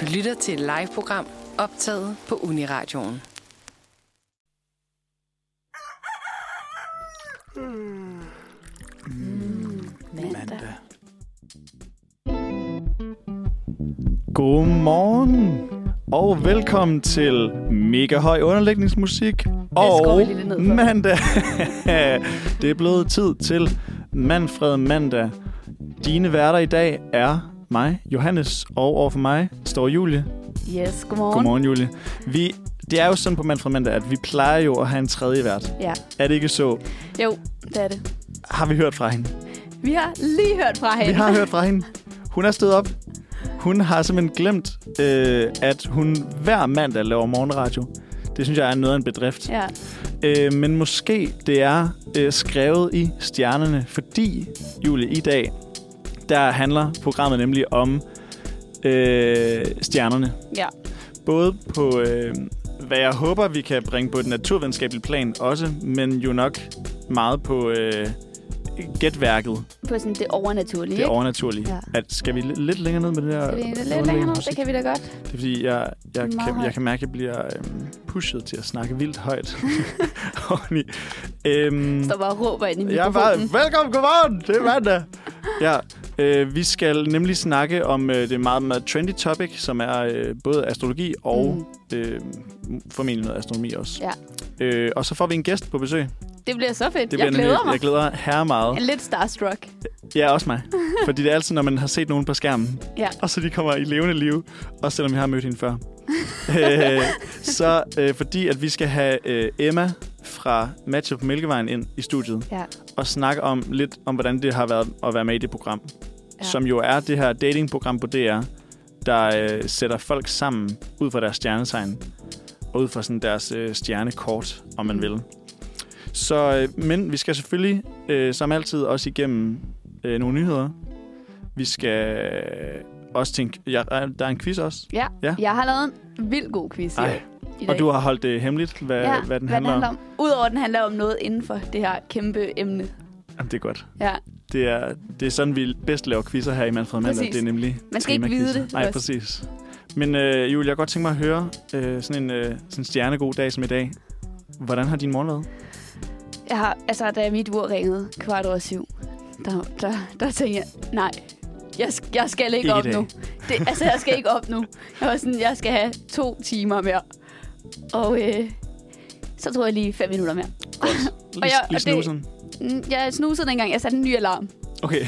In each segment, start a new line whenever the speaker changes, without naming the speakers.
Du lytter til et live-program optaget på Uniradioen.
mandag.
Godmorgen og velkommen til mega høj underlægningsmusik og
vi lige lidt ned for.
mandag. det er blevet tid til Manfred Mandag. Dine værter i dag er mig, Johannes, og overfor mig står Julie.
Yes, godmorgen.
Godmorgen, Julie. Vi, det er jo sådan på Manfred Mandag, at vi plejer jo at have en tredje vært.
Ja,
Er det ikke så?
jo, det er det.
Har vi hørt fra hende?
Vi har lige hørt fra hende.
Vi har hørt fra hende. Hun er stået op. Hun har simpelthen glemt, øh, at hun hver mandag laver morgenradio. Det synes jeg er noget af en bedrift.
Ja,
Øh, men måske det er øh, skrevet i stjernerne, fordi, Julie, i dag, der handler programmet nemlig om øh, stjernerne.
ja.
Både på, øh, hvad jeg håber, vi kan bringe på et naturvidenskabeligt plan også, men jo nok meget på øh, gætværket
På sådan det overnaturlige,
det overnaturlige.
Ja.
Ja. At, skal vi lidt, lidt længere ned med det der?
Skal vi lidt længere ned? Det kan vi da godt.
Det er fordi, jeg, jeg,
Meget
kan,
højt.
jeg kan mærke, at jeg bliver øhm, pushet til at snakke vildt højt. Oveni. øhm,
Står bare og råber ind i
jeg er
mikrofonen.
bare, velkommen, godmorgen, det er mandag. ja, øh, vi skal nemlig snakke om øh, det meget, meget trendy topic, som er øh, både astrologi og
Mm.
øh, formentlig noget astronomi også. Øh, og så får vi en gæst på besøg. Det
Det bliver så fedt. jeg
nemlig-
glæder mig.
Jeg glæder herre meget.
Jeg er lidt starstruck.
Ja, også mig. Fordi det er altid, når man har set nogen på skærmen,
Ja.
og så de kommer i levende liv, også selvom jeg har mødt hende før. øh, så øh, fordi, at vi skal have øh, Emma fra Matchup på Mælkevejen ind i studiet,
Ja.
og snakke om lidt om, hvordan det har været at være med i det program.
Ja.
Ja. Som jo er det her datingprogram på DR, der øh, sætter folk sammen ud fra deres stjernetegn, og ud fra sådan deres øh, stjernekort, om man
Mhm.
vil. Så, øh, men vi skal selvfølgelig, øh, som altid, også igennem øh, nogle nyheder. Vi skal øh, også tænke... Ja, øh, der er en quiz også.
ja.
Ja.
Jeg har lavet en vildt god quiz i,
Ej,
i dag.
Og du har holdt det hemmeligt, hvad,
ja,
hvad den handler om.
om. Udover at den handler om noget inden for det her kæmpe emne.
Jamen, det er godt.
Ja.
Det er, det er sådan, vi bedst laver quizzer her i Manfred Mandag.
Præcis.
Det er nemlig
Man skal ikke
temaquizzer.
vide det
Nej,
først.
præcis. Men øh, Julie, jeg kunne godt tænke mig at høre øh, sådan en øh, sådan en stjernegod dag som i dag. Hvordan har din morgen været?
Jeg har, altså, da mit ur ringede kvart over syv, der, der, der tænkte jeg, nej, jeg, sk- jeg skal ikke,
Ikke i
op
dag.
nu. Det, altså, jeg skal ikke op nu. Jeg var sådan, jeg skal have to timer mere. Og øh, så tror jeg lige fem minutter mere.
Godt. Lige,
Og jeg-
lige
og det-
snusen.
Mm, Jeg snusede dengang, jeg satte en ny alarm.
Okay,
Jeg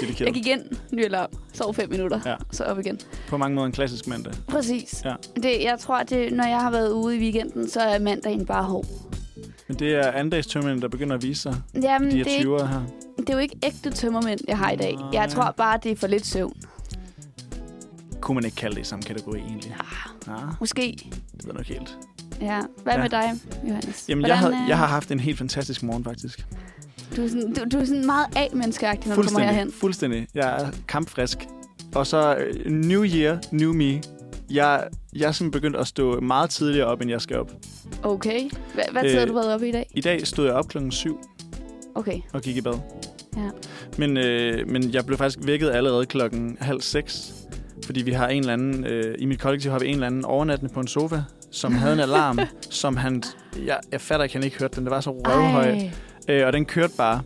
dedikeret. Gik...
gik ind, ny alarm, sov fem minutter,
Ja.
så op igen.
På mange måder en klassisk mandag.
Præcis.
Ja.
Det, jeg tror, at det, når jeg har været ude i weekenden, så er mandagen bare hård.
Men det er andagstømmerne, der begynder at vise sig.
Jamen,
De her
Mm, det, er ikke,
20'ere her.
det er jo ikke ægte tømmermænd, jeg har i dag.
Nej.
Jeg tror bare, det er for lidt søvn.
Kunne man ikke kalde det i samme kategori egentlig? Ja. Ah,
Måske.
det ved jeg nok helt.
Ja. Hvad
Ja.
med dig, Johannes?
Jamen, jeg, havde,
øh,
jeg har haft en helt fantastisk morgen faktisk.
Du er sådan, du, du er sådan meget A-menneskeagtig, når du kommer herhen.
Fuldstændig. Jeg er kampfrisk. Og så øh, New Year, New Me. Jeg, jeg er simpelthen begyndt at stå meget tidligere op, end jeg skal op.
Okay. Hva, hvad tid har
Øh.
du været oppe i dag?
I dag stod jeg op klokken 7
Okay.
og gik i bad.
Ja.
Men, øh, men jeg blev faktisk vækket allerede klokken halv seks. Fordi vi har en eller anden, øh, i mit kollektiv har vi en eller anden overnattende på en sofa, som havde en alarm, som han, jeg, jeg fatter ikke, han ikke hørte den. Det var så røvhøj.
Ej.
Øh, og den kørte bare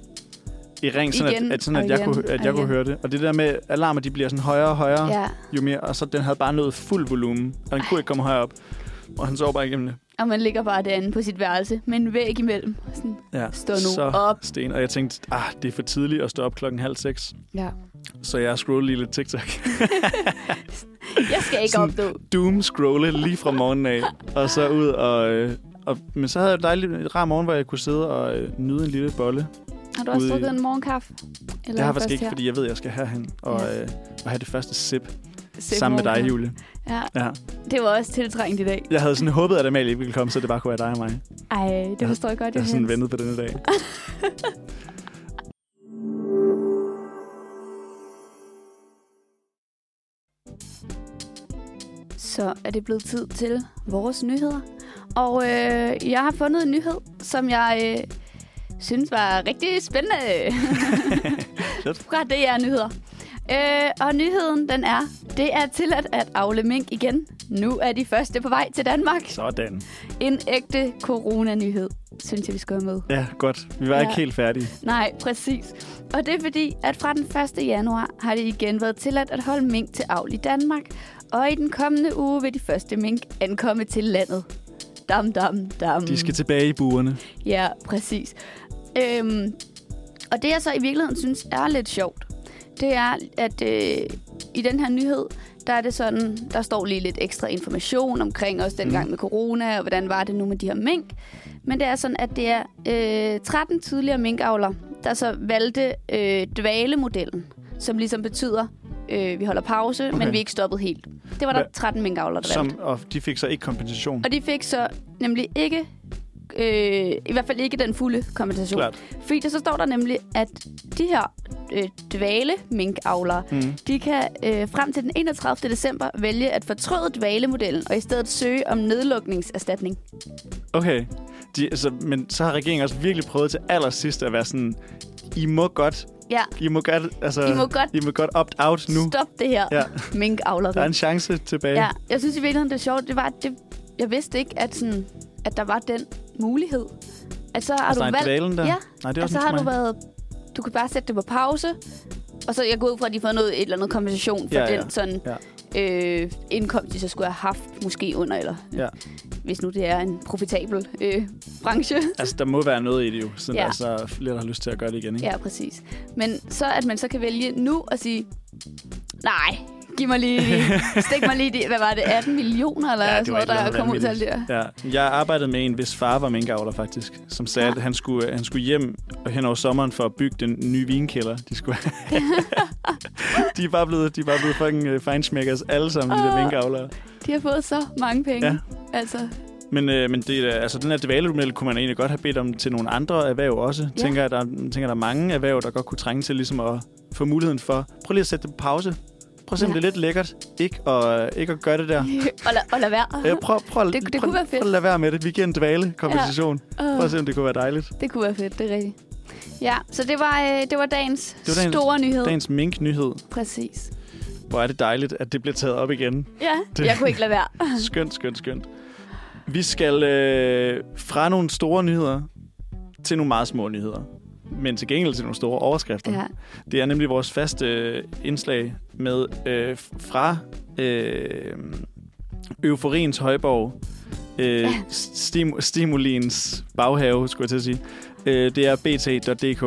i ring, sådan,
Igen
at, at, sådan,
og
at jeg,
igen
kunne, at
og
jeg kunne
igen.
høre det. Og det der med alarmer, de bliver sådan højere og højere, ja.
Ja.
jo mere. Og så den havde bare nået fuld volumen, og den kunne ikke komme højere op. Og han sov bare igennem det.
Og man ligger bare derinde på sit værelse med en væg imellem. Sådan.
Ja.
Stå nu
så
op.
Sten. Og jeg tænkte, ah, det er for tidligt at stå op klokken halv seks.
Ja.
Så jeg scrollede lige lidt TikTok.
Jeg skal ikke
Sådan-
op nu.
Doom scrolle lige fra morgenen af. Og så ud og... Øh, og men så havde jeg et dejligt et rar morgen, hvor jeg kunne sidde og øh, nyde en lille bolle. Eller
Har du også
ude i-
drukket en morgenkaffe? Eller
det har jeg
er det
faktisk
først
ikke,
her?
fordi jeg ved, at jeg skal herhen og,
Ja.
øh, og have det første sip
Sip
sammen med dig,
morgenkaffe.
Julie.
Ja,
Ja.
det var også tiltrængt i dag.
Jeg havde sådan håbet, at Amalie ikke ville komme, så det bare kunne være dig og mig.
Ej, det
Jeg-
forstår jeg godt,
Jeg har sådan
Johannes.
ventet på denne dag.
Så er det blevet tid til vores nyheder. Og øh, jeg har fundet en nyhed, som jeg øh, synes var rigtig spændende
Fedt.
fra DR Nyheder. Øh, og nyheden, den er, det er tilladt at afle mink igen. Nu er de første på vej til Danmark.
Sådan.
En ægte coronanyhed, synes jeg, vi skal have med.
Ja, godt. Vi var ja. ikke
Ja.
helt færdige.
Nej, præcis. Og det er fordi, at fra den 1. januar har det igen været tilladt at holde mink til avl i Danmark. Og i den kommende uge vil de første mink ankomme til landet. Dam, dam, dam.
De skal tilbage i buerne.
Ja, præcis. Øhm, og det, jeg så i virkeligheden synes er lidt sjovt, det er, at øh, i den her nyhed, der er det sådan, der står lige lidt ekstra information omkring også
Mhm.
dengang med corona, og hvordan var det nu med de her mink. Men det er sådan, at det er øh, 13 tidligere minkavler, der så valgte øh, dvalemodellen, som ligesom betyder, øh, vi holder pause, okay.
Okay.
men vi er ikke stoppet helt. Det var der
Hva-
13 minkavler, der valgte.
Som, og de fik så ikke kompensation.
Og de fik så nemlig ikke, øh, i hvert fald ikke den fulde kompensation.
Klart.
Fordi der så står der nemlig, at de her øh, dvale minkavlere,
Mm.
de kan øh, frem til den 31. december vælge at fortryde dvalemodellen og i stedet søge om nedlukningserstatning.
Okay. De, altså, men så har regeringen også virkelig prøvet til allersidst at være sådan, I må godt,
Ja,
I må godt, altså,
I må godt-
I må godt opt out nu.
stop det her
Ja.
ja. minkavleri.
Der er en chance tilbage.
Ja, jeg synes i virkeligheden, det er sjovt. Det var, at det, jeg vidste ikke, at, sådan, at der var den mulighed. At så har
altså, nej,
du valgt...
dvalen der.
Ja,
Nej, det er
Og
også
så
en
har du
smag.
været... Du kan bare sætte det på pause, og så jeg går ud fra, at de får noget, et eller andet kompensation for
Ja,
ja,
ja.
den sådan,
Ja.
ja. Øh, indkomst, de så skulle have haft måske under, eller
Ja.
hvis nu det er en profitabel øh, branche.
Altså, der må være noget i det jo, sådan
Ja.
ja. altså, flere der har lyst til at gøre det igen, ikke?
Ja, præcis. Men så at man så kan vælge nu og sige, nej, giv mig lige, stik mig lige, de, hvad var det, 18 millioner, eller ja, sådan noget, der kom ud til alt det der.
Ja, jeg arbejdede med en, hvis far var minkavler faktisk, som sagde,
Ja.
ja. at han skulle, øh, han skulle hjem hen over sommeren for at bygge den nye vinkælder, de skulle de er bare blevet, de er bare blevet fucking øh, feinschmeckers alle sammen, de der
Åh.
minkavlere.
De har fået så mange penge.
Ja.
Ja. Altså,
Men, øh, men det, er da- altså, den her dvalemodel kunne man egentlig godt have bedt om til nogle andre erhverv også. Ja. Tænker, jeg, der, tænker, der er mange erhverv, der godt kunne trænge til ligesom at få muligheden for, prøv lige at sætte det på pause. Prøv at se, om
Ja.
det er lidt lækkert. Ikke, og, ikke at gøre det der.
og, la, og lad være.
Ja, Øh, prøv, prøv,
Det- det
prøv,
kunne være fedt.
Prøv at lade være med det. Vi giver en dvale kompensation. Ja.
Åh.
Prøv at se, om det kunne være dejligt.
Det kunne være fedt, det er rigtigt. Ja, så det var, øh, det var dagens det
var
var
dagens-
dagens, store nyhed. Dagens.
Dagens mink-nyhed.
Præcis.
Hvor er det dejligt, at det bliver taget op igen.
Ja,
Det-
det. jeg kunne ikke lade være.
Skønt, skønt, skønt. Vi skal øh, fra nogle store nyheder til nogle meget små nyheder. Men til gengæld til nogle store overskrifter.
Ja.
Det er nemlig vores faste øh, indslag med øh, fra øh, euforiens højborg, øh, ja.
Ja.
stim- stimulins baghave, skulle jeg til at sige. Øh, det er bt.dk,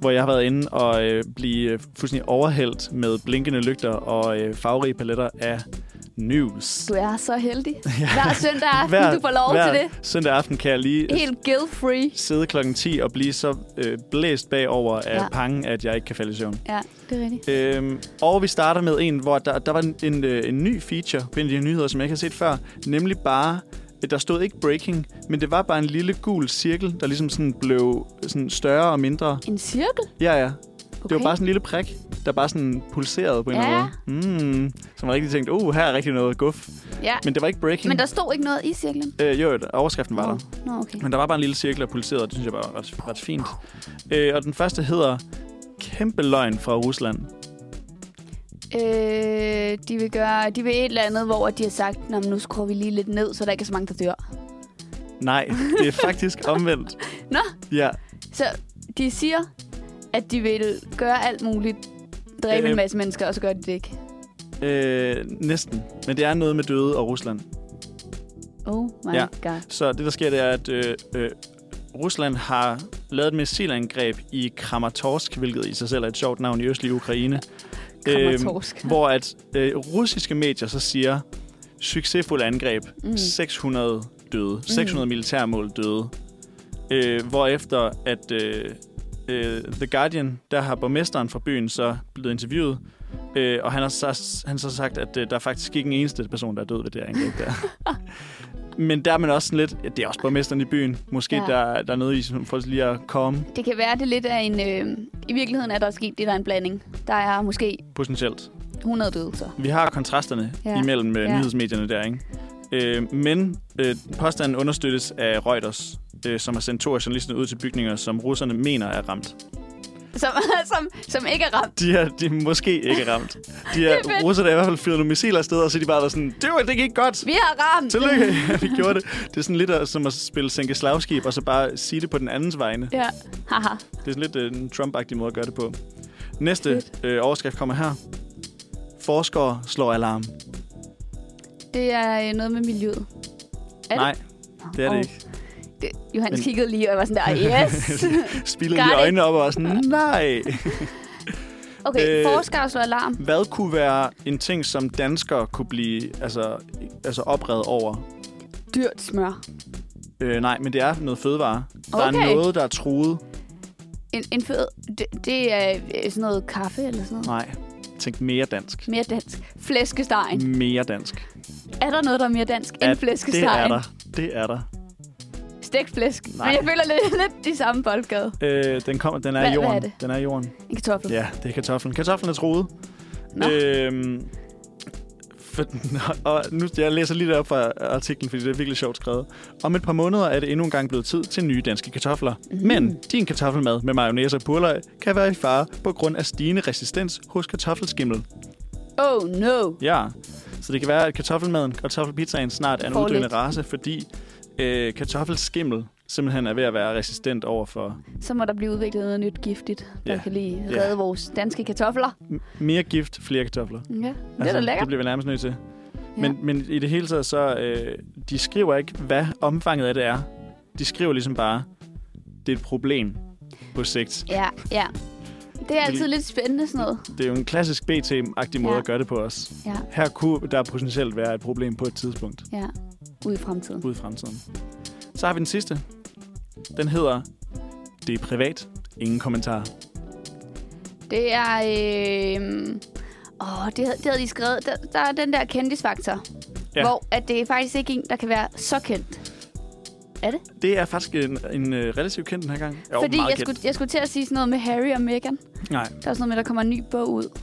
hvor jeg har været inde og øh, blive øh, fuldstændig overhældt med blinkende lygter og øh, farverige paletter af news.
Du er så heldig. Hver søndag
Hver-
aften, hver, du får lov
hver
til det.
Søndag aften kan jeg lige
Helt guilt-free.
sidde klokken 10 og blive så øh, blæst bagover af ja.
Ja.
pangen, at jeg ikke kan falde i søvn.
Ja, det er rigtigt.
Øhm, og vi starter med en, hvor der, der var en, en, øh, en ny feature på en af de her nyheder, som jeg ikke har set før. Nemlig bare, at der stod ikke breaking, men det var bare en lille gul cirkel, der ligesom sådan blev sådan større og mindre.
En cirkel?
Ja, ja.
Okay.
Det var bare sådan en lille prik, der bare sådan pulserede på en
Ja.
eller anden måde. Mm, så man rigtig tænkte, uh, her er rigtig noget guf.
Ja. Men,
Men det var ikke breaking.
Men der stod ikke noget i cirklen?
Øh, jo, overskriften var der.
Nå, okay.
Men der var bare en lille cirkel, der pulserede, og det synes jeg bare var ret, ret fint. Øh, og den første hedder Kæmpe løgn fra Rusland.
Øh, de vil gøre, de vil et eller andet, hvor de har sagt, Nå, men nu skruer vi lige lidt ned, så der ikke er så mange, der dør.
Nej, det er faktisk omvendt.
Nå.
Ja,
Så de siger, at de vil gøre alt muligt. Dræbe
Øh.
en masse mennesker, og så gør de det ikke.
øh, næsten. Men det er noget med døde og Rusland.
Oh my
Ja.
ja. god.
Så det, der sker, det er, at øh, øh, Rusland har lavet et missilangreb i Kramatorsk, hvilket i sig selv er et sjovt navn i østlig Ukraine.
Kramatorsk.
hvor at øh, russiske medier så siger, succesfuld angreb, mm.
Mm.
600 døde, 600 militærmål døde. Øh, hvorefter at øh, øh, The Guardian, der har borgmesteren fra byen så blevet interviewet, øh, og han har så, han har så sagt, at øh, der er faktisk ikke en eneste person, der er død ved det her angreb der. Men der er man også sådan lidt, ja, det er også borgmesteren i byen. Måske ja.
Ja.
der, der er noget i, som får lige at komme
Det kan være, det er lidt af en... Øh, I virkeligheden er der sket det, der er en blanding. Der er måske
potentielt.
100 døde, så.
Vi har kontrasterne ja.
Ja.
imellem ja.
Ja.
nyhedsmedierne der, ikke? Øh, men øh, påstanden understøttes af Reuters, øh, som har sendt to af journalisterne ud til bygninger, som russerne mener er ramt.
som, som, som ikke er ramt.
De er, de er måske ikke ramt. De
Det er
er,
fedt.
russerne er i hvert fald fyret nogle missiler afsted, og så er de bare været sådan, det var det gik godt.
Vi har ramt.
Tillykke, at vi gjorde det. Det er sådan lidt at- som at spille sænke slagskib, og så bare sige det på den andens vegne.
Ja, haha.
Det er sådan lidt øh, en Trump-agtig måde at gøre det på. Næste øh, overskrift kommer her. Forskere slår alarm.
Det er øh, noget med miljøet. Er det?
Nej, det er det
Åh.
ikke.
Det, Johannes
Men-
kiggede lige, og jeg var sådan der, yes!
Spillede
Got
lige
it.
øjnene op og var sådan, nej.
Okay,
Øh,
øh, forskere slår alarm.
Hvad kunne være en ting, som danskere kunne blive altså, altså oprevet over?
Dyrt smør.
Øh, nej, men det er noget fødevare. Der
Okay.
er noget, der er truet.
En, en fed, det, det er øh, sådan noget kaffe eller sådan noget.
Nej, tænk mere dansk.
Mere dansk. Flæskestegen.
Mere dansk.
Er der noget, der er mere dansk end
Ja, Det
flæskestegen?
er der. Det er der.
Stegt flæsk.
Nej.
Men jeg føler lidt, lidt de samme boldgade.
Øh, den, kommer, den er
Hvad-
i jorden.
hvad er det?
Den er i jorden.
En kartoffel.
Ja, det er kartoflen. Kartoflen er troet.
Nå.
Øhm, for, og nu, jeg læser lige det op fra artiklen, fordi det er virkelig sjovt skrevet. Om et par måneder er det endnu engang blevet tid til nye danske kartofler. Mm.
Mhm.
Men din kartoffelmad med mayonnaise og purløg kan være i fare på grund af stigende resistens hos kartoffelskimmel.
Oh no.
Ja, så det kan være, at kartoffelmaden, kartoffelpizzaen snart er en
Får
uddøende
lidt.
race, fordi øh, kartoffelskimmel simpelthen er ved at være resistent over for
Så må der blive udviklet noget nyt giftigt, der
Ja.
kan lige
Ja.
redde vores danske kartofler.
m- mere gift, flere kartofler. Altså,
Ja, det er da
det
lækkert.
bliver vi nærmest nødt til. Men, men i det hele taget, så øh, de skriver ikke, hvad omfanget af det er. De skriver ligesom bare, det er et problem på sigt.
Ja, ja. Det er altid
Fordi-
lidt spændende sådan noget.
Det er jo en klassisk BT-agtig måde
Ja.
at gøre det på os.
Ja,
Her kunne der potentielt være et problem på et tidspunkt
ja. Ude i fremtiden.
ude i fremtiden. Så har vi den sidste. Den hedder, det er privat. Ingen kommentar.
Det er... Øh... Åh, det, havde- det havde de skrevet. Der, der er den der kendisfaktor.
Ja.
Ja. Hvor at det er faktisk ikke en, der kan være så kendt. Er det?
Det er faktisk en, en øh, relativt kendt den her gang. Jo,
Fordi
meget
jeg
kendt.
skulle, jeg skulle til at sige sådan noget med Harry og Meghan.
Nej.
Der er sådan noget med, at der kommer en ny bog ud.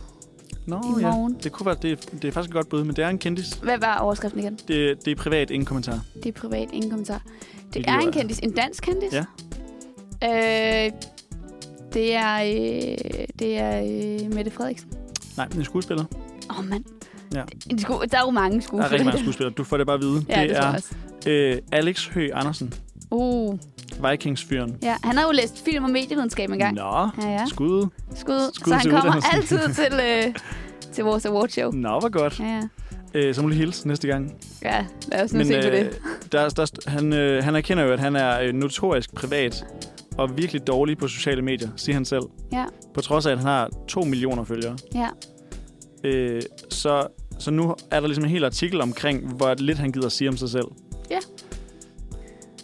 Nå,
I
ja.
morgen.
Det, kunne være, det, det er faktisk et godt bud, men det er en kendis.
Hvad var overskriften igen?
Det, det er privat. Ingen kommentar.
Det er privat, ingen kommentar. Det,
Det
er
lyder- altså-
en kendis. En dansk kendis?
Ja.
Øh, det er, øh, det er øh, Mette Frederiksen.
Nej, men en skuespiller.
Åh, oh, mand.
Ja.
En sku- Der er jo mange
Der er rigtig mange
skuespillere.
skuespillere. Du får det bare at vide.
Ja, det,
det
tror jeg
er
også.
øh, Alex Hø Andersen,
Uh,
Vikings-fyren.
ja. Han har jo læst film og medievidenskab engang.
Nå,
Ja, ja. Uh.
skud.
Skud.
Skud
så han
til
kommer
uddannelsen.
altid til, øh, til vores awardshow.
Nå, hvor godt.
Ja, ja.
Øh, så må du hilse næste gang.
ja lad os nu se på
øh,
det.
der, der, st- han, øh, han erkender jo, at han er øh, notorisk privat og virkelig dårlig på sociale medier, siger han selv.
Ja,
På trods af, at han har 2 millioner følgere.
ja.
Øh, så, så nu er der ligesom en hel artikel omkring, hvor lidt han gider at sige om sig selv.
Ja.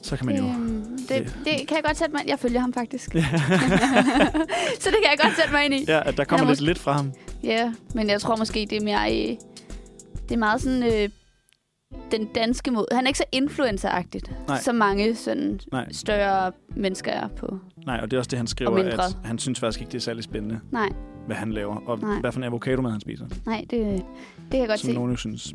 Så kan man jo...
Øhm, det,
det-
det kan jeg godt sætte mig Jeg følger ham faktisk. så det kan jeg godt sætte mig ind i.
Ja, at der kommer
Han er
lidt lidt fra ham.
Ja, men jeg tror måske, det er mere... Øh, det er meget sådan... Øh, den danske måde. Han er ikke så influenceragtigt,
Nej.
som mange sådan
Nej.
større mennesker er på.
Nej, og det er også det, han
Og
skriver,
mindre.
at han synes faktisk ikke, det er særlig spændende,
Nej,
hvad han laver, og
Nej.
hvad for en avocado mad han spiser,
nej, det, det kan jeg godt
som
se.
nogen jo synes.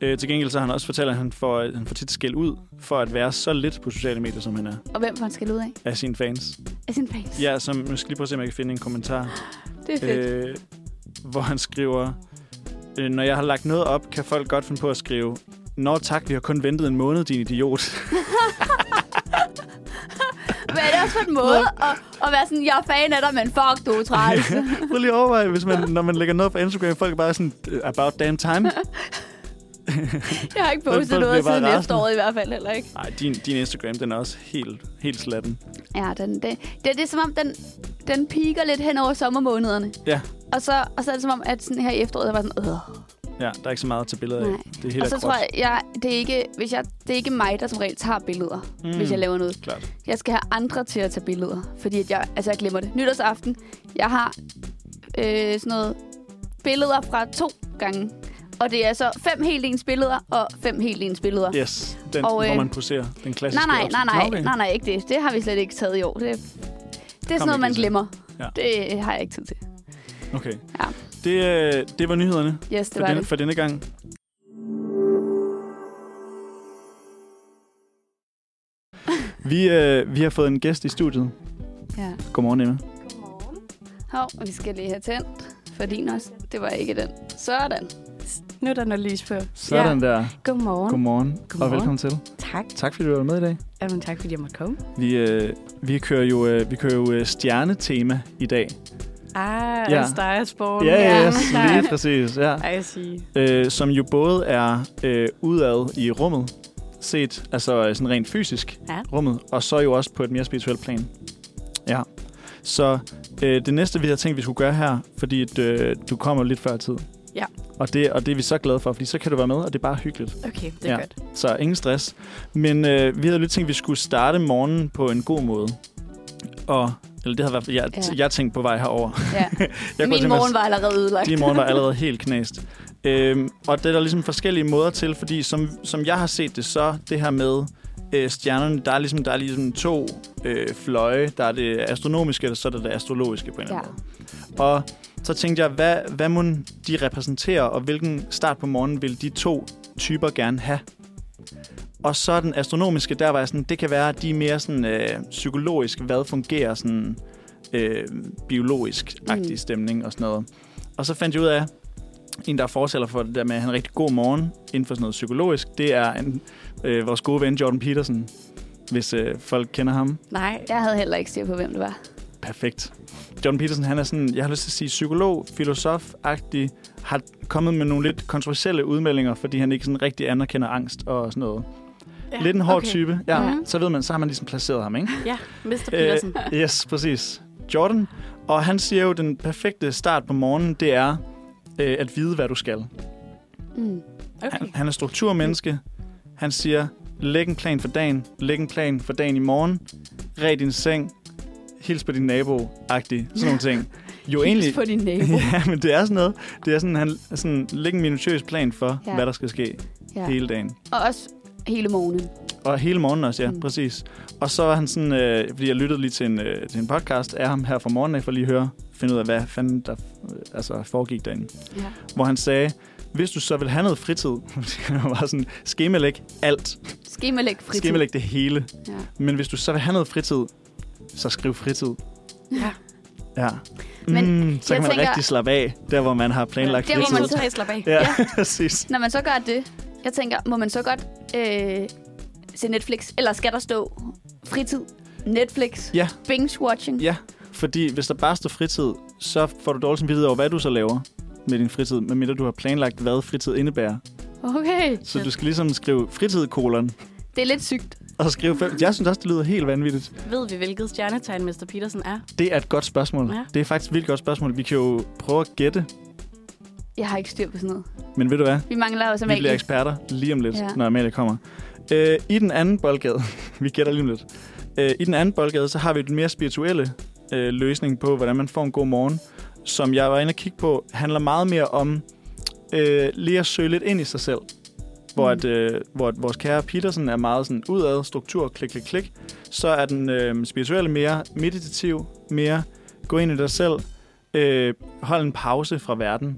Øh, til gengæld så har han også fortalt, at han får, øh, han får tit skæld ud for at være så lidt på sociale medier, som han er,
Og hvem får han skal ud af?
af sine fans.
Af sin fans.
Ja, som nu skal lige prøve at se, om jeg kan finde en kommentar.
Det er fedt.
øh, hvor han skriver, øh, når jeg har lagt noget op, kan folk godt finde på at skrive, Nå tak, vi har kun ventet en måned, din idiot.
Men er det også på en måde at, at være sådan, jeg er fan af dig, men fuck, du er træls.
Prøv lige at overveje, hvis man, når man lægger noget op på Instagram, folk er bare sådan, "Øh, about damn time.
Jeg har ikke
Folk-
postet
folk
noget
bliver bare
siden
rasende.
efteråret i hvert fald heller ikke.
Nej, din, din Instagram, den er også helt, helt slatten.
Ja, den, den, det, det er som om, den, den piker lidt hen over sommermånederne.
Ja,
Og så, og så er det som om, at sådan her i efteråret, jeg var sådan, øh.
ja, der er ikke så meget at tage billeder af.
Nej.
Det er helt
Og så
akkurat.
tror jeg, jeg, det, er ikke, hvis jeg, det er ikke mig, der som regel tager billeder, mm. hvis jeg laver noget.
Klart.
Jeg skal have andre til at tage billeder, fordi at jeg, altså jeg glemmer det. Nytårsaften, jeg har øh, sådan noget billeder fra to gange. Og det er så fem helt ens billeder og fem helt ens billeder.
Yes, den,
Og,
og, øh, hvor
øh,
man poserer. Den klassiske
Nej, nej,
også.
nej,
Nå, okay.
nej, nej, nej, ikke det. Det har vi slet ikke taget i år. Det, det er sådan
Kom
noget, man
ikke, Lisa.
glemmer.
Ja.
Ja. Det har jeg ikke tid til.
Okay.
Ja.
Det, øh, det var nyhederne
Yes, det
for,
var
denne,
det.
for denne gang. Vi, øh, vi har fået en gæst i studiet.
Ja.
Godmorgen, Emma.
Godmorgen.
Hov, vi skal lige have tændt for din også. Det var ikke den. Sådan.
Nu er der noget lys på.
Sådan ja. der.
Godmorgen.
Godmorgen, og
Godmorgen.
velkommen til.
Tak.
Tak fordi du var med i dag.
Jamen, tak fordi jeg måtte komme.
Vi, øh, vi kører jo, øh, vi kører jo øh, stjernetema i dag.
Ah,
Ja.
ja. Steyersporen.
Ja, yes, lige præcis. Ja.
Ej, jeg sige.
Øh, som jo både er øh, udad i rummet, set altså øh, sådan rent fysisk
Ja.
rummet, og så jo også på et mere spirituelt plan. Ja. Så øh, det næste, vi har tænkt, vi skulle gøre her, fordi at, øh, du kommer lidt før tid.
Ja.
Og det, og det er vi så glade for, fordi så kan du være med, og det er bare hyggeligt.
Okay, det er
Ja.
ja. godt.
Så ingen stress. Men øh, vi havde lidt tænkt, at vi skulle starte morgenen på en god måde. Og, eller det havde været, jeg, ja.
Ja.
jeg tænkte på vej herover.
Ja.
Jeg
Min morgen var allerede ødelagt.
Din morgen var allerede helt knæst. Øhm, og det er der ligesom forskellige måder til, fordi som, som jeg har set det så, det her med øh, stjernerne, der er ligesom, der er ligesom to øh, fløje. Der er det astronomiske, og så er der det astrologiske på en eller anden måde. Og så tænkte jeg, hvad, hvad må de repræsenterer, og hvilken start på morgenen vil de to typer gerne have? Og så den astronomiske, der var jeg sådan, det kan være, at de er mere sådan øh, psykologisk, hvad fungerer sådan øh, biologisk-agtig mm.
Mm.
stemning og sådan noget. Og så fandt jeg ud af, en, der er fortæller for det der med at have en rigtig god morgen inden for sådan noget psykologisk, det er en, øh, vores gode ven Jordan Peterson, hvis øh, folk kender ham.
Nej.
Jeg havde heller ikke styr på, hvem det var.
Perfekt. Jordan Peterson, han er sådan, jeg har lyst til at sige, psykolog, filosof-agtig, har kommet med nogle lidt kontroversielle udmeldinger, fordi han ikke sådan rigtig anerkender angst og sådan noget. Ja, lidt en hård okay. type. Ja,
Mhm.
så ved man, så har man ligesom placeret ham, ikke?
Ja, Mr. Petersen. Øh.
yes, præcis. Jordan. Og han siger jo, at den perfekte start på morgenen, det er øh, at vide, hvad du skal.
Mm.
Okay.
Han, han er strukturmenneske. Han siger, læg en plan for dagen, læg en plan for dagen i morgen, red din seng, hils på din nabo, agtig, sådan nogle ting. Jo egentlig,
Hils på din nabo.
ja, men det er sådan noget. Det er sådan, han sådan, læg en minutiøs plan for, ja.
Ja.
hvad der skal ske ja.
Ja.
hele dagen.
Og også hele morgenen.
Og hele morgenen også, ja, mm.
Mm.
præcis. Og så var han sådan, øh, fordi jeg lyttede lige til en, øh, til en podcast af ham her fra morgenen af, for lige at høre, finde ud af, hvad fanden der øh, altså, foregik derinde.
Ja.
Hvor han sagde, hvis du så vil have noget fritid, det var sådan, skemalæg alt.
Skemalæg fritid.
Skemalæg det hele.
Ja.
Men hvis du så vil have noget fritid, så skriv fritid.
Ja.
Ja.
Men
mm, så
jeg
kan man
tænker-
rigtig slappe af, der hvor man har planlagt
Der, hvor
fritid.
man så-
tre slap af.
Ja, præcis.
Når man så gør det, jeg tænker, må man så godt øh, se Netflix? Eller skal der stå fritid, Netflix,
Ja.
binge-watching?
Ja, fordi hvis der bare står fritid, så får du dårlig samvittighed over, hvad du så laver med din fritid, medmindre du har planlagt, hvad fritid indebærer.
Okay.
Så
Ja.
du skal ligesom skrive fritid, kolon,
Det er lidt sygt.
og skrive fem. Jeg synes også, det lyder helt vanvittigt.
Ved vi, hvilket stjernetegn Mr. Petersen er?
Det er et godt spørgsmål.
Ja.
Det er faktisk et vildt godt spørgsmål. Vi kan jo prøve at gætte,
Jeg har ikke styr på sådan noget.
men ved du hvad?
Vi mangler også
Vi bliver
Amalie.
eksperter lige om lidt, ja.
Ja.
når Amalie kommer. Øh, I den anden boldgade, vi gætter lige om lidt. Øh, I den anden boldgade, så har vi den mere spirituelle øh, løsning på, hvordan man får en god morgen, som jeg var inde og kigge på, handler meget mere om øh, lige at søge lidt ind i sig selv. Hvor,
Mm.
at, øh, hvor at vores kære Petersen er meget sådan udad, struktur, klik, klik, klik. Så er den øh, spirituelle mere meditativ, mere gå ind i dig selv, øh, hold en pause fra verden,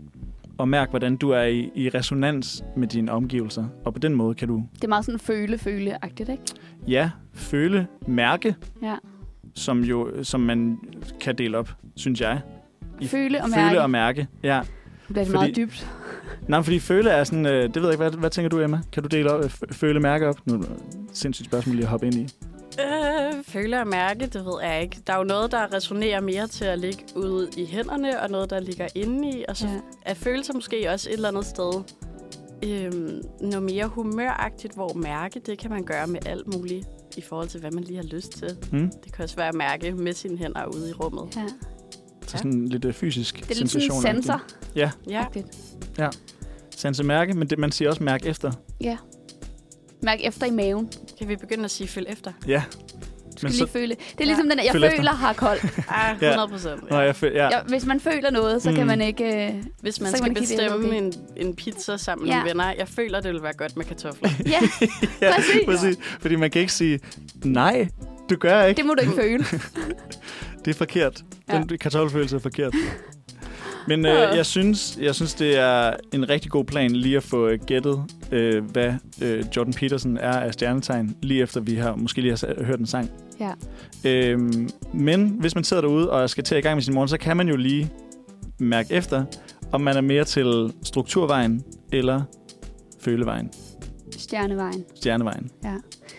og mærk, hvordan du er i, i resonans med dine omgivelser. Og på den måde kan du,
Det er meget sådan føle-føle-agtigt, ikke?
ja, føle, mærke,
Ja.
som, jo, som man kan dele op, synes jeg. I-
Føle og mærke.
Føle og mærke, ja.
Det
fordi-
bliver fordi... meget dybt.
Nej, men fordi føle er sådan, øh, det ved jeg ikke, hvad, hvad tænker du, Emma? Kan du dele op, øh, f- føle, mærke op? Nu er det et sindssygt spørgsmål lige at hoppe ind i.
Øh, føler og mærke, det ved jeg ikke. Der er jo noget, der resonerer mere til at ligge ude i hænderne, og noget, der ligger inde i. Og så ja.
Ja.
er følelser måske også et eller andet sted øhm, noget mere humøragtigt, hvor mærke, det kan man gøre med alt muligt i forhold til, hvad man lige har lyst til.
Mm?
Det kan også være at mærke med sine hænder ude i rummet.
Ja.
Så
Ja.
sådan lidt øh, fysisk
Det er lidt sådan en sensor
Ja,
Sense mærke, men det, man siger også mærke efter.
Mærk efter i maven.
kan vi begynde at sige følg efter?
Ja.
Du
Men
skal
så,
lige føle. Det er ligesom den der, jeg
Føl efter.
føler har koldt.
Ah, 100 procent.
Nå, jeg føl, ja.
Ja, hvis man føler noget, så kan
Mm.
man ikke... øh,
Hvis man
Så kan
skal
man kigge
bestemme
ind
en, en pizza sammen med
Ja.
ja. venner, jeg føler, det vil være godt med kartofler.
Ja,
ja,
præcis.
præcis. Fordi man kan ikke sige, nej, du gør ikke.
det må du ikke føle.
Det er forkert.
Ja.
Den kartoffelfølelse er forkert. Men øh,
Ja.
jeg, synes, jeg synes, det er en rigtig god plan lige at få øh, gættet, øh, hvad øh, Jordan Peterson er af stjernetegn, lige efter vi har måske lige har sa- hørt en sang.
Ja.
Øhm, men hvis man sidder derude og skal til at i gang med sin morgen, så kan man jo lige mærke efter, om man er mere til strukturvejen eller følevejen,
Stjernevejen.
stjernevejen.
Ja,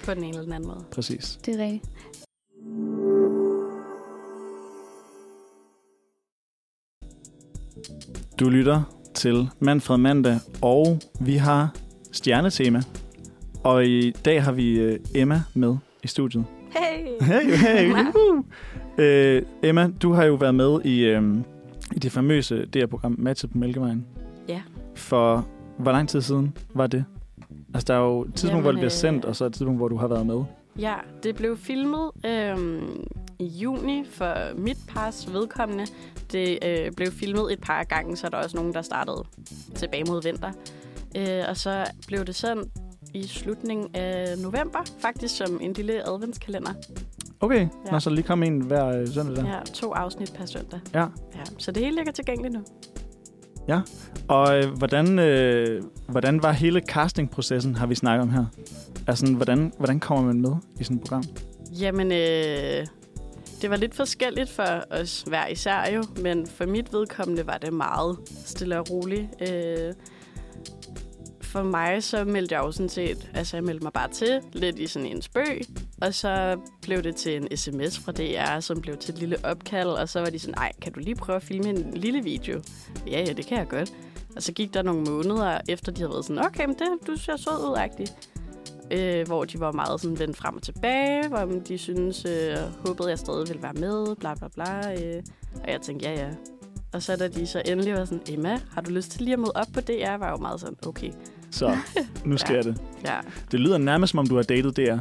På den ene eller den anden måde.
Præcis.
det er rigtigt.
Du lytter til Manfred Mandag, og vi har stjernetema. Og i dag har vi øh, Emma med i studiet.
Hey!
Hey, hey. uhuh. øh, Emma, du har jo været med i, øh, i det famøse DR-program Matchet på Mælkevejen.
Ja.
For hvor lang tid siden var det? Altså, der er jo et tidspunkt, Jamen,
Jamen,
hvor det bliver
øh,
sendt, og så et tidspunkt, hvor du har været med.
Ja, det blev filmet øhm, i juni for mit pars vedkommende. Det øh, blev filmet et par gange, så er der også nogen, der startede tilbage mod vinter. Øh, og så blev det sendt i slutningen af november, faktisk som en lille adventskalender.
Okay, ja.
Ja.
Nå, så der lige kom en hver øh, søndag der.
Ja, to afsnit per søndag.
Ja.
ja. Så det hele ligger tilgængeligt nu.
Og øh, hvordan, øh, hvordan var hele castingprocessen, har vi snakket om her? Altså, hvordan, hvordan kommer man med i sådan et program?
Jamen, øh, det var lidt forskelligt for os hver især jo, men for mit vedkommende var det meget stille og roligt. Øh, for mig så meldte jeg jo sådan set, altså jeg meldte mig bare til, lidt i sådan en spøg, og så blev det til en sms fra DR, som blev til et lille opkald, og så var de sådan, ej, kan du lige prøve at filme en lille video? Ja, ja, det kan jeg godt. Og så gik der nogle måneder, efter de havde været sådan, okay, men det, du ser sød ud, agtig øh, hvor de var meget sådan vendt frem og tilbage, hvor om de synes øh, håbede jeg stadig ville være med, bla bla bla. Øh, og jeg tænkte, ja ja. Og så da de så endelig var sådan, Emma, har du lyst til lige at møde op på DR? Jeg var jeg jo meget sådan, okay.
Så, nu sker ja.
Ja.
det.
Ja,
Det lyder nærmest, som om du har datet DR.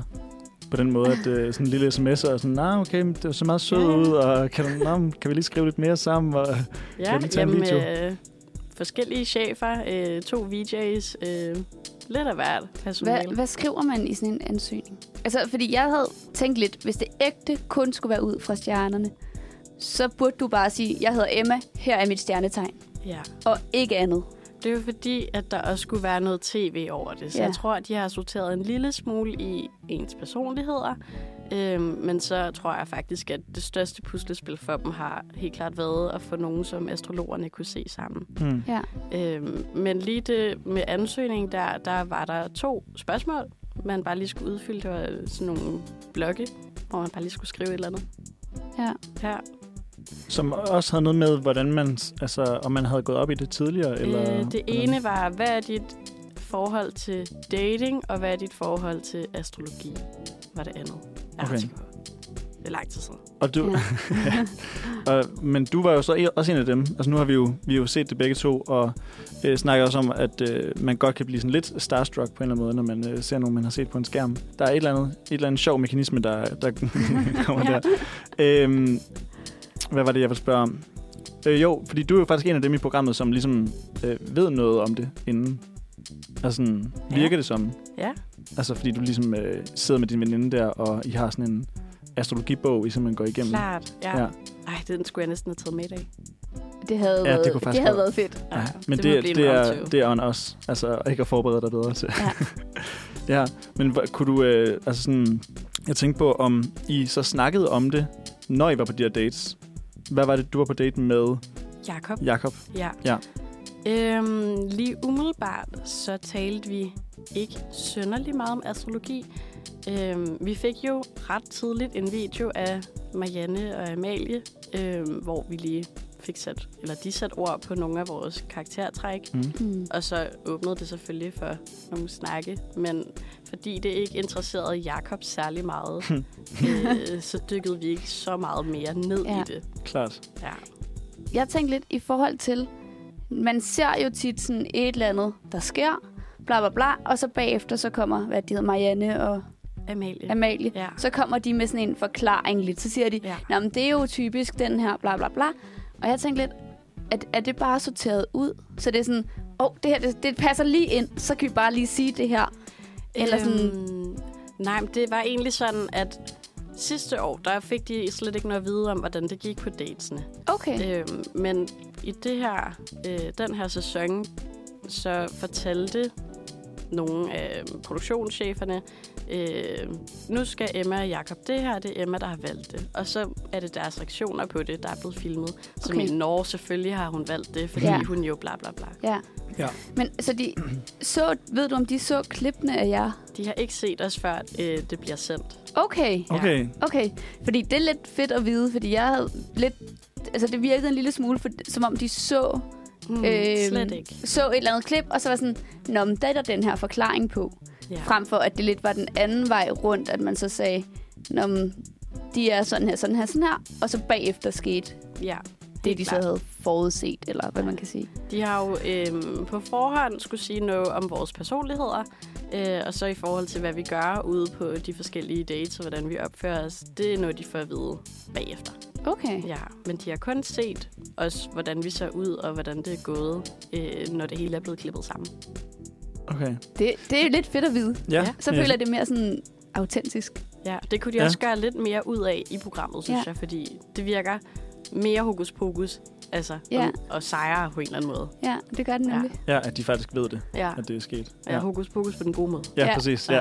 På den måde, at øh, sådan en lille sms og sådan, nej, nah, okay, men det var så meget sød
Ja.
ud, og kan, du, nah, kan vi lige skrive lidt mere sammen? Og,
ja
lige tage en video?
øh, forskellige chefer, øh, to VJ's, øh, lidt af hvert personale.
Hvad, hvad skriver man i sådan en ansøgning? Altså, fordi jeg havde tænkt lidt, hvis det ægte kun skulle være ud fra stjernerne, så burde du bare sige, jeg hedder Emma, her er mit stjernetegn,
Ja.
og ikke andet.
Det er jo fordi, at der også skulle være noget tv over det. Så
Ja.
ja. jeg tror, at de har sorteret en lille smule i ens personligheder. Øhm, men så tror jeg faktisk, at det største puslespil for dem har helt klart været at få nogen, som astrologerne kunne se sammen.
hmm.
Ja.
Øhm, men lige det med ansøgningen, der, der var der to spørgsmål, man bare lige skulle udfylde. Det var sådan nogle blokke, hvor man bare lige skulle skrive et eller andet.
Ja.
Ja.
Som også havde noget med, hvordan man, altså, om man havde gået op i det tidligere? Eller,
Øh, det
hvordan?
ene var, hvad er dit forhold til dating, og hvad er dit forhold til astrologi? Var det andet. Jeg
Okay.
okay. Det er lang tid siden.
Og du,
Ja.
og, men du var jo så en- også en af dem. Altså nu har vi jo, vi har jo set det begge to, og øh, snakker også om, at øh, man godt kan blive sådan lidt starstruck på en eller anden måde, når man øh, ser nogen, man har set på en skærm. Der er et eller andet, et eller andet sjov mekanisme, der, der kommer ja. der. Øhm, hvad var det, jeg ville spørge om? Øh, jo, fordi du er jo faktisk en af dem i programmet, som ligesom øh, ved noget om det inden. Altså, sådan,
Ja.
virker det som?
Ja.
Altså, fordi du ligesom øh, sidder med din veninde der, og I har sådan en astrologibog, I simpelthen går igennem.
Klart. Ja.
Ja.
ja. Ej, den skulle jeg næsten have taget med i dag.
Det havde,
Ja,
ja,
det
det
kunne
været,
faktisk
det havde
godt.
været fedt.
Ja,
Ja,
men
det
det,
må
det,
blive
det,
en
er,
omtur.
det er on os. Altså, ikke at forberede dig bedre til.
Ja.
ja, men hvor- kunne du... Øh, altså sådan, jeg tænkte på, om I så snakkede om det, når I var på de her dates. Hvad var det, du var på date med
Jakob.
Jakob?
Ja.
Ja.
Øhm, lige umiddelbart, så talte vi ikke sønderlig meget om astrologi. Øhm, vi fik jo ret tidligt en video af Marianne og Amalie, øhm, hvor vi lige fik sat, eller de satte ord på nogle af vores karaktertræk.
Mm.
Og så åbnede det selvfølgelig for nogle snakke, men fordi det ikke interesserede Jakob særlig meget, øh, så dykkede vi ikke så meget mere ned ja.
Ja.
i det.
Klart.
Ja.
Jeg tænkte lidt i forhold til, man ser jo tit sådan et eller andet, der sker, bla bla bla, og så bagefter så kommer, hvad de hedder, Marianne og
Amalie.
Amalie,
Ja.
så kommer de med sådan en forklaring lidt. Så siger de,
Ja.
Nå, men det er jo typisk den her, bla bla bla. Og jeg tænkte lidt, at, er det bare sorteret ud? Så det er sådan, åh, oh, det her, det, det passer lige ind, så kan vi bare lige sige det her. Eller sådan,
Øhm, nej, men det var egentlig sådan, at sidste år, der fik de slet ikke noget at vide om, hvordan det gik på datesene.
okay,
Øhm, men i det her, øh, den her sæson, så fortalte nogle af produktionscheferne øh, nu skal Emma og Jakob det her, det er Emma, der har valgt det. Og så er det deres reaktioner på det, der er blevet filmet. Så
Okay.
okay. min Norge, selvfølgelig har hun valgt det, fordi
Ja.
ja. hun jo bla bla bla.
Ja.
Ja.
Men så de så, ved du om de så klippene af jer?
De har ikke set os, før øh, det bliver sendt.
Okay,
Okay.
okay. Fordi det er lidt fedt at vide, fordi jeg havde lidt... Altså, det virkede en lille smule, for, som om de så,
Mm,
Øhm,
slet ikke.
så et eller andet klip, og så var sådan, Nå, men der er der den her forklaring på.
Ja.
Frem for, at det lidt var den anden vej rundt, at man så sagde, Nå, men de er sådan her, sådan her, sådan her. Og så bagefter skete
ja.
det,
helt
de så
klart.
havde forudset, eller hvad man kan sige.
De har jo øh, på forhånd skulle sige noget om vores personligheder, øh, og så i forhold til, hvad vi gør ude på de forskellige dates, og hvordan vi opfører os. Det er noget, de får at vide bagefter.
Okay.
Ja, men de har kun set os, hvordan vi ser ud, og hvordan det er gået, øh, når det hele er blevet klippet sammen.
Okay.
Det, det er lidt fedt at vide.
Ja.
Ja.
Så føler jeg det er mere sådan autentisk.
Ja, det kunne de
Ja.
ja. også gøre lidt mere ud af i programmet, synes
Ja.
ja. jeg, fordi det virker mere hokus pokus, altså,
Ja.
ja. og, og sejre på en eller anden måde.
Ja, det gør den
Ja.
nemlig.
Ja, at de faktisk ved det,
Ja,
at det er sket.
ja. hokus pokus på den gode måde.
ja,
Ja.
ja. præcis. Ja.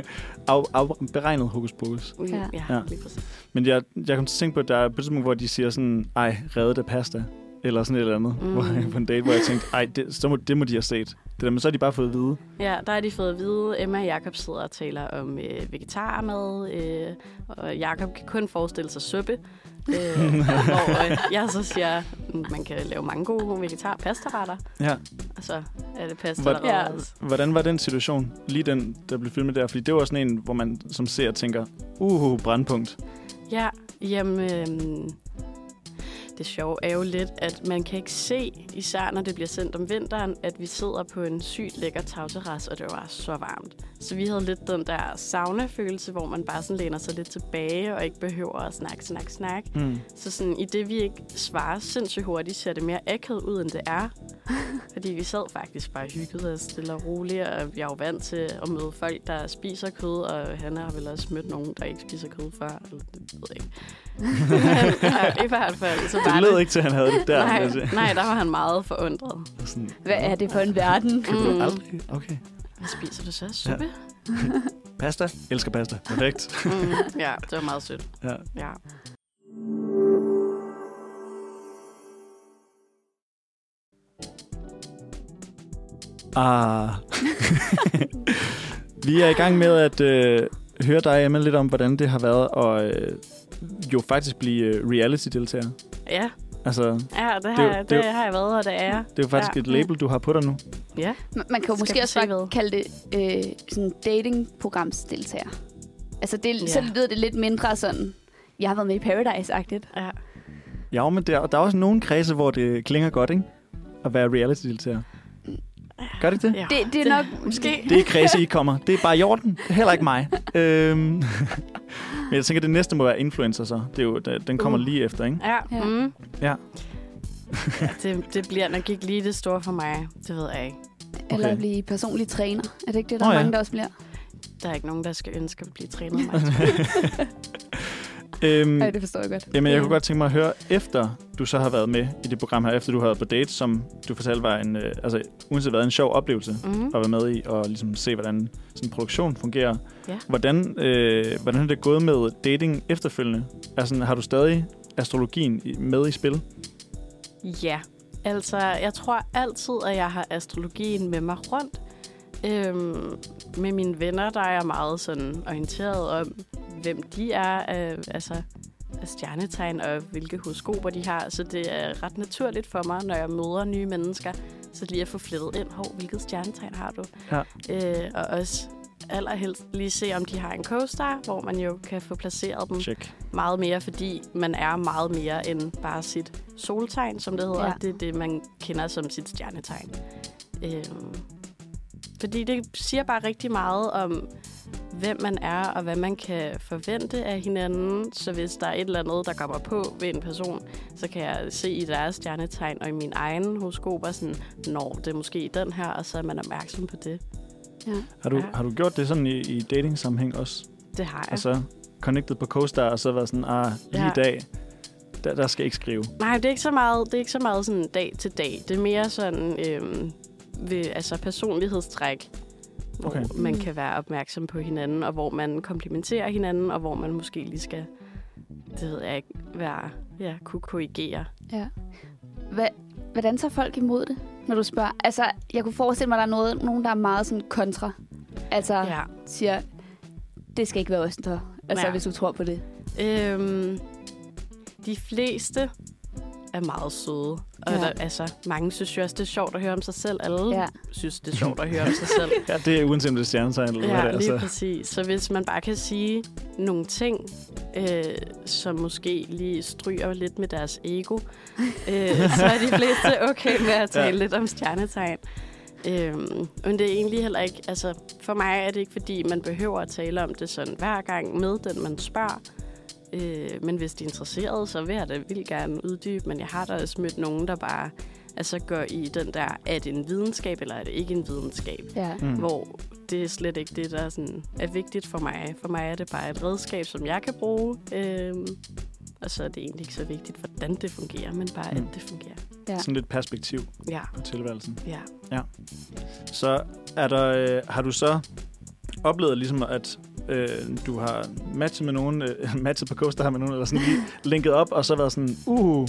af, af, beregnet hokus pokus.
Ja.
Ja,
Ja.
ja. lige præcis.
Men jeg, jeg kom til at tænke på, at der er på et tidspunkt, hvor de siger sådan, ej, redde pasta, eller sådan et eller andet,
Mm.
mm. på en date, hvor jeg tænkte, ej, det, så må, det må de have set. Det der, men så har de bare fået at vide.
Ja, der har de fået at vide, Emma og Jakob sidder og taler om øh, vegetarmad, øh, og Jakob kan kun forestille sig suppe. Øh, hvor øh, jeg så siger, "Mm, man kan lave mange gode vegetar pastaretter,
Ja.
og så er det pasta
Hvor-
Hvor, ja.
Hvordan var den situation, lige den, der blev filmet der? Fordi det var sådan en, hvor man som ser tænker, uh, brandpunkt.
ja, jamen, øh, det sjove er jo lidt, at man kan ikke se, især når det bliver sendt om vinteren, at vi sidder på en sygt lækker tagterrasse, og det var så varmt. Så vi havde lidt den der sauna-følelse, hvor man bare sådan læner sig lidt tilbage, og ikke behøver at snakke, snakke, snakke.
Mm.
Så sådan, i det vi ikke svarer sindssygt hurtigt, ser det mere akavet ud, end det er. Fordi vi sad faktisk bare og hyggede os stille og roligt, og jeg er jo vant til at møde folk, der spiser kød, og han har vel også mødt nogen, der ikke spiser kød før. Eller, det ved jeg ikke. Men, I hvert fald, så var
Det lød ikke til, at han havde det der.
nej,
vil jeg sige.
nej, der var han meget forundret.
Sådan,
Hvad er det for en verden?
Kan du
Mm.
aldrig? Okay.
Hvad spiser du så? Suppe?
Pasta? Elsker pasta. Perfekt.
Ja, mm, ja det var meget sødt.
ja.
Ja.
Ah. Vi er i gang med at øh, høre dig, Emma, lidt om, hvordan det har været at øh, jo faktisk blive øh, reality-deltager.
Ja,
Altså,
ja det,
Det er
har,
jo-
det,
det er
det har jeg været, og det er jeg.
det er jo faktisk
Ja.
et label, du har på dig nu.
Ja.
Man- Man kan jo
Skal
måske
vi
også
se
bare
hvad?
kalde det øh, sådan datingprogramsdeltager. Altså, det, ja. så
Ja.
lyder det lidt mindre sådan, jeg har været med i Paradise-agtigt.
ja.
Ja, men der, der er også nogle kredse, hvor det klinger godt, ikke? At være reality-deltager. Gør det ikke det?
ja.
Det, det er nok...
måske.
Det er kredse, I kommer. Det er bare i orden. Det er heller ikke mig. Øhm. Men jeg tænker, at det næste må være influencer så. Det er jo, den kommer
Uh.
lige efter, ikke?
Ja.
Ja.
Ja. Mm.
Ja.
ja det, det bliver nok ikke lige det store for mig. Det ved jeg ikke.
Eller
Okay.
at blive personlig træner. Er det ikke det, der
Nå
oh,
ja.
mange, der også bliver?
Der er ikke nogen, der skal ønske at blive trænet. af Mig.
Øhm,
Nej, det forstår jeg godt.
Jamen, jeg
Ja.
kunne godt tænke mig at høre, efter du så har været med i det program her, efter du har været på date, som du fortalte var en, øh, altså uanset hvad, en sjov oplevelse
Mm.
at være med i, og ligesom se, hvordan sådan en produktion fungerer.
Ja.
Hvordan, øh, hvordan er det gået med dating efterfølgende? Altså, har du stadig astrologien i- med i spil?
Ja. Altså, jeg tror altid, at jeg har astrologien med mig rundt. Øhm, med mine venner, der er jeg meget sådan orienteret om, hvem de er, øh, altså af stjernetegn og hvilke horoskoper de har. Så det er ret naturligt for mig, når jeg møder nye mennesker, så lige at få flettet ind, hov, hvilket stjernetegn har du?
Ja.
Øh, og også allerhelst lige se, om de har en co-star, hvor man jo kan få placeret dem
Check.
meget mere, fordi man er meget mere end bare sit soltegn, som det hedder.
Ja.
Ja. Det er det, man kender som sit stjernetegn. Øhm, fordi det siger bare rigtig meget om, hvem man er, og hvad man kan forvente af hinanden. Så hvis der er et eller andet, der kommer på ved en person, så kan jeg se i deres stjernetegn og i min egen horoskoper, sådan, når det er måske den her, og så er man opmærksom på det.
Har du,
Ja.
har du gjort det sådan i, i dating-sammenhæng også?
Det har jeg.
Og så connected på CoStar, og så været sådan, ah, lige
Ja.
i dag, der, der skal jeg ikke skrive.
Nej, det er ikke så meget, det er ikke så meget sådan dag til dag. Det er mere sådan øhm, ved, altså personlighedstræk. hvor
Okay.
okay. man
Mm.
kan være opmærksom på hinanden, og hvor man komplementerer hinanden, og hvor man måske lige skal, det ved jeg ikke, være, ja, kunne korrigere.
Ja. Hva, hvordan tager folk imod det, når du spørger? Altså, jeg kunne forestille mig, at der er noget, nogen, der er meget sådan kontra. Altså, ja.
Ja.
siger, det skal ikke være os, der. Altså, ja.
Ja.
hvis du tror på det.
Øhm, de fleste er meget søde.
Ja.
Og ja. der, altså, mange synes jo også, det er sjovt at høre om sig selv. Alle
Ja.
ja. synes, det er sjovt at høre om sig selv.
Ja, det er uanset om det er stjernetegn eller hvad
Ja,
det er. altså,
lige
Så.
præcis. Så hvis man bare kan sige nogle ting, øh, som måske lige stryger lidt med deres ego, øh, så er de fleste okay med at tale
Ja.
ja. lidt om stjernetegn. Øhm, men det er egentlig heller ikke, altså for mig er det ikke fordi, man behøver at tale om det sådan hver gang med den, man spørger. Øh, men hvis de er interesserede, så vil jeg da vildt gerne uddybe, men jeg har da også mødt nogen, der bare altså går i den der, er det en videnskab, eller er det ikke en videnskab?
Ja.
Mm.
hvor det er slet ikke det, der er, sådan, er vigtigt for mig. For mig er det bare et redskab, som jeg kan bruge. Øhm, og så er det egentlig ikke så vigtigt, hvordan det fungerer, men bare,
Mm.
at det fungerer.
Sådan lidt perspektiv
Ja,
på tilværelsen.
ja.
Så er der, øh, har du så oplevet ligesom, at øh, du har matchet med nogen, øh, matchet på Coaster har med nogen, eller sådan lige linket op, og så været sådan, uh,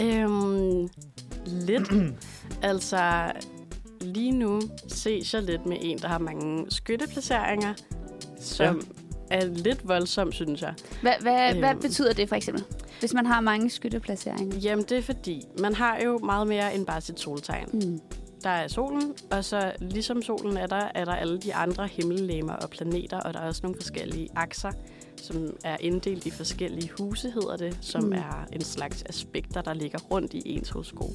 Øhm, lidt. altså, lige nu ses jeg lidt med en, der har mange skytteplaceringer, som ja. er lidt voldsom, synes jeg.
Hva, hva, øhm. Hvad
Øhm.
betyder det, for eksempel? Hvis man har mange skytteplaceringer.
Jamen, det er fordi, man har jo meget mere end bare sit soltegn.
Mm.
Der er solen, og så ligesom solen er der, er der alle de andre himmellegemer og planeter, og der er også nogle forskellige akser, som er inddelt i forskellige huse, hedder det, som
Mm.
mm. er en slags aspekter, der ligger rundt i ens horoskop.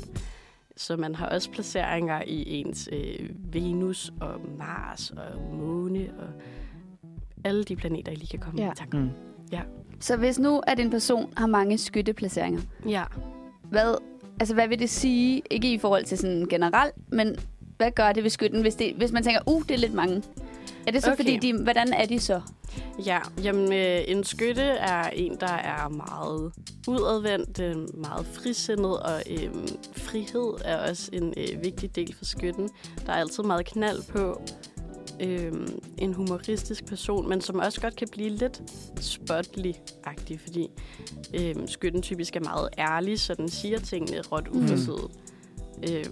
Så man har også placeringer i ens øh, Venus og Mars og Måne og alle de planeter, I lige kan komme
Ja.
i tanke om.
mm,
Så hvis nu, at en person har mange skytteplaceringer,
Ja.
hvad, altså, hvad vil det sige? Ikke i forhold til sådan generelt, men hvad gør det ved skytten, hvis, det, hvis man tænker, uh, det er lidt mange? Er det så, okay.
Okay.
fordi de, hvordan er de så?
Ja, jamen øh, en skytte er en, der er meget udadvendt, øh, meget frisindet, og øh, frihed er også en øh, vigtig del for skytten. Der er altid meget knald på øh, en humoristisk person, men som også godt kan blive lidt spotlig-agtig, fordi øh, skytten typisk er meget ærlig, så den siger tingene råt uforsiddet. Mm. Øh,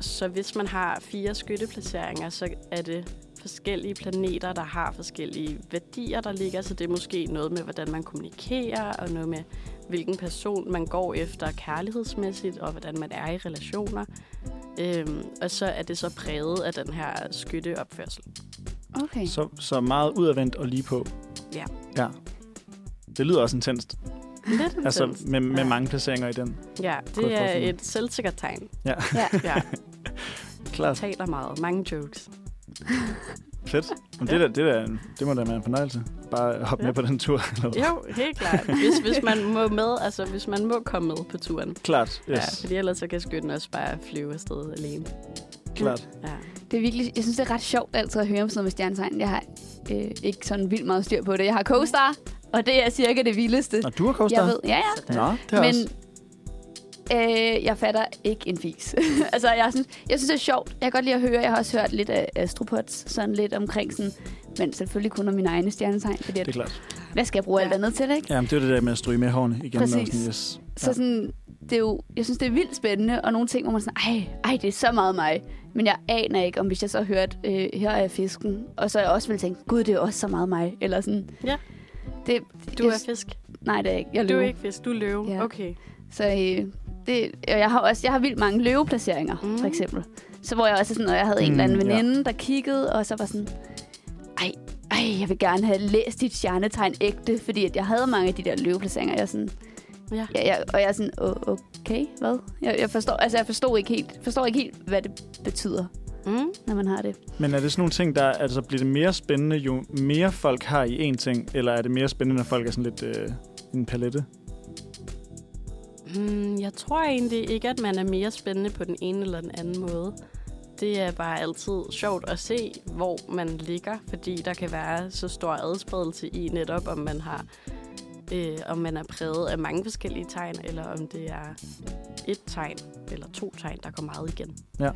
så hvis man har fire skytteplaceringer, så er det forskellige planeter, der har forskellige værdier, der ligger. Så det er måske noget med, hvordan man kommunikerer, og noget med, hvilken person man går efter kærlighedsmæssigt, og hvordan man er i relationer. Øhm, og så er det så præget af den her skytteopførsel.
Okay.
så, så meget udadvendt og lige på.
Ja.
ja. Det lyder også intenst.
Lidt
Altså
intenst.
med, med
Ja.
mange placeringer i den.
Ja,
Kunne
det
jeg
er
forestille mig.
et selvsikkert tegn.
Ja.
Ja.
ja,
Klart.
taler meget. Mange jokes.
Fedt. Men det, der, det, der, det må da være en fornøjelse. Bare at hoppe ja.
Ja.
med på den tur. Eller hvad?
Jo, helt klart. Hvis, hvis man må med, altså hvis man må komme med på turen.
Klart, yes.
Ja, fordi ellers så kan skytten også bare flyve afsted alene.
Klart.
Ja.
Det er virkelig, jeg synes, det er ret sjovt altid at høre om sådan noget med stjernetegn. Jeg har øh, ikke sådan vildt meget styr på det. Jeg har CoStar, og det er cirka det vildeste,
Nå, du har coaster?
jeg ved. Ja, ja.
Nå, det har
Men
også.
øh, jeg fatter ikke en fis. altså, jeg synes, jeg synes, det er sjovt. Jeg kan godt lide at høre. Jeg har også hørt lidt af Astropods, sådan lidt omkring sådan, men selvfølgelig kun om mine egne stjernetegn, fordi
Det er
at,
klart.
hvad skal jeg bruge alt
Ja.
andet til, ikke?
Jamen, det er det der med at stryge med hårene igen.
Præcis.
og Sådan, yes.
Så sådan, det er jo, jeg synes, det er vildt spændende, og nogle ting, hvor man sådan, ej, ej, det er så meget mig. Men jeg aner ikke, om hvis jeg så hørte, øh, her er fisken, og så jeg også ville tænke, gud, det er også så meget mig, eller sådan.
Ja.
Det,
Du
jeg,
er fisk.
Nej, det er jeg ikke. Jeg
Du
løber.
er ikke fisk, du er løve.
Ja.
Ja. Okay.
Så øh, det, og jeg har også jeg har vildt mange løveplaceringer, mm.
Mm.
for eksempel. Så hvor jeg også er sådan, når jeg havde en eller anden
Mm, ja.
veninde, der kiggede, og så var sådan, ej, ej, jeg vil gerne have læst dit stjernetegn ægte, fordi at jeg havde mange af de der løveplaceringer. Jeg er sådan,
Ja.
ja, jeg, og jeg er sådan, "O- okay, hvad? Jeg, jeg, forstår, altså, jeg forstår, ikke helt, forstår ikke helt, hvad det betyder,
Mm.
når man har det.
Men er det sådan nogle ting, der altså bliver det mere spændende, jo mere folk har i én ting, eller er det mere spændende, når folk er sådan lidt øh, en palette?
Mm, jeg tror egentlig ikke, at man er mere spændende på den ene eller den anden måde. Det er bare altid sjovt at se, hvor man ligger, fordi der kan være så stor adspredelse i netop, om man har øh, om man er præget af mange forskellige tegn, eller om det er et tegn eller to tegn, der går meget igen.
Ja.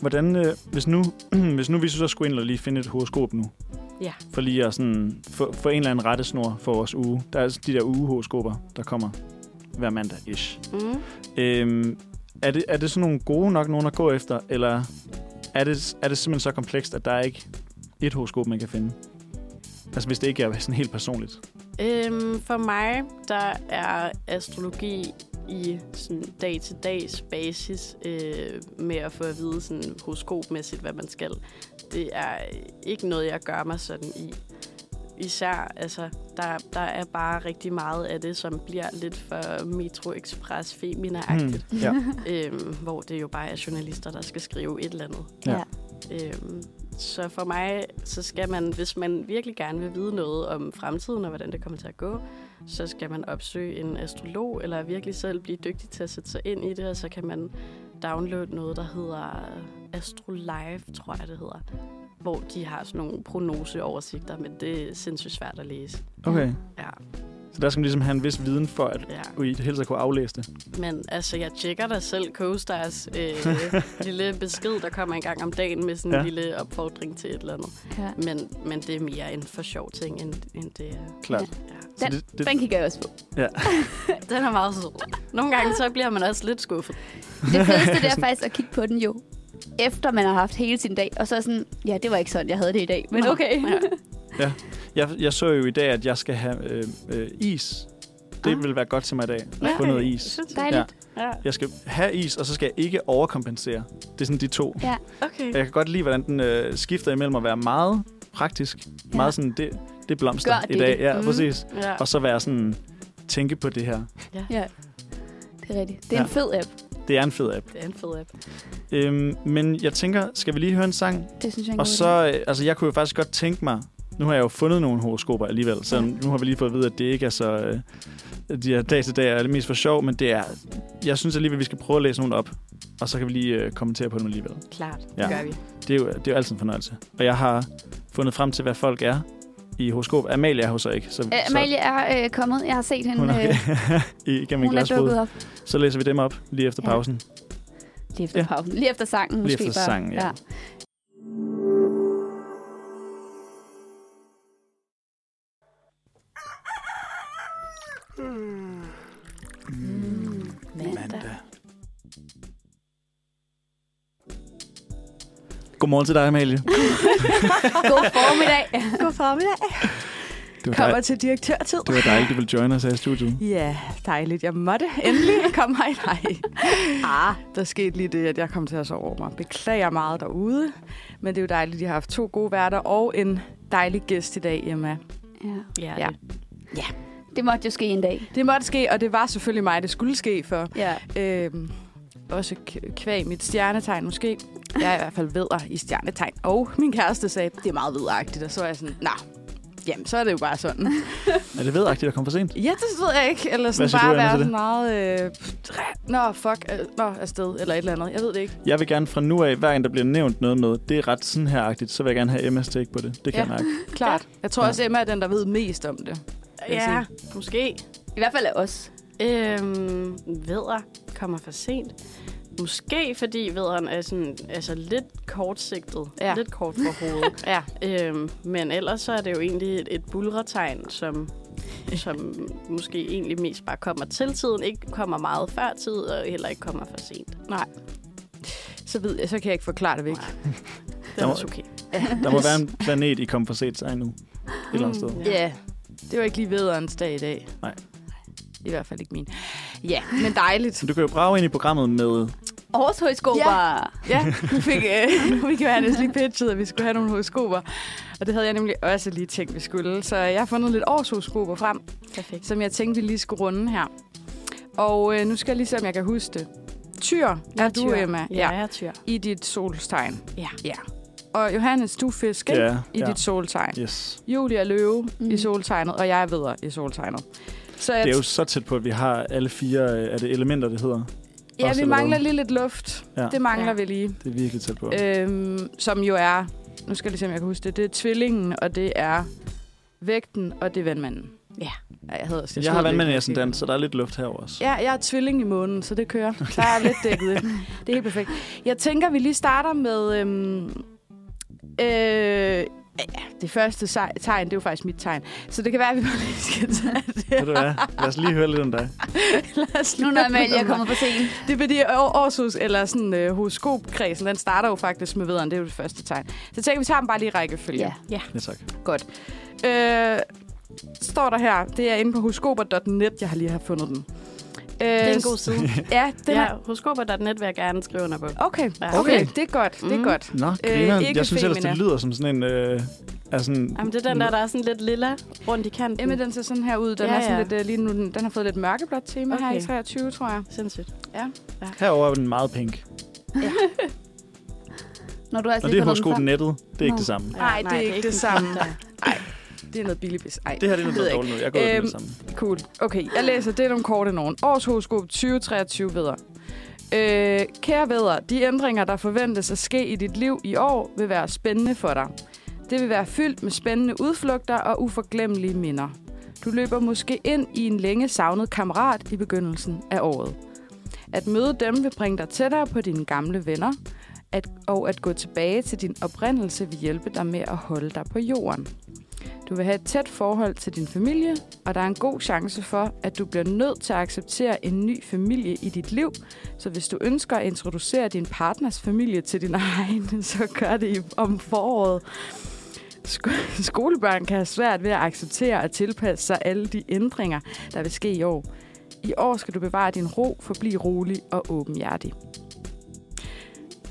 Hvordan, øh, hvis, nu, hvis nu vi så skulle ind og lige finde et horoskop nu,
Ja.
for lige at sådan, få, få en eller anden rettesnor for vores uge. Der er altså de der ugehoroskoper, der kommer hver mandag ish.
Mm.
Øhm, er, det, er det sådan nogle gode nok nogen at gå efter, eller er det, er det simpelthen så komplekst, at der er ikke et horoskop, man kan finde? Altså hvis det ikke er sådan helt personligt.
Øhm, for mig, der er astrologi i sådan dag-til-dags basis øh, med at få at vide sådan horoskopmæssigt, hvad man skal. Det er ikke noget, jeg gør mig sådan i. Især, altså, der, der er bare rigtig meget af det, som bliver lidt for Metro Express Femina-agtigt.
Hmm, ja.
øhm, hvor det jo bare er journalister, der skal skrive et eller andet.
Ja.
Øhm, så for mig, så skal man, hvis man virkelig gerne vil vide noget om fremtiden og hvordan det kommer til at gå, så skal man opsøge en astrolog, eller virkelig selv blive dygtig til at sætte sig ind i det, og så kan man downloade noget, der hedder Astrolife, tror jeg det hedder, hvor de har sådan nogle prognoseoversigter, men det er sindssygt svært at læse.
Okay.
Ja,
Så der skal man ligesom have en vis viden for, at
ja.
i det hele taget kunne aflæse det.
Men altså, jeg tjekker da selv CoStars øh, lille besked, der kommer en gang om dagen med sådan en
Ja.
ja. lille opfordring til et eller andet.
Ja.
Men, men det er mere en for sjov ting, end, end det er.
Klart.
Ja.
Så
Den-
det, det,
Den kigger jeg også på.
Den er meget sød. Nogle gange så bliver man også lidt skuffet.
Det fedeste, det er faktisk at kigge på den jo, efter man har haft hele sin dag. Og så er sådan, ja, det var ikke sådan, jeg havde det i dag. Men
Nå,
okay.
ja.
Jeg, jeg så jo i dag, at jeg skal have øh, øh, is. Det
Ah.
vil være godt til mig i dag, at
Ja.
få noget is.
Sindssygt.
Dejligt.
Ja.
Jeg skal have is, og så skal jeg ikke overkompensere. Det er sådan de to.
Ja.
Okay.
Og Jeg kan godt lide, hvordan den øh, skifter imellem at være meget praktisk. Ja. Meget sådan, det, det blomster
Gør det
i dag.
det.
Ja,
Mm.
mm. præcis.
Ja.
Og så være sådan, tænke på det her.
ja. Det er rigtigt. Det er
Ja.
en fed app.
Det er en fed app.
Det er en fed app.
Øhm, men jeg tænker, skal vi lige høre en sang?
Det synes jeg er en
Og
god
så, øh, altså jeg kunne jo faktisk godt tænke mig, nu har jeg jo fundet nogle horoskoper alligevel, så nu har vi lige fået at vide, at det ikke er så, øh, de her dag til dag er det mest for sjov, men det er, jeg synes alligevel, at vi skal prøve at læse nogle op, og så kan vi lige øh, kommentere på dem alligevel.
Klart. Ja.
Ja.
Det gør vi.
Det er, jo, det er jo altid en fornøjelse. Og jeg har fundet frem til, hvad folk er i horoskop. Amalie er hos så ikke, så,
idé. Øh, Amalie er øh, kommet. Jeg har set
så
hende.
hun er
øh,
igennem en
hun er
glasrude.
dukket op.
Så læser vi dem op lige efter
Ja.
pausen.
Lige efter
Ja.
pausen. Lige efter sangen, måske
efter
bare.
sangen, ja.
Mm,
Mandag. Godmorgen til dig, Amalie.
God formiddag.
God formiddag.
Det var,
Kommer
dej,
til direktørtid.
det var dejligt, du ville joine os her i studiet.
Ja, dejligt. Jeg måtte endelig komme her i dag. Ah, der skete lige det, at jeg kom til at sove over mig. Beklager meget derude. Men det er jo dejligt, at I har haft to gode værter og en dejlig gæst i dag, Emma.
ja.
Ja.
Ja.
ja.
Det måtte jo ske en dag.
Det måtte ske, og det var selvfølgelig mig, det skulle ske, for
Ja.
øhm, også k- kvæg mit stjernetegn måske. Jeg er i hvert fald vedder i stjernetegn. Og min kæreste sagde, det er meget vedderagtigt, og så var jeg sådan, nej, jamen så er det jo bare sådan.
Er det vedagtigt at komme for sent?
Ja, det ved jeg ikke. Eller sådan
siger du,
bare
Anna,
være
til det?
sådan meget... Øh, pff, nå, fuck. Øh, nå, afsted. Eller et eller andet. Jeg ved det ikke.
Jeg vil gerne fra nu af, hver gang der bliver nævnt noget med, det er ret sådan her-agtigt, så vil jeg gerne have Emmas take på det. Det kan
Ja.
ja. jeg mærke.
Klart. Jeg tror
Ja.
også, Emma er den, der ved mest om det. vil
ja.
jeg
Måske.
I hvert fald af os.
Øhm, vedder kommer for sent. Måske fordi vedderen er sådan, altså lidt kortsigtet,
Ja.
ja. lidt kort for hovedet.
Ja.
øhm, men ellers så er det jo egentlig et, et bulretegn, som, som måske egentlig mest bare kommer til tiden, ikke kommer meget før tid, og heller ikke kommer for sent.
Så, ved jeg, så kan jeg ikke forklare det væk.
Det
Der
er
må-
også okay.
Der må være en planet, I kommer for sent sig nu. Et eller andet sted.
Mm,
Ja. Yeah. Det var ikke lige vederens dag i dag.
Nej.
I hvert fald ikke min. Ja, men dejligt.
Så du kan jo brage ind i programmet med...
Årshøjskoper. Ja.
Ja, nu fik, øh, nu fik Johannes lige pitchet, at vi skulle have nogle horoskoper. Og det havde jeg nemlig også lige tænkt, vi skulle. Så jeg har fundet lidt årshoroskoper frem.
Perfekt.
som jeg tænkte, vi lige skulle runde her. Og øh, nu skal jeg lige se, om jeg kan huske det. Tyr er
Ja,
du,
tyr.
Emma,
Ja, jeg er tyr. Øh,
i dit solstegn.
Ja.
ja. Og Johannes, du er fisk, ikke?
Ja,
I
ja.
dit soltegn.
Yes.
Julia er løve mm.
Mm.
Mhm.
i soltegnet, og jeg er videre i soltegnet. Så jeg,
Det er jo så tæt på, at vi har alle fire øh, er det elementer, det hedder.
ja,
også
vi
eller
mangler
hvad?
lige lidt luft.
Ja.
Det mangler
Ja.
vi lige.
Det er virkelig tæt på.
Øhm, som jo er, nu skal jeg lige se, om jeg kan huske det, det er tvillingen, og det er vægten, og det er vandmanden. Ja, jeg havde også
Jeg har vandmanæsen dans, så der er lidt luft her også.
Ja, jeg er tvilling i månen, så det kører. Der er lidt dækket ind. Det er helt perfekt. Jeg tænker, vi lige starter med... Øhm, øh, ja, det første sej- tegn, det er jo faktisk mit tegn. Så det kan være, at vi bare lige skal tage
Ved du
det.
hvad? Lad os lige høre lidt om dig.
Lad os lige
Nu når Amalie
høre
er
mig.
kommet for sent.
Det er fordi år- årshus, eller sådan øh, horoskopkredsen, den starter jo faktisk med vederen. Det er jo det første tegn. Så tænker jeg, vi tager dem bare lige i rækkefølge.
Ja.
Ja, tak.
Øh, står der her. Det er inde på horoskoper.net, jeg har lige har fundet den. Øh,
Det er en god side.
Ja, den
Den
ja.
ja, horoskoper.net vil jeg gerne skrive under på.
Okay.
Ja.
okay, okay, det er godt, det er
Mm.
godt.
Nå,
Øh,
griner.
ikke
jeg synes ellers, det
femina.
lyder som sådan en... Øh, altså sådan,
Jamen, det er den der, der er sådan lidt lilla rundt i kanten.
Jamen, den ser sådan her ud. Den ja,
Ja,
er sådan
ja.
lidt, øh, lige nu, den, den har fået lidt mørkeblåt tema okay. her i
Okay.
23, tror jeg.
Sindssygt.
Herover er den meget pink.
Når du altså
Og det
lige
er
fundet
hos
den frem.
nettet. Det er ikke
Nå.
det samme.
Nej, det er ikke det samme. Det er noget billigt pis. Ej,
Det her det er
ved
noget
jeg
dårligt nu. Jeg går øhm,
Øhm,
det samme.
cool. Okay, jeg læser det er nogle korte nogen. Års horoskop 2023 vedder. Øh, kære vedder, de ændringer, der forventes at ske i dit liv i år, vil være spændende for dig. Det vil være fyldt med spændende udflugter og uforglemmelige minder. Du løber måske ind i en længe savnet kammerat i begyndelsen af året. At møde dem vil bringe dig tættere på dine gamle venner, at, og at gå tilbage til din oprindelse vil hjælpe dig med at holde dig på jorden. Du vil have et tæt forhold til din familie, og der er en god chance for, at du bliver nødt til at acceptere en ny familie i dit liv. Så hvis du ønsker at introducere din partners familie til din egen, så gør det i- om foråret. Sko- Skolebørn kan have svært ved at acceptere og tilpasse sig alle de ændringer, der vil ske i år. I år skal du bevare din ro, forblive rolig og åbenhjertig.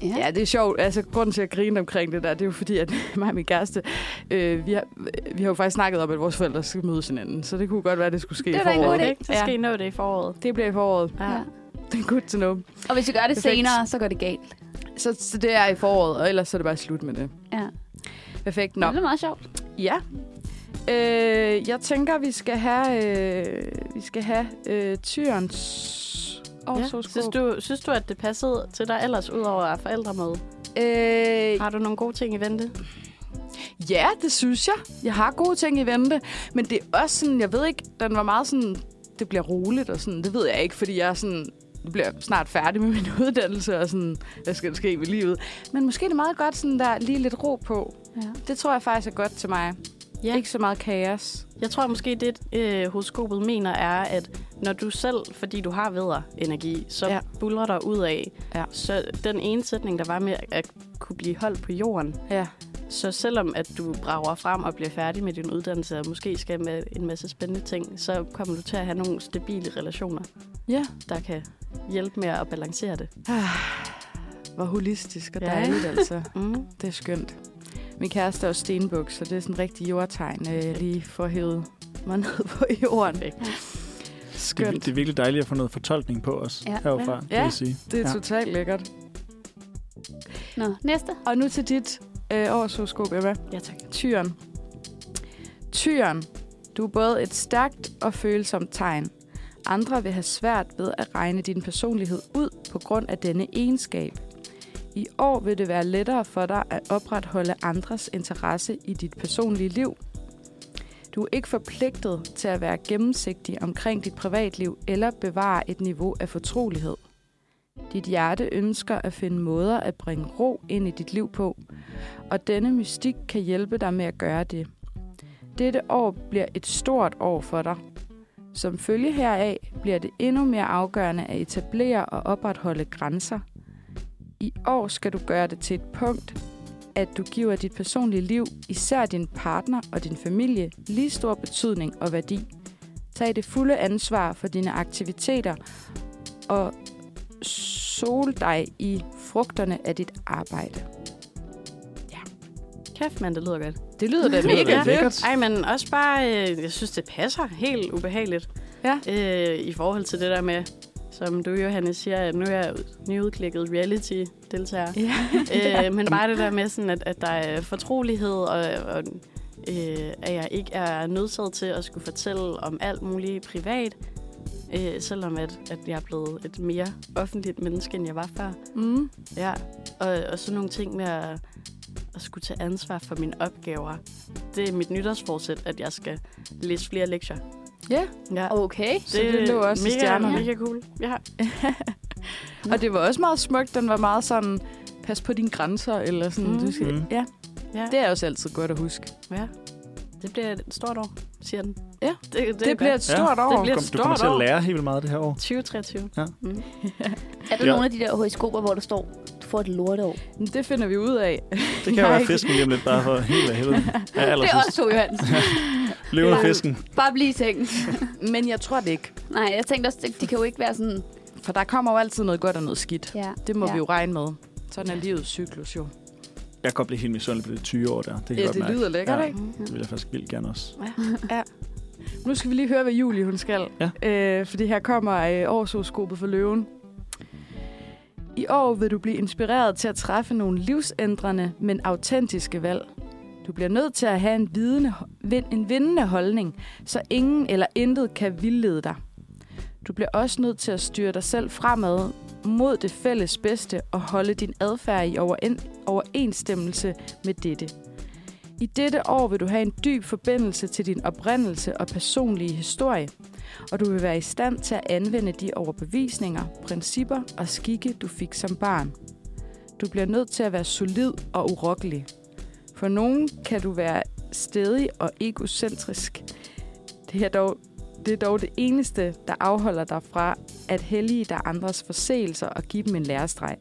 Ja.
Ja, det er sjovt. Altså, grunden til at grine omkring det der, det er jo fordi, at mig og min kæreste, øh, vi, har, vi har jo faktisk snakket om, at vores forældre skal mødes hinanden. Så det kunne godt være, at det skulle ske
Det er
i
da en god
foråret.
idé.
Så skal I nå det i foråret.
Det bliver i foråret.
Ja.
Det er good to know.
Og hvis du gør det
Perfekt.
senere, så går det galt.
Så, så det er i foråret, og ellers så er det bare slut med det.
Ja.
Perfekt.
Nå.
Nå,
Det er meget sjovt.
ja. Øh, jeg tænker, vi skal have, øh, vi skal have øh, tyrens
Ja.
årshoroskop.
Synes, du, synes du, at det passede til dig ellers, udover forældremøde?
Øh,
Har du nogle gode ting i vente?
Ja, det synes jeg. Jeg har gode ting i vente. Men det er også sådan, jeg ved ikke, den var meget sådan, det bliver roligt og sådan. Det ved jeg ikke, fordi jeg er sådan, nu bliver jeg snart færdig med min uddannelse og sådan, hvad skal der ske med livet? Men måske er det meget godt sådan der, lige lidt ro på.
Ja.
Det tror jeg faktisk er godt til mig.
Ja.
Ikke så meget kaos.
Jeg tror måske, det øh, horoskopet mener er, at når du selv, fordi du har vedder energi, så
Ja.
ja. buller dig ud af.
Ja.
Så den ene sætning, der var med at kunne blive holdt på jorden,
Ja.
så selvom at du brager frem og bliver færdig med din uddannelse, og måske skal med en masse spændende ting, så kommer du til at have nogle stabile relationer,
Ja.
der kan hjælpe med at balancere det.
Hvor holistisk og
Ja.
dejligt, altså.
Mm.
Det er skønt. Min kæreste er også stenbuk, så det er sådan en rigtig jordtegn, øh, lige for at hæve mig ned på jorden.
Det, er-
Skønt.
det er virkelig dejligt at få noget fortolkning på os
Ja.
ja. herfra, ja.
Ja.
det vil sige.
Det er
Ja.
totalt lækkert.
Nå, næste.
Og nu til dit øh, års horoskop, Emma.
Ja, tak.
Tyren. Tyren. Du er både et stærkt og følsomt tegn. Andre vil have svært ved at regne din personlighed ud på grund af denne egenskab. I år vil det være lettere for dig at opretholde andres interesse i dit personlige liv. Du er ikke forpligtet til at være gennemsigtig omkring dit privatliv eller bevare et niveau af fortrolighed. Dit hjerte ønsker at finde måder at bringe ro ind i dit liv på, og denne mystik kan hjælpe dig med at gøre det. Dette år bliver et stort år for dig. Som følge heraf bliver det endnu mere afgørende at etablere og opretholde grænser. I år skal du gøre det til et punkt, at du giver dit personlige liv, især din partner og din familie, lige stor betydning og værdi. Tag det fulde ansvar for dine aktiviteter og sol dig i frugterne af dit arbejde.
Kæft, mand, det lyder godt.
Det lyder da
lyder
mega
da
fedt.
lækkert.
Ej, men også bare, øh, jeg synes, det passer helt ubehageligt.
Ja.
Øh, I forhold til det der med, som du, Johannes, siger, at nu er jeg nyudklikket reality-deltager.
Ja.
øh, men bare det der med, sådan, at, at der er fortrolighed, og, og øh, at jeg ikke er nødsaget til at skulle fortælle om alt muligt privat, øh, selvom at, at jeg er blevet et mere offentligt menneske, end jeg var før.
Mm.
Ja, og, og sådan nogle ting med at, at skulle tage ansvar for mine opgaver. Det er mit nytårsforsæt, at jeg skal læse flere lektier.
Ja.
ja.
Okay.
så det lå også i
mega,
stjernerne.
mega cool. Ja.
Og det var også meget smukt. Den var meget sådan, pas på dine grænser, eller sådan.
Mm.
Mm. Du skal,
Mm.
Ja,
ja.
det er også altid godt at huske.
ja. Det bliver et stort år, siger den.
Ja.
det, det,
Det, det bliver et
Ja.
stort år.
Det bliver
Kom,
et
du kommer
stort
til at
år.
lære helt vildt meget det her år.
2023.
Ja.
Mm.
Er der
Ja.
ja. nogle af de der horoskoper, hvor der står, du får et lorteår?
Men Det finder vi ud af.
Det kan jo være fisken lige om lidt, bare for helt af helvede. Ja,
Det er
allersidst.
også to, Johannes.
Løven og
Ja.
fisken.
Bare bliv i sengen.
Men jeg tror det ikke.
Nej, jeg tænkte også, det, det kan jo ikke være sådan...
For der kommer jo altid noget godt og noget skidt.
Ja.
Det må
ja.
vi jo regne med. Sådan er livets cyklus jo.
Jeg kan godt blive helt misundelig på det 20 år der. Det kan jeg godt mærke.
lækkert,
Ja.
ikke?
Det vil jeg faktisk vildt gerne også.
Nu skal vi lige høre, hvad Julie hun skal. Ja. Øh, fordi her kommer øh, årsudskobet for løven. I år vil du blive inspireret til at træffe nogle livsændrende, men autentiske valg. Du bliver nødt til at have en, vidende, vind, en vindende holdning, så ingen eller intet kan vildlede dig. Du bliver også nødt til at styre dig selv fremad mod det fælles bedste og holde din adfærd i overen, overensstemmelse med dette. I dette år vil du have en dyb forbindelse til din oprindelse og personlige historie, og du vil være i stand til at anvende de overbevisninger, principper og skikke, du fik som barn. Du bliver nødt til at være solid og urokkelig. For nogen kan du være stedig og egocentrisk. Det er dog det, er dog det eneste, der afholder dig fra at hellige dig andres forseelser og give dem en lærestreg.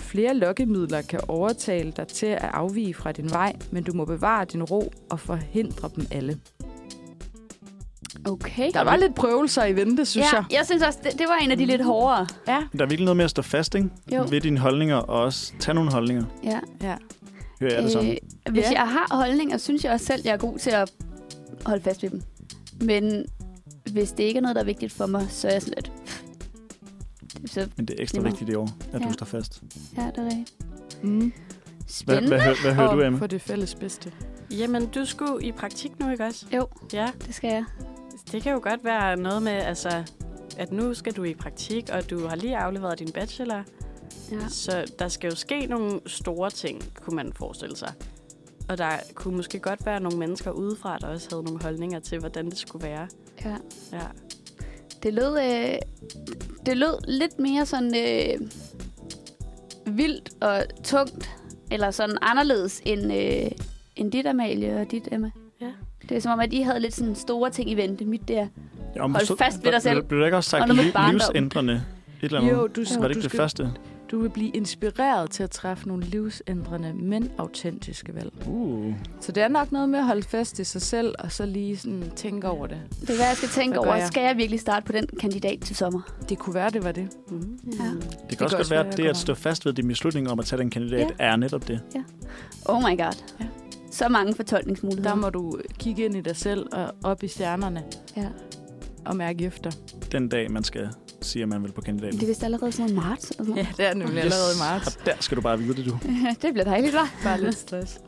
Flere lokkemidler kan overtale dig til at afvige fra din vej, men du må bevare din ro og forhindre dem alle.
Okay.
Der var lidt prøvelser i vente, synes
ja,
jeg.
jeg synes også, det, det var en af de lidt hårdere.
Ja.
Der er virkelig noget med at stå fast, ikke?
Jo.
Ved dine holdninger, og også tage nogle holdninger.
Ja.
ja.
Hører jeg det samme?
Øh, hvis
Ja.
ja. jeg har holdninger, synes jeg også selv, jeg er god til at holde fast ved dem. Men hvis det ikke er noget, der er vigtigt for mig, så er jeg sådan lidt... Så,
Men det er ekstra
Lige meget.
vigtigt i år, at du
Ja.
står fast.
ja, det er rigtigt.
Mm.
Hvad,
Spændende.
hvad, hører, hvad hører
og
du, Emma?
for det fælles bedste.
Jamen, du skulle i praktik nu, ikke også?
Jo.
Ja,
Det skal jeg.
det kan jo godt være noget med, altså, at nu skal du i praktik, og du har lige afleveret din bachelor.
Ja.
Så der skal jo ske nogle store ting, kunne man forestille sig. Og der kunne måske godt være nogle mennesker udefra, der også havde nogle holdninger til, hvordan det skulle være.
ja.
Ja.
Det lød, øh, det lød lidt mere sådan øh, vildt og tungt, eller sådan anderledes end, øh, end dit, Amalie, og dit, Emma.
Ja.
Det er som om, at I havde lidt sådan store ting i vente. Mit der.
Ja, men
hold
så-
fast ved dig
blev-
selv.
Blev der ikke også sagt
Og noget med
liv-
barndom.
livsændrende? Et eller andet.
Jo, du,
Var det
du, Uh,
ikke det første?
du vil blive inspireret til at træffe nogle livsændrende, men autentiske valg.
Uh.
Så det er nok noget med at holde fast i sig selv, og så lige sådan tænke over det.
Det er, hvad jeg skal tænke
Hvad gør
over.
jeg?
Skal jeg virkelig starte på den kandidat til sommer?
Det kunne være, det var det.
Mm.
Ja.
Det kan også godt være, at det at stå fast ved din beslutning om at tage den kandidat, er netop det.
Oh my god.
Ja.
Ja. Så mange
Der
fortolkningsmuligheder.
må du kigge ind i dig selv og op i stjernerne
Ja.
og mærke efter.
Den dag, man skal sige, at man vil på kandidaten.
Det er vist allerede sådan noget marts. Eller sådan.
Ja, det er nemlig allerede i marts.
Og der skal du bare vide det, du.
noget. det bliver dejligt, hva'?
Bare lidt stress.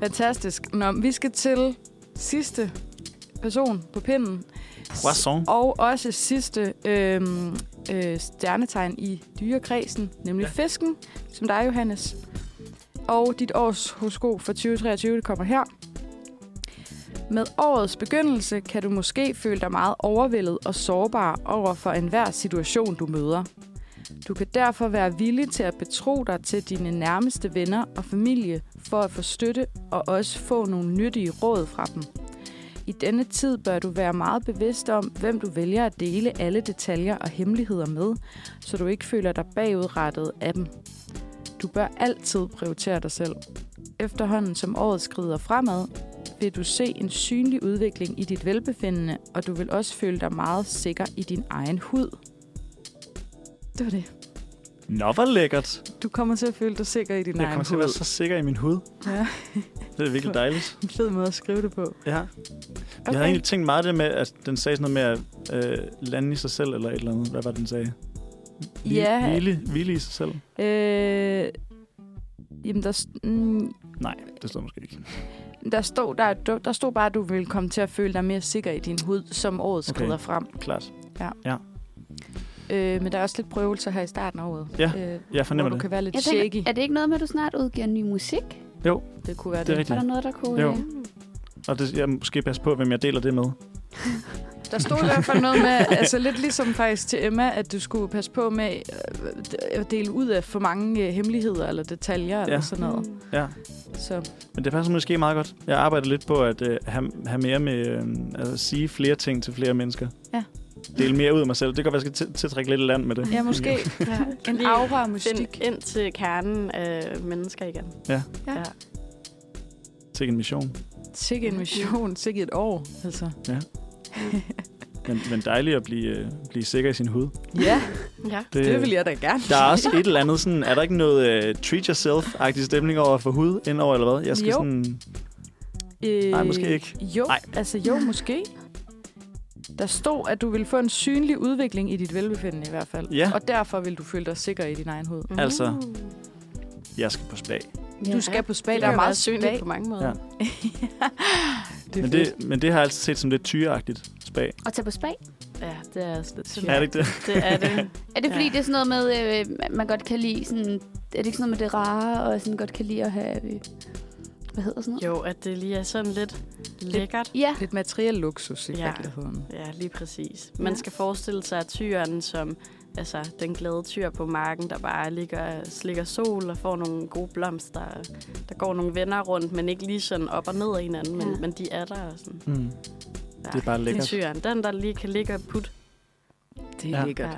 Fantastisk. Nå, vi skal til sidste person på pinden.
Poisson.
Og også sidste øhm, øh, stjernetegn i dyrekredsen, nemlig ja. fisken, som dig, Johannes. Og dit års horoskop for 2023, det kommer her. Med årets begyndelse kan du måske føle dig meget overvældet og sårbar over for enhver situation, du møder. Du kan derfor være villig til at betro dig til dine nærmeste venner og familie for at få støtte og også få nogle nyttige råd fra dem. I denne tid bør du være meget bevidst om, hvem du vælger at dele alle detaljer og hemmeligheder med, så du ikke føler dig bagudrettet af dem. Du bør altid prioritere dig selv. Efterhånden som året skrider fremad, vil du se en synlig udvikling i dit velbefindende, og du vil også føle dig meget sikker i din egen hud. Det var det.
Nå, hvor lækkert.
Du kommer til at føle dig sikker i din
Jeg
egen
kommer til at
hud.
være så sikker i min hud.
Ja.
Det er virkelig dejligt.
En fed måde at skrive det på.
Ja. Okay. Jeg havde egentlig tænkt meget det med, at den sagde sådan noget med at øh, lande i sig selv, eller et eller andet. Hvad var det, den sagde? Hvil-
Ja.
Hvile, hvile i sig selv?
Øh, jamen, der, s- mm,
Nej, det stod måske ikke.
Der stod, der, der stod bare, at du ville komme til at føle dig mere sikker i din hud, som året
Okay.
skrider frem.
Klart.
Ja.
ja.
Øh, men der er også lidt prøvelser her i starten af året.
Ja,
øh,
Jeg
hvor
fornemmer
du
det.
kan være lidt
Jeg
shaky.
tænker, er det ikke noget med, at du snart udgiver ny musik?
det kunne
Det
være
er
det.
Var
rigtigt.
der noget, der kunne...
Jo.
øh,
Og det, jeg måske passe på, hvem jeg deler det med.
Der stod i hvert fald noget med, altså lidt ligesom faktisk til Emma, at du skulle passe på med øh, at dele ud af for mange øh, hemmeligheder eller detaljer ja. eller
Ja.
sådan noget.
Ja.
Så
Men det passer måske meget godt. Jeg arbejder lidt på at øh, have, have mere med, øh, altså sige flere ting til flere mennesker.
Ja.
Dele mere ud af mig selv. Det kan være, jeg skal til- tiltrække lidt i land med det.
ja, måske
Ja.
en
Lige
aura af mystik.
Find ind til kernen af mennesker igen.
Til en mission.
Sikke en mission, sikke et år. Altså.
Men, men dejligt at blive, øh, blive sikker i sin hud.
Ja,
Ja.
Det,
det vil jeg da gerne.
Der er også et eller andet sådan, er der ikke noget øh, treat yourself-agtig stemning over for hud indover, eller hvad? Jeg skal
Jo.
sådan,
Øh,
Nej, måske ikke.
Jo,
Nej.
Nej. altså jo, måske. Der stod, at du ville få en synlig udvikling i dit velbefindende i hvert fald.
Ja.
Og derfor vil du føle dig sikker i din egen hud.
Altså,
Mm.
jeg skal på spa.
Ja. Du skal på spa,
det
der er meget
synligt
synligt.
på mange måder.
Ja.
Ja.
Det
Men det, men det har jeg altid set som lidt tyreagtigt spa.
Og tage på spa?
ja, det er også lidt
Ja. Er det ikke det?
Det er det.
Er det fordi,
Ja.
ja. det er sådan noget med, øh, man godt kan lide sådan... Er det ikke sådan noget med det rare, og sådan godt kan lide at have... Øh, hvad hedder sådan noget?
Jo, at det lige er sådan lidt lækkert.
Ja.
Lidt materiel luksus i
Ja.
ja. virkeligheden.
Ja, lige præcis. Man
Ja.
skal forestille sig tyren som altså, den glade tyr på marken, der bare ligger, slikker sol og får nogle gode blomster. Der går nogle venner rundt, men ikke lige sådan op og ned af hinanden, men,
Ja.
men de er der. Og sådan.
Mm.
Ja,
Det er bare
Den
lækkert.
tyren, den der lige kan ligge og putte.
Det er
Ja.
ja. lækkert.
Ja.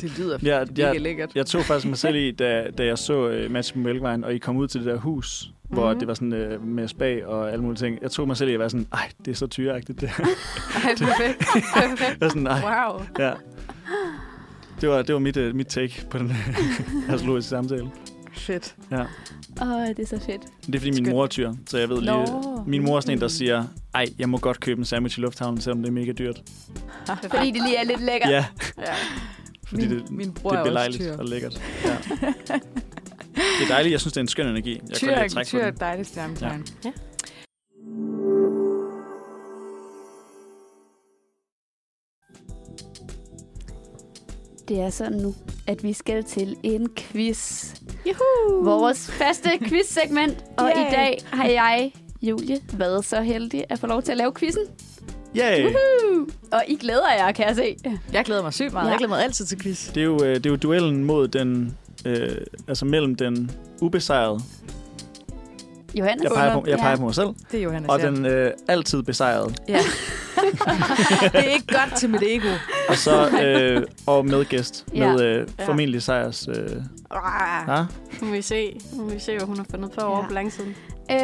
Det lyder
Ja,
ja,
ja.
ja. lækkert.
Jeg tog faktisk mig selv i, da, da jeg så uh, matchen på Mælkevejen, og I kom ud til det der hus, mm-hmm. hvor
Mhm.
det var sådan uh, med spa og alle mulige ting. Jeg tog mig selv i at være sådan, ej, det er så tyreagtigt. Det. her."
Ej, perfekt. perfekt.
Jeg var sådan, ej,
Wow.
ja. Det var, det var mit, uh, mit take på den astrologiske samtale.
Fedt.
Ja.
Åh, oh, det er så fedt.
Men det er, fordi min
Skønt.
mor er tyr, så jeg ved lige...
Nå.
Min mor er sådan en, der siger, ej, jeg må godt købe en sandwich i lufthavnen, selvom det er mega dyrt.
Fordi det lige er lidt lækkert.
Ja,
Ja.
fordi
min,
det,
min bror
det er
er også
belejligt
tyr.
og lækkert. Ja. Det er dejligt. Jeg synes, det er en skøn energi. Jeg kan
Tyr,
godt lide at
er-
trække
tyr
på
er
den.
et dejligt stjernetegn.
Ja.
Det er sådan nu, at vi skal til en quiz.
Juhu!
Vores faste quiz-segment. Og
Yay.
i dag har jeg, Julie, været så heldig at få lov til at lave quizzen.
Yay!
Woohoo! Og I glæder jer, kan jeg se.
Jeg glæder mig sygt meget.
Ja.
Jeg glæder mig altid til quiz.
Det er jo, øh, det er jo duellen mod den... Øh, altså mellem den ubesejrede,
Johannes.
jeg peger på, jeg
Ja.
peger på mig selv,
Det er Johannes.
og
ja.
den øh, altid besejrede.
Ja. det er ikke godt til mit ego.
Og så øh, og med gæst,
Ja.
med øh,
Ja.
formentlig sejrs... Øh,
Ah,
ah?
nu må vi se, nu må vi se hvad hun har fundet på ja. over på langsiden.
Øh,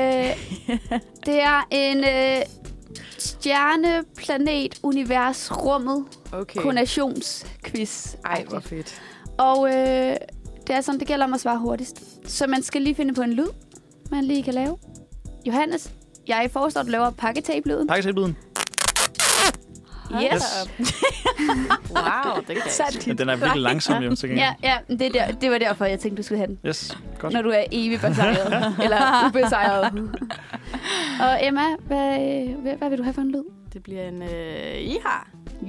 det er en øh, stjerne, planet, univers, rummet,
Okay.
koordinationsquiz.
Ej, hvor fedt.
Og øh, det er sådan, det gælder om at svare hurtigst. Så man skal lige finde på en lyd, man lige kan lave. Johannes, jeg foreslår, at du laver pakketape-lyden.
Pakketilbyden.
Yes.
Wow, det kan jeg ikke.
Men den er virkelig langsom, jo, til
Ja,
gengæld.
ja men det, er der, det var derfor, jeg tænkte, du skulle have den.
Yes, godt.
Når du er evig besejret. eller ubesejret. Og Emma, hvad, øh, hvad, hvad vil du have for en lyd?
Det bliver en øh, iha.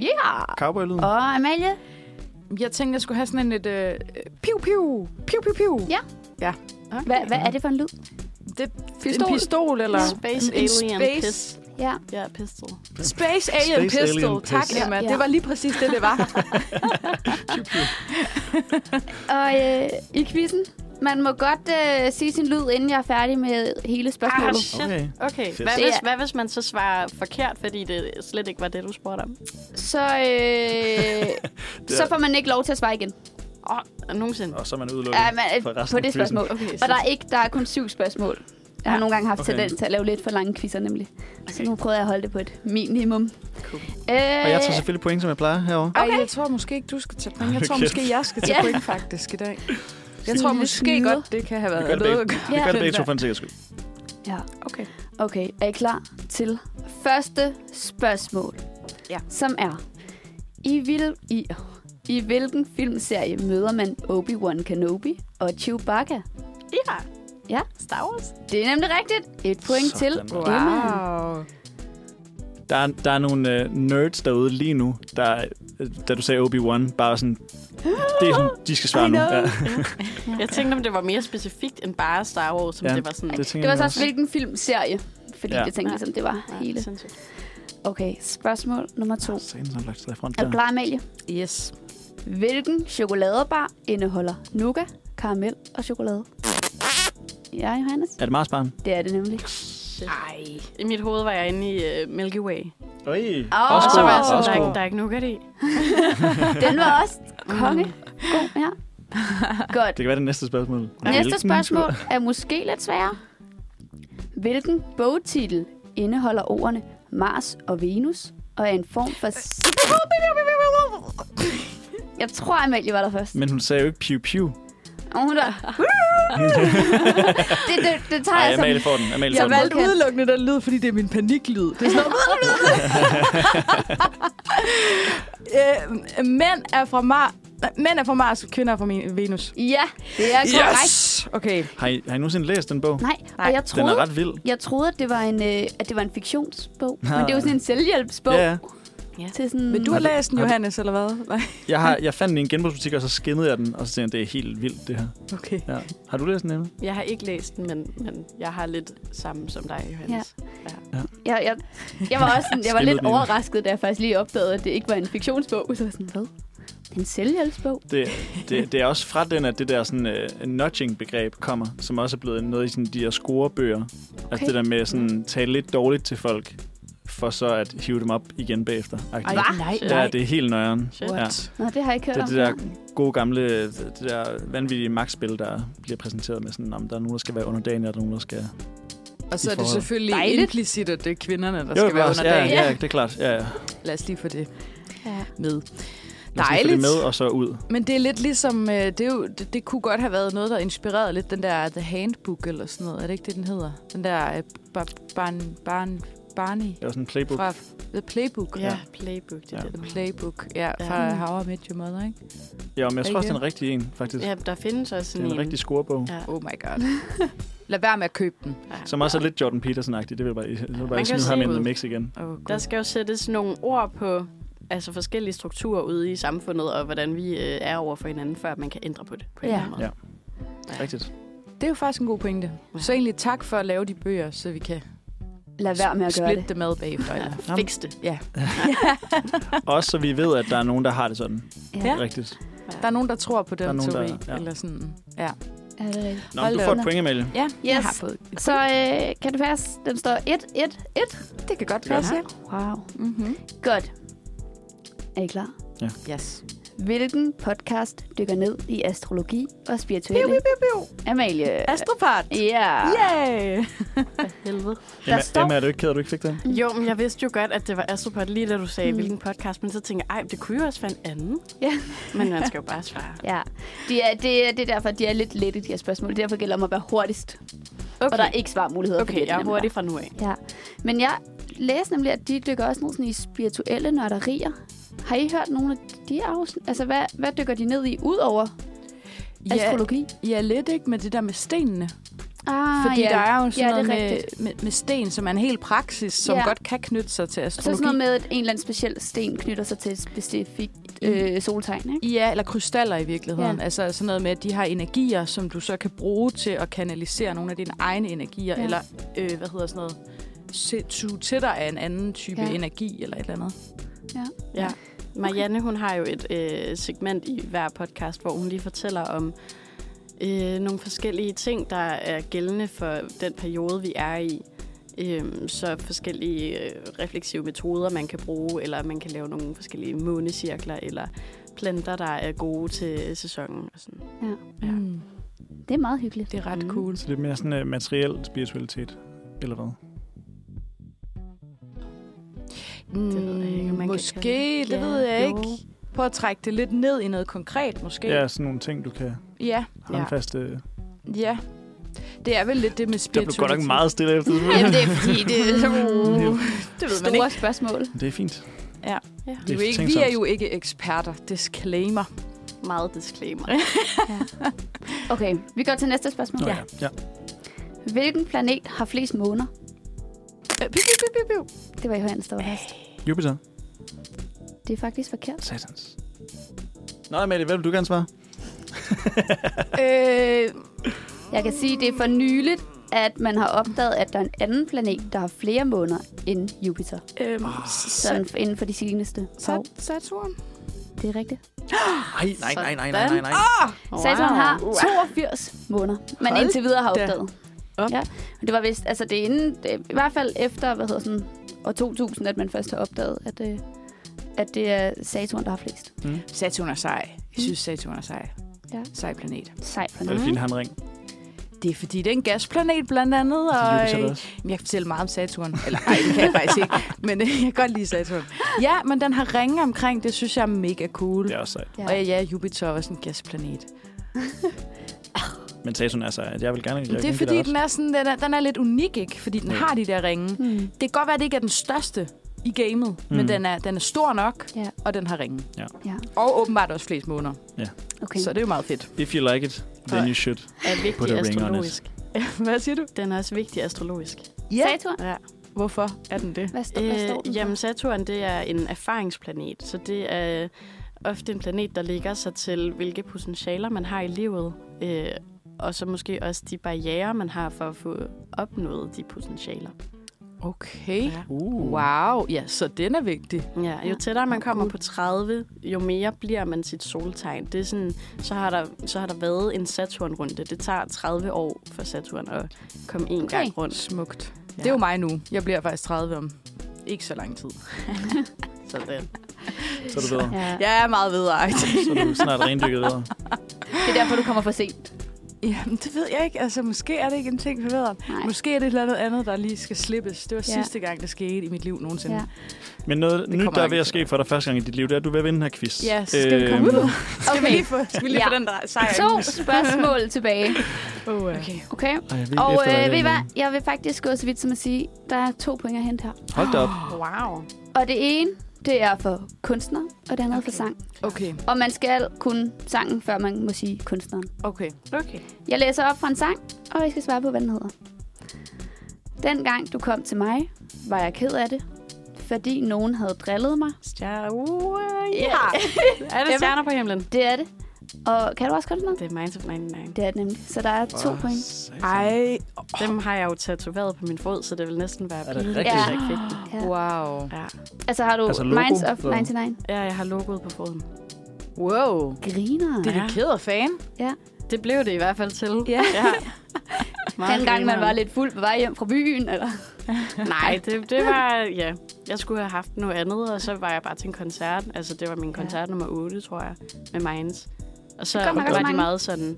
Ja! Yeah.
Cowboy-lyden.
Og Amalie?
Jeg tænkte, jeg skulle have sådan en et... Øh, piu, piu, piu, piu, piu.
Ja.
Ja.
Hvad, hvad er det for en lyd?
Det,
Pistol?
En pistol, eller...
Space
en, en
alien
space,
pist.
Ja.
Ja, pistol.
Space alien
Space
pistol.
alien
tak,
pistol.
Emma.
Ja.
Det var lige præcis det, det var.
Og øh, i quizzen, man må godt øh, sige sin lyd, inden jeg er færdig med hele
Ah,
spørgsmålet.
shit.
Okay.
Okay,
Fedt.
hvad
Det
hvis,
er-
hvad hvis man så svarer forkert, fordi det slet ikke var det, du spurgte om?
Så, øh, så får man ikke lov til at svare igen.
Åh, oh, nogensinde.
Og så er man udelukket
Ja, men, øh,
for resten
på
af quizzen.
det spørgsmål.
Okay,
Og der er, ikke, der er kun syv spørgsmål. Jeg har nogle gange haft
Okay.
okay. tendens til at lave lidt for lange quizzer, nemlig. Så nu prøvede jeg at holde det på et minimum.
Cool.
Øh,
Og jeg tager selvfølgelig point, som jeg plejer herovre.
Ej,
Okay.
jeg tror måske ikke, du skal tage point. Jeg tror
Okay.
måske, jeg skal tage
Ja.
point faktisk i dag. Jeg
Sådan
tror
en lille
måske
snyder.
godt, det kan have
Vi
været
gør det
noget
begge-
at gøre.
Vi gør det
den
begge to
der.
for en sikkerheds skyld.
ja.
Okay.
Okay, er I klar til første spørgsmål?
Ja.
Som er, i, vil, i, i hvilken filmserie møder man Obi-Wan Kenobi og Chewbacca?
Iha.
Ja.
Star Wars?
Det er nemlig rigtigt. Et point
Sådan
til
der.
Emma.
Wow.
Der er, der er nogle øh, nerds derude lige nu, der øh, da du sagde Obi-Wan, bare sådan, det er sådan, de skal svare
I
nu.
know.
Ja,
Jeg tænkte, om det var mere specifikt end bare Star Wars, som
Ja,
det var sådan...
det tænker
Det var
jeg
så også, hvilken filmserie. Fordi
Ja.
ja. jeg tænkte ligesom, det var
Ja,
hele.
sindssygt.
Okay, spørgsmål nummer to.
også. Sagen, som lagt sig i front
Er du
der.
klar, Amalie?
Yes.
Hvilken chokoladebar indeholder nougat, karamel og chokolade? Ja, Johannes.
Er det Marsbarn?
Det er det nemlig.
Ej. I mit hoved var jeg inde i uh, Milky Way.
Øj,
Åh,
Og
også
så
god,
var jeg sådan,
også
der, er
god.
ikke- der er ikke nougat i.
Den var også konge. God, ja. Godt.
Det kan være det næste spørgsmål.
Næste
Hvilken-
spørgsmål er måske lidt sværere. Hvilken bogtitel indeholder ordene Mars og Venus og er en form for... Jeg tror, Amalie var der først.
Men hun sagde jo ikke piu piu.
Og hun der... det, det, det tager
Nej,
jeg som...
Amalie får den. Amalie
altså- Jeg
får
Jeg
den.
valgte
valgte
udelukkende den lyd, fordi det er min paniklyd. Det er sådan noget... øh, mænd er fra Mars. Mænd er fra Mars, kvinder er fra Min- Venus.
Ja, det er korrekt. Yes!
Okay.
Har I, har I nogensinde læst den bog?
Nej, og jeg
Den
troede,
er ret vild.
jeg troede at, det var en, øh, at det var en fiktionsbog. Men det er jo sådan en selvhjælpsbog.
Ja, ja.
Til sådan...
Men du har
Har du-
læst den,
har du-
Johannes, eller hvad? Nej.
Jeg, har, jeg fandt den i en genbrugsbutik, og så skimmede jeg den, og så tænkte jeg, det er helt vildt, det her.
Okay.
Ja. Har du læst den, Emma?
Jeg har ikke læst den, men, men jeg har lidt samme som dig, Johannes. Ja.
Jeg, jeg, jeg var også sådan, jeg var
Skimmede
lidt
den ind.
overrasket, da jeg faktisk lige opdagede, at det ikke var en fiktionsbog. Så var jeg sådan, hvad? Det er en selvhjælpsbog?
Det, det, det er også fra den, at det der sådan, uh, nudging-begreb kommer, som også er blevet noget i sådan, de her scorebøger. Okay. Altså
Okay.
det der med sådan tale lidt dårligt til folk, for så at hive dem op igen bagefter. Ej,
nej,
Ja, det er helt nøjeren.
Shit.
Ja.
Nå, det har jeg ikke hørt
Det er
om.
det der gode gamle, det der vanvittige magtspil, der bliver præsenteret med sådan, om der er nogen, der skal være underdanig, og der er nogen, der skal...
Og så
I
er det
forhold.
selvfølgelig
Dejligt.
Dejligt. implicit, at det er kvinderne, der jo, skal være
ja,
under
ja,
dagen.
ja, det er klart. Ja, ja.
Lad os lige få det
Ja.
med.
Lad os lige få det
Dejligt.
med, og så ud.
Men det er lidt ligesom, øh, det, er jo, det, det kunne godt have været noget, der inspirerede lidt den der The Handbook eller sådan noget. Er det ikke det, den hedder? Den der øh, bar, barn, barn, Barney
Det var sådan en playbook.
fra The Playbook.
Ja, playbook, det
Ja.
er ja.
The
det. den
Playbook, ja,
Ja.
fra How I Met Your Mother, ikke?
Ja, men jeg tror også, det er
Igen.
en rigtig en, faktisk.
hedder. Ja, der findes også
Det er
sådan
en rigtig scorebog.
Ja.
Oh my god. Lad være med at købe den.
Ja.
Som også er lidt Jordan Peterson-agtig. Det vil jeg bare, jeg vil bare
Man
ikke
kan
smide ham
se
ind i
ud.
mix igen.
Oh, god.
Der skal jo sættes nogle ord på altså forskellige strukturer ude i samfundet, og hvordan vi øh, er over for hinanden, før man kan ændre på det på en
Ja.
eller anden måde.
Ja. Rigtigt.
Det er jo faktisk en god pointe. Så egentlig tak for at lave de bøger, så vi kan
Lad være med at gøre
splitte
det.
det med bagefter. Ja.
Ja, fix det.
Også så vi ved, at der er nogen, der har det sådan.
Ja.
Rigtigt.
Der er nogen, der tror på
Der er
den
nogen,
teori.
der- ja.
Eller sådan. Ja,
Ja, det er rigtigt.
Nå,
Hold
men du
da
får
op.
et point, Amalie.
ja jeg
Yes.
har fået
Så øh, kan det passe, den står 1-1-1.
Det kan godt
Det kan
passe, ja.
Wow.
Mm-hmm.
Godt. Er I klar?
Yes.
Hvilken podcast dykker ned i astrologi og spirituelle? Amalie.
Astropart.
Ja.
Yay!
Helvede.
Emma,
står-
Emma, er du ikke ked, af, at du ikke fik den?
Jo, men jeg vidste jo godt, at det var Astropod, lige da du sagde, mm. hvilken podcast, men så tænkte jeg, ej, det kunne jo også være en anden.
Ja.
Men man skal jo bare svare.
Ja, det er, det, er, det er derfor, de er lidt lette, de her spørgsmål. Derfor gælder det om at være hurtigst. Okay. Og der er ikke svarmuligheder. fordi
Okay, jeg er
nemlig
hurtig fra nu af.
bare- Ja. Men jeg læste nemlig, at de dykker også ned sådan i spirituelle nørderier. Har I hørt nogle af de afsnit? Altså, hvad, hvad dykker de ned i, udover ja. astrologi?
ja, lidt ikke med det der med stenene.
Ah,
Fordi der er jo sådan
ja, det er
noget med,
rigtigt.
med, med sten, som er en hel praksis, som
Ja.
godt kan knytte sig til
Og så er
astrologi.
sådan noget med, at en eller anden speciel sten knytter sig til et specifikt øh, soltegn, ikke?
Ja, eller krystaller i virkeligheden.
Ja.
Ja. Altså sådan noget med, at de har energier, som du så kan bruge til at kanalisere nogle af dine egne energier,
Ja.
ja. eller øh, hvad hedder sådan noget, se- suge til dig af en anden type
Ja.
ja. energi eller et eller andet.
Ja. Marianne, hun har jo et øh, segment i hver podcast, hvor hun lige fortæller om øh, nogle forskellige ting, der er gældende for den periode, vi er i. Øh, så forskellige øh, refleksive metoder, man kan bruge, eller man kan lave nogle forskellige månecirkler, eller planter, der er gode til sæsonen. Og sådan. Ja.
Mm.
Det er meget hyggeligt.
Det er ret
Mm.
mm. cool.
Så det er mere sådan uh, materiel spiritualitet, eller hvad?
Det ved jeg ikke, om man kan
Mm, måske,
kalde
det
Ja,
ved jeg
jo.
ikke. Prøv at trække det lidt ned i noget konkret, måske.
Ja, sådan nogle ting, du kan
Ja,
håndfaste... Ja.
ja. Det er vel lidt det med
Der blev
spiritualitet.
godt nok meget stille efter det.
Jamen, det er fordi, det er så
Det ved man
store
ikke.
spørgsmål.
Det er fint.
Ja.
Ja.
Vi
Det
er jo ikke, vi
tænksomt.
er jo ikke eksperter. Disclaimer.
Meget disclaimer.
Okay, vi går til næste spørgsmål.
Nå, ja. ja.
Hvilken planet har flest måner?
Øh, piu, piu, piu, piu, piu.
Det var Johannes, der var først.
Jupiter.
Det er faktisk forkert.
Satans. Nå, Amalie, hvad vil du gerne svare?
øh, jeg kan sige, det er for nyligt, at man har opdaget, at der er en anden planet, der har flere måneder end Jupiter.
Øhm,
Ah,
Sådan inden for de seneste par år.
Sat- Saturn.
Det er rigtigt.
Ej, nej, nej, nej, nej, nej, nej.
wow.
Saturn har 82 måneder, man
Hold
indtil videre har
da
opdaget.
op.
Ja, men det var vist, altså det er inden, det, er i hvert fald efter, hvad hedder sådan, år 2000, at man først har opdaget, at, øh, at det er Saturn, der har flest.
Saturn er sej. Jeg synes, Saturn er sej.
Ja.
Sej planet.
Sej
Er det
planet.
fint, han ring?
Det er fordi, det er en gasplanet blandt andet. Og,
Jupiter
øh,
også.
jeg kan fortælle meget om Saturn. Eller nej, det kan jeg faktisk ikke. Men øh, jeg kan godt lide Saturn. Ja, men den har ringe omkring. Det synes jeg er mega cool.
Det er
Ja.
også sejt.
Ja.
Og ja, Jupiter er også en gasplanet.
Men Saturn er sejt. Jeg vil gerne... Jeg
Jeg det er fordi, den er, sådan, den, er, den er lidt unik, ikke? Fordi den
Ja.
har de der ringe.
Hmm.
Det kan godt være, at det ikke er den største i gamet, mm.
Mm.
men den er, den er stor nok,
Ja.
og den har ringe.
Ja,
Og åbenbart også flest måneder,
okay.
så det er jo meget fedt.
If you like it, then you should.
er
Put a
vigtig
ring on it.
astrologisk.
Hvad siger du?
Den er også vigtig astrologisk.
Saturn,
Ja.
Hvorfor er den det?
hvad, st- hvad står den for?
Øh, jamen, Saturn det er en erfaringsplanet, så det er ofte en planet, der ligger sig til, hvilke potentialer man har i livet, øh, og så måske også de barriere, man har for at få opnået de potentialer.
Okay.
Ja.
Uh.
Wow, ja, så den er vigtig.
Ja, jo tættere man kommer på 30, jo mere bliver man sit soltegn. Det er sådan, så, har der, så har der været en Saturn-runde. Det tager 30 år for Saturn at komme en okay. gang rundt.
Smukt. Ja.
Ja.
Det er jo mig nu. Jeg bliver faktisk 30 om ikke så lang tid.
Så det,
Så er du bedre.
Ja.
Jeg er meget ved ej.
Så er du snart rendykket videre.
Det er derfor, du kommer for sent.
Jamen, det ved jeg ikke. Altså, måske er det ikke en ting forvirret.
Nej.
Måske er det et eller andet andet, der lige skal slippes. Det var
Ja.
ja. sidste gang, det skete i mit liv nogensinde.
Ja.
Ja.
Men noget
kommer
nyt, der er
ikke
ved at
til.
ske for dig første gang i dit liv, det er, at du er ved at vinde den her quiz. Øhm,
Ja, så skal vi komme ud. Skal vi
Okay.
lige få, skal vi lige
Ja.
få den der sejr?
To spørgsmål tilbage.
Okay.
Okay.
Ej, vi
Og øh, ved I
efterlader
hvad? Jeg vil faktisk gå så vidt som at sige, der er to point at hente her.
den. Hold da op.
wow.
Og det ene, det er for kunstner, og det andet okay. for sang.
Okay.
Og man skal kunne sangen, før man må sige kunstneren.
Okay.
Okay.
Jeg læser op fra en sang, og I skal svare på, hvad den hedder. Dengang du kom til mig, var jeg ked af det, fordi nogen havde drillet mig.
Stjerne. Uh, ja. Er det stjerner på himlen?
Det er det. Og kan du også kunstneren?
Det er Minds of 99.
Det er det nemlig. Så der er to oh. point.
Ej,
Dem har jeg jo tatoveret på min fod, så det vil næsten være
Er det
pinligt,
rigtigt?
hvis jeg ikke fik dem.
Ja.
wow.
Ja.
Altså har du
Altså
altså,
logo,
Minds of
eller?
99?
ja, jeg har logoet på foden.
Wow.
Griner.
Det er
Ja.
ja. ked af fan.
Det blev det i hvert fald til.
Ja.
ja. Meget
Den gang man
grineren.
var lidt fuld på vej hjem fra byen, eller?
Nej, det, det var... Ja. Jeg skulle have haft noget andet, og så var jeg bare til en koncert. Altså, det var min koncert nummer 8, tror jeg, med Minds. Og så
Det
var
kommer nok også
de
mange.
meget sådan...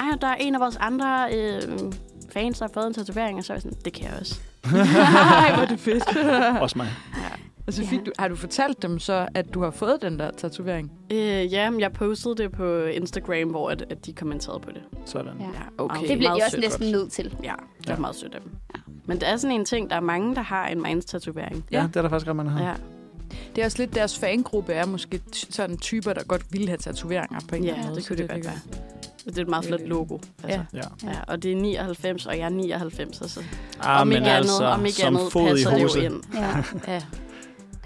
Ej, der er en af vores andre øh, fans, der har fået en tatovering, og så var jeg sådan, det kan jeg også.
Ej, hvor er det fedt.
Også mig.
og så fik du, har du fortalt dem så, at du har fået den der tatovering?
Øh, ja, men jeg postede det på Instagram, hvor at, at de kommenterede på det.
Sådan.
Ja.
Ja,
okay.
Det bliver
Meget
jeg også
sødt.
næsten nødt til.
Ja, det er
Ja.
meget sødt af dem. Ja. Men det er sådan en ting, der er mange, der har en minds-tatovering.
Ja, det er der faktisk ret mange, der har.
Ja.
Det er også lidt deres fangruppe er måske ty- sådan typer, der godt ville have tatoveringer på en eller anden
ja,
måde.
det
så
kunne det godt
ligger-
være. Det er et meget flot logo. Altså.
Øh, Ja.
Ja. ja. Og det er 99, og jeg er 99, altså.
Ah,
om
men
ikke andet,
altså,
om ikke
som
andet,
fod i
passer det
hose.
jo ind.
Ja.
Ja.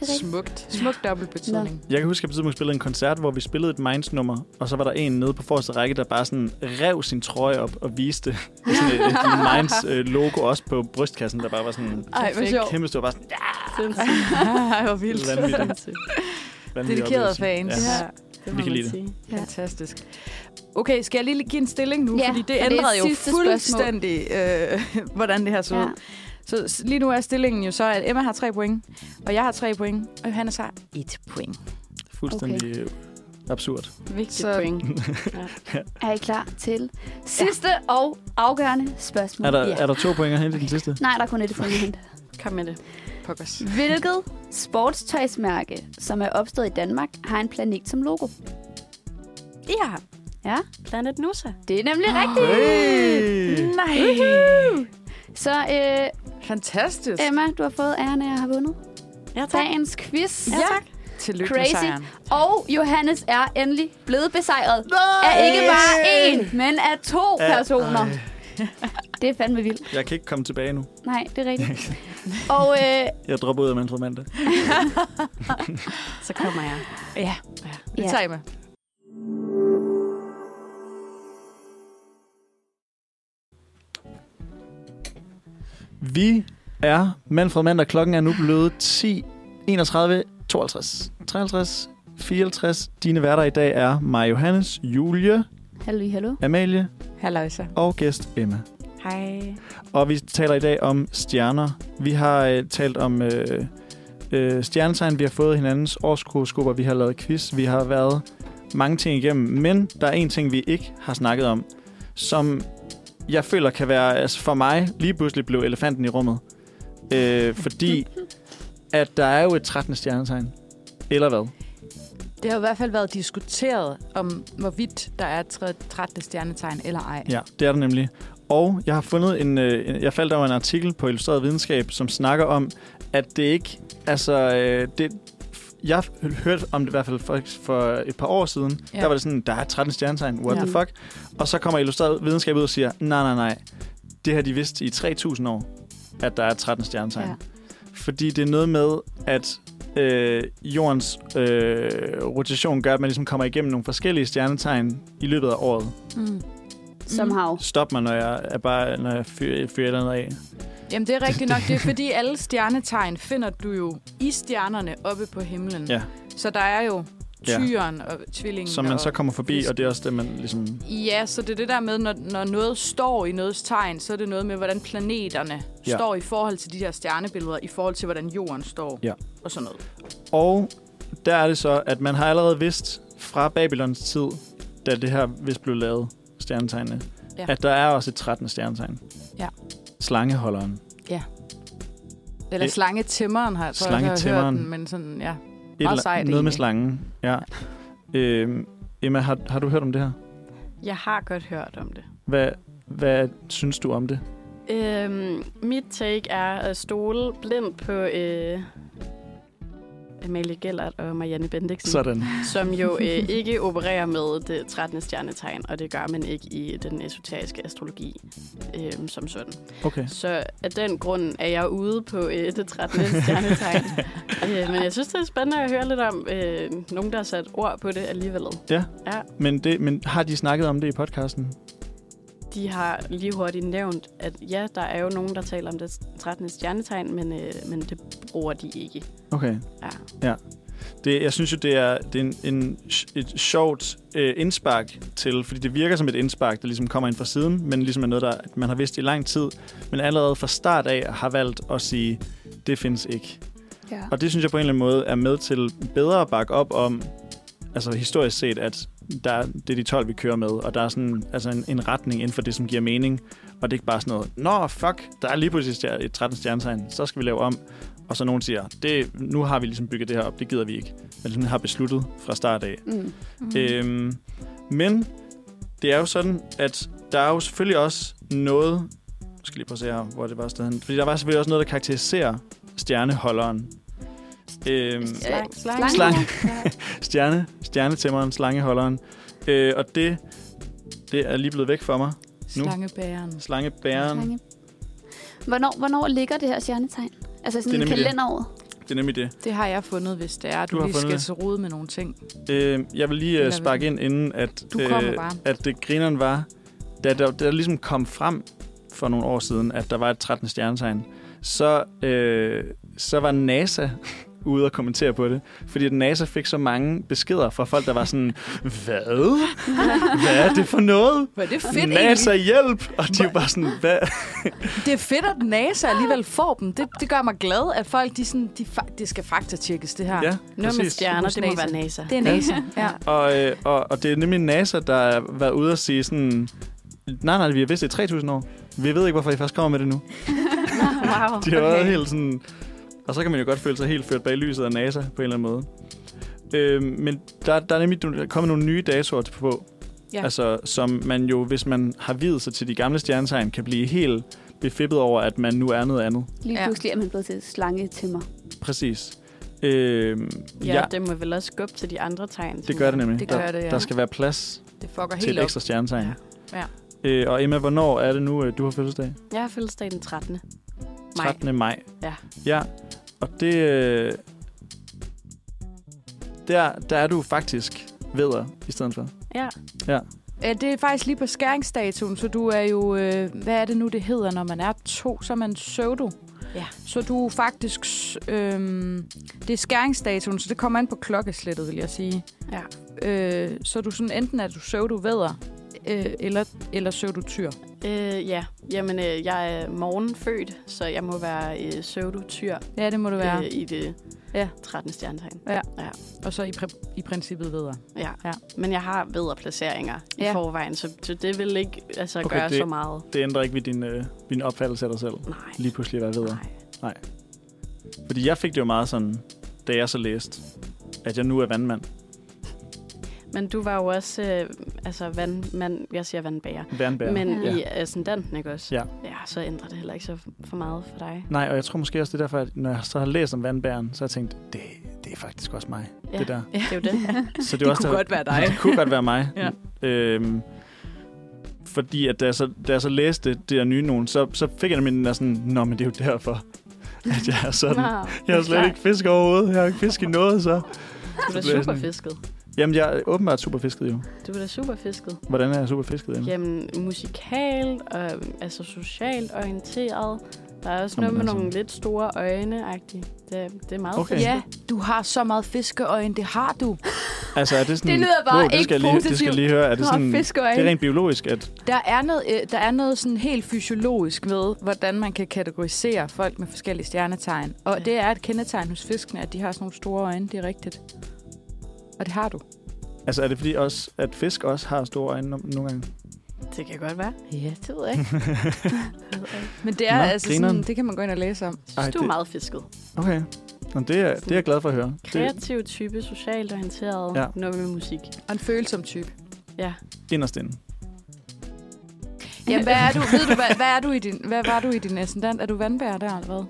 Det er rigtigt.
Smukt. Smukt dobbelt betydning.
Jeg kan huske, at jeg på et tidspunkt spillede en koncert, hvor vi spillede et Minds-nummer, og så var der en nede på forreste række, der bare sådan rev sin trøje op og viste sådan et, et Minds-logo også på brystkassen, der bare var sådan
Ej, hvor sjovt.
kæmpe stor, bare sådan
Sindssygt.
Ej, hvor vildt.
vanvittigt. vanvittig
Dedikerede
oplevelse.
fans.
Ja.
Ja, det må
Vi kan
man
lide det.
sige.
Ja.
Fantastisk. Okay, skal jeg lige give en stilling nu?
Ja,
fordi det
for det er
ændrede jo
sidste spørgsmål.
fuldstændig, øh, hvordan det her så ud.
Ja.
Så s- lige nu er stillingen jo så, at Emma har tre point, og jeg har tre point, og Johannes har et point.
Fuldstændig øh, absurd.
Vigtigt
Så-
så... point.
Er I klar til sidste og afgørende spørgsmål?
Er der,
Ja.
er der to point at hente i den sidste?
Nej, der er kun et point at hente.
Kom med det.
Pokkers.
Hvilket sportstøjsmærke, som er opstået i Danmark, har en planet som logo?
Ja,
Ja,
Planet Nusa.
det er nemlig rigtigt.
Hey!
Nej!
Så øh,
Fantastisk.
Emma, du har fået æren af at have vundet
Ja, tak.
dagens quiz.
Ja, tak. Tillykke med
Crazy.
sejren.
Og Johannes er endelig blevet besejret af ikke bare én, men af to personer. Det er fandme vildt.
Jeg kan ikke komme tilbage nu.
Nej, det er rigtigt. Og øh,
Jeg dropper ud af Manfred Mandag.
Så kommer jeg.
Ja, ja. det
Ja.
tager jeg med.
Vi er Manfred Mandag. Klokken er nu blevet 10, 31, 52, 53, 54. Dine værter i dag er mig, Johannes, Julie,
hallo, hallo.
Amalie
Halløjsa.
og gæst Emma.
Hej.
Og vi taler i dag om stjerner. Vi har øh, talt om øh, øh, stjernetegn, vi har fået hinandens årskroskoper, vi har lavet quiz, vi har været mange ting igennem. Men der er en ting, vi ikke har snakket om, som jeg føler kan være, altså for mig, lige pludselig blev elefanten i rummet. Øh, fordi at der er jo et 13. stjernetegn. Eller hvad?
Det har i hvert fald været diskuteret om, hvorvidt der er 13. stjernetegn eller ej.
Ja, det er der nemlig. Og jeg har fundet en, øh, en- jeg faldt over en artikel på Illustreret Videnskab, som snakker om, at det ikke, altså, øh, det, jeg hørte om det i hvert fald for, for et par år siden. Ja.
Ja.
Der var det sådan, der er 13 stjernetegn, what ja.
Ja.
the fuck? Og så kommer Illustreret Videnskab ud og siger, nej, nej, nej, det har de vidst i 3000 år, at der er 13 stjernetegn. Ja.
Ja.
Fordi det er noget med, at øh, jordens øh, rotation gør, at man ligesom kommer igennem nogle forskellige stjernetegn i løbet af året.
Mm.
Somehow.
Stop mig, når jeg, er bare, når jeg fyrer, fyrer et eller andet af.
Jamen, det er rigtigt nok. Det er fordi, alle stjernetegn finder du jo i stjernerne oppe på himlen.
Ja.
Så der er jo
Ja.
tyren og tvillingen.
Som man
og...
så kommer forbi,
fisk.
og det er også det, man ligesom...
Ja, så det er det der med, når, når noget står i noget's tegn, så er det noget med, hvordan planeterne
Ja.
ja. står i forhold til de her stjernebilleder, i forhold til, hvordan jorden står
Ja.
og sådan noget.
Og der er det så, at man har allerede vidst fra Babylons tid, da det her vist blev lavet, stjernetegnene, ja.
Ja.
at der er også et 13. stjernetegn.
Ja.
Slangeholderen.
Eller
Øh,
slangetimmeren har jeg tror, jeg ikke, jeg har hørt
slangetimmeren.
den, men sådan, ja.
Et
Meget
eller-
sejt
Noget med
egentlig.
slangen, ja. Øhm, Emma, har, har du hørt om det her?
Jeg har godt hørt om det.
Hvad, hvad synes du om det?
Øhm, mit take er at stole blindt på øh, Amalie Gellert og Marianne Bendiksen,
Sådan.
som jo øh, ikke opererer med det 13. stjernetegn, og det gør man ikke i den esoteriske astrologi øh, som sådan.
Okay.
Så af den grund er jeg ude på øh, det 13. stjernetegn. øh, men jeg synes, det er spændende at høre lidt om øh, nogen, der har sat ord på det alligevel.
Men, det, men har de snakket om det i podcasten?
De har lige hurtigt nævnt, at ja, der er jo nogen, der taler om det 13. stjernetegn, men, øh, men det bruger de ikke.
Okay.
Ja.
ja. Det, jeg synes jo, det er, det er en, en, et sjovt øh, indspark til, fordi det virker som et indspark, der ligesom kommer ind fra siden, men ligesom er noget, der at man har vidst i lang tid, men allerede fra start af har valgt at sige, det findes ikke.
Ja.
Og det synes jeg på en eller anden måde er med til bedre at bakke op om, altså historisk set, at der, er- det er de 12, vi kører med, og der er sådan altså en, en retning inden for det, som giver mening. Og det er ikke bare sådan noget, nå fuck, der er lige pludselig stjer- et 13 stjernetegn, så skal vi lave om. Og så nogen siger, det, nu har vi ligesom bygget det her op, det gider vi ikke. Men sådan har besluttet fra start af.
Mm.
Mm. Øhm, men det er jo sådan, at der er jo selvfølgelig også noget... Jeg skal lige prøve at se her, hvor det var stedet hen. Fordi der var selvfølgelig også noget, der karakteriserer stjerneholderen. Øhm,
Slang-
slang.
slang. Stjerne, stjernetimmeren, slangeholderen. Øh, og det, det er lige blevet væk for mig.
Slangebæren.
Slangebæren,
Slange. Hvornår, hvornår ligger det her stjernetegn? Altså
Det er
sådan i
nemlig det.
kalenderåret?
det er nemlig det.
Det har jeg fundet, hvis det er, at
Du
du,
har
lige
fundet
skal
det.
så rode med nogle ting.
Øh, jeg vil lige
Det
øh,
er
sparke ind, inden at, øh,
Du kommer bare.
at det grineren var, da der, da der ligesom kom frem for nogle år siden, at der var et 13. stjernetegn, så, øh, så var NASA ude og kommentere på det. Fordi at NASA fik så mange beskeder fra folk, der var sådan, hvad? Hvad er det for noget?
Hvor er det fedt
NASA hjælp! Og de var bare sådan, hvad?
Det er fedt, at NASA alligevel får dem. Det, det gør mig glad, at folk, de sådan, de fa- det skal faktatjekkes, det her.
Ja,
Noget med
præcis.
stjerner,
Hos
det må
NASA.
være NASA.
Det er NASA. Ja.
Og, øh, og, og det er nemlig NASA, der har været ude og sige sådan, nej, nej, vi har vidst det i 3.000 år. Vi ved ikke, hvorfor I først kommer med det nu.
Wow.
De har været helt sådan... Og så kan man jo godt føle sig helt ført bag lyset af NASA på en eller anden måde. Øh, men der, der er nemlig der er kommet nogle nye datoer på, ja.
Ja.
altså, som man jo, hvis man har videt sig til de gamle stjernetegn, kan blive helt befippet over, at man nu er noget andet.
Lige
Ja.
pludselig er man blevet til slange til mig.
Præcis. Øh, ja,
Ja,
ja,
det må vel også skubbe til de andre tegn.
det gør det nemlig.
Det gør det,
der,
ja.
der skal være plads
Det fucker
til et
helt op.
ekstra stjernetegn.
Ja.
Øh, og Emma, hvornår er det nu, øh, du har fødselsdag?
Jeg har fødselsdag den 13. maj.
13. maj.
Ja.
Ja, og det... Øh, der, der er du faktisk veder i stedet for.
Ja.
Øh, Det er faktisk lige på skæringsdatoen, så du er jo... Øh, hvad er det nu, det hedder, når man er to? Så er man pseudo.
Ja.
Så du er faktisk... s- Øhm, det er skæringsdatoen, så det kommer an på klokkeslættet, vil jeg sige.
Ja.
Øh, så er du sådan, enten er du pseudo vædder, øh, eller, eller pseudo tyr.
Øh, ja, jamen øh, jeg er morgenfødt, så jeg må være øh, søvdutyr
Ja, det må du være.
øh, i det
Ja.
ja. 13. stjernetegn.
Og så i, pr- i princippet vædder.
Ja.
Ja.
ja. Men jeg har bedre placeringer ja.
Ja.
i forvejen, så, så det vil ikke altså,
Okay,
okay, gøre
det-
det... så meget.
Det ændrer ikke ved din, øh, din opfattelse af dig selv.
Nej.
Lige pludselig at være veder.
Nej.
Fordi jeg fik det jo meget sådan, da jeg så læste, at jeg nu er vandmand.
Men du var jo også, øh, altså vandmand, jeg siger vandbærer,
Vandbær.
men
Ja.
ja. i ascendanten, ikke også?
Ja.
Ja, så ændrer det heller ikke så for meget for dig.
Nej, og jeg tror måske også, det er derfor, at når jeg så har læst om vandbæren, så har jeg tænkt, det, det er faktisk også mig.
Ja,
Det der.
Det er jo det.
Så
Det
er
kunne
der-
godt være dig.
Det kunne godt være mig.
Ja.
Øhm, fordi at da jeg, så, da jeg så læste det der nye nogen, så, så fik jeg nemlig den der sådan, nå, men det er jo derfor, at jeg er sådan. Jeg har slet ikke fisk overhovedet. Jeg har ikke fisk i noget, så.
Du
blev
er
jeg sådan-
super fisket.
Jamen, jeg er åbenbart superfisket jo.
Du er da super fisket.
Hvordan er jeg superfisket? Emma?
Jamen, musikalt og altså socialt orienteret. Der er også
Jamen,
noget med
altså.
nogle lidt store øjne -agtigt. Det, det er meget
Okay.
fedt.
Ja, du har så meget fiskeøjne, det har du.
Altså, er det sådan...
Det lyder bare
det
ikke
skal jeg lige, Det skal jeg
positivt.
lige høre. Er det
Nå,
sådan...
fiskeøjne.
Det er rent biologisk, at...
Der er noget, øh, der er noget sådan helt fysiologisk ved, hvordan man kan kategorisere folk med forskellige stjernetegn. Og
Ja.
det er et kendetegn hos fiskene, at de har sådan nogle store øjne, det er rigtigt. Og det har du.
Altså, er det fordi også, at fisk også har store øjne no- nogle gange?
Det kan godt være.
Ja, det ved jeg ikke.
Det ved jeg ikke.
Men det er
Nå,
altså
grineren.
sådan, det kan man gå ind og læse om.
Jeg
Ej,
synes, du
det-
er meget fisket.
Okay. Nå, det, er, det er jeg glad for at høre. Det
Kreativ type, socialt orienteret.
Ja.
Ja. Noget med musik.
Og en følsom type.
Ja.
er inderst inde.
Ja, hvad er du, ved du, hvad, hvad, er du i din, hvad var du i din ascendant? Er du vandbærer der, eller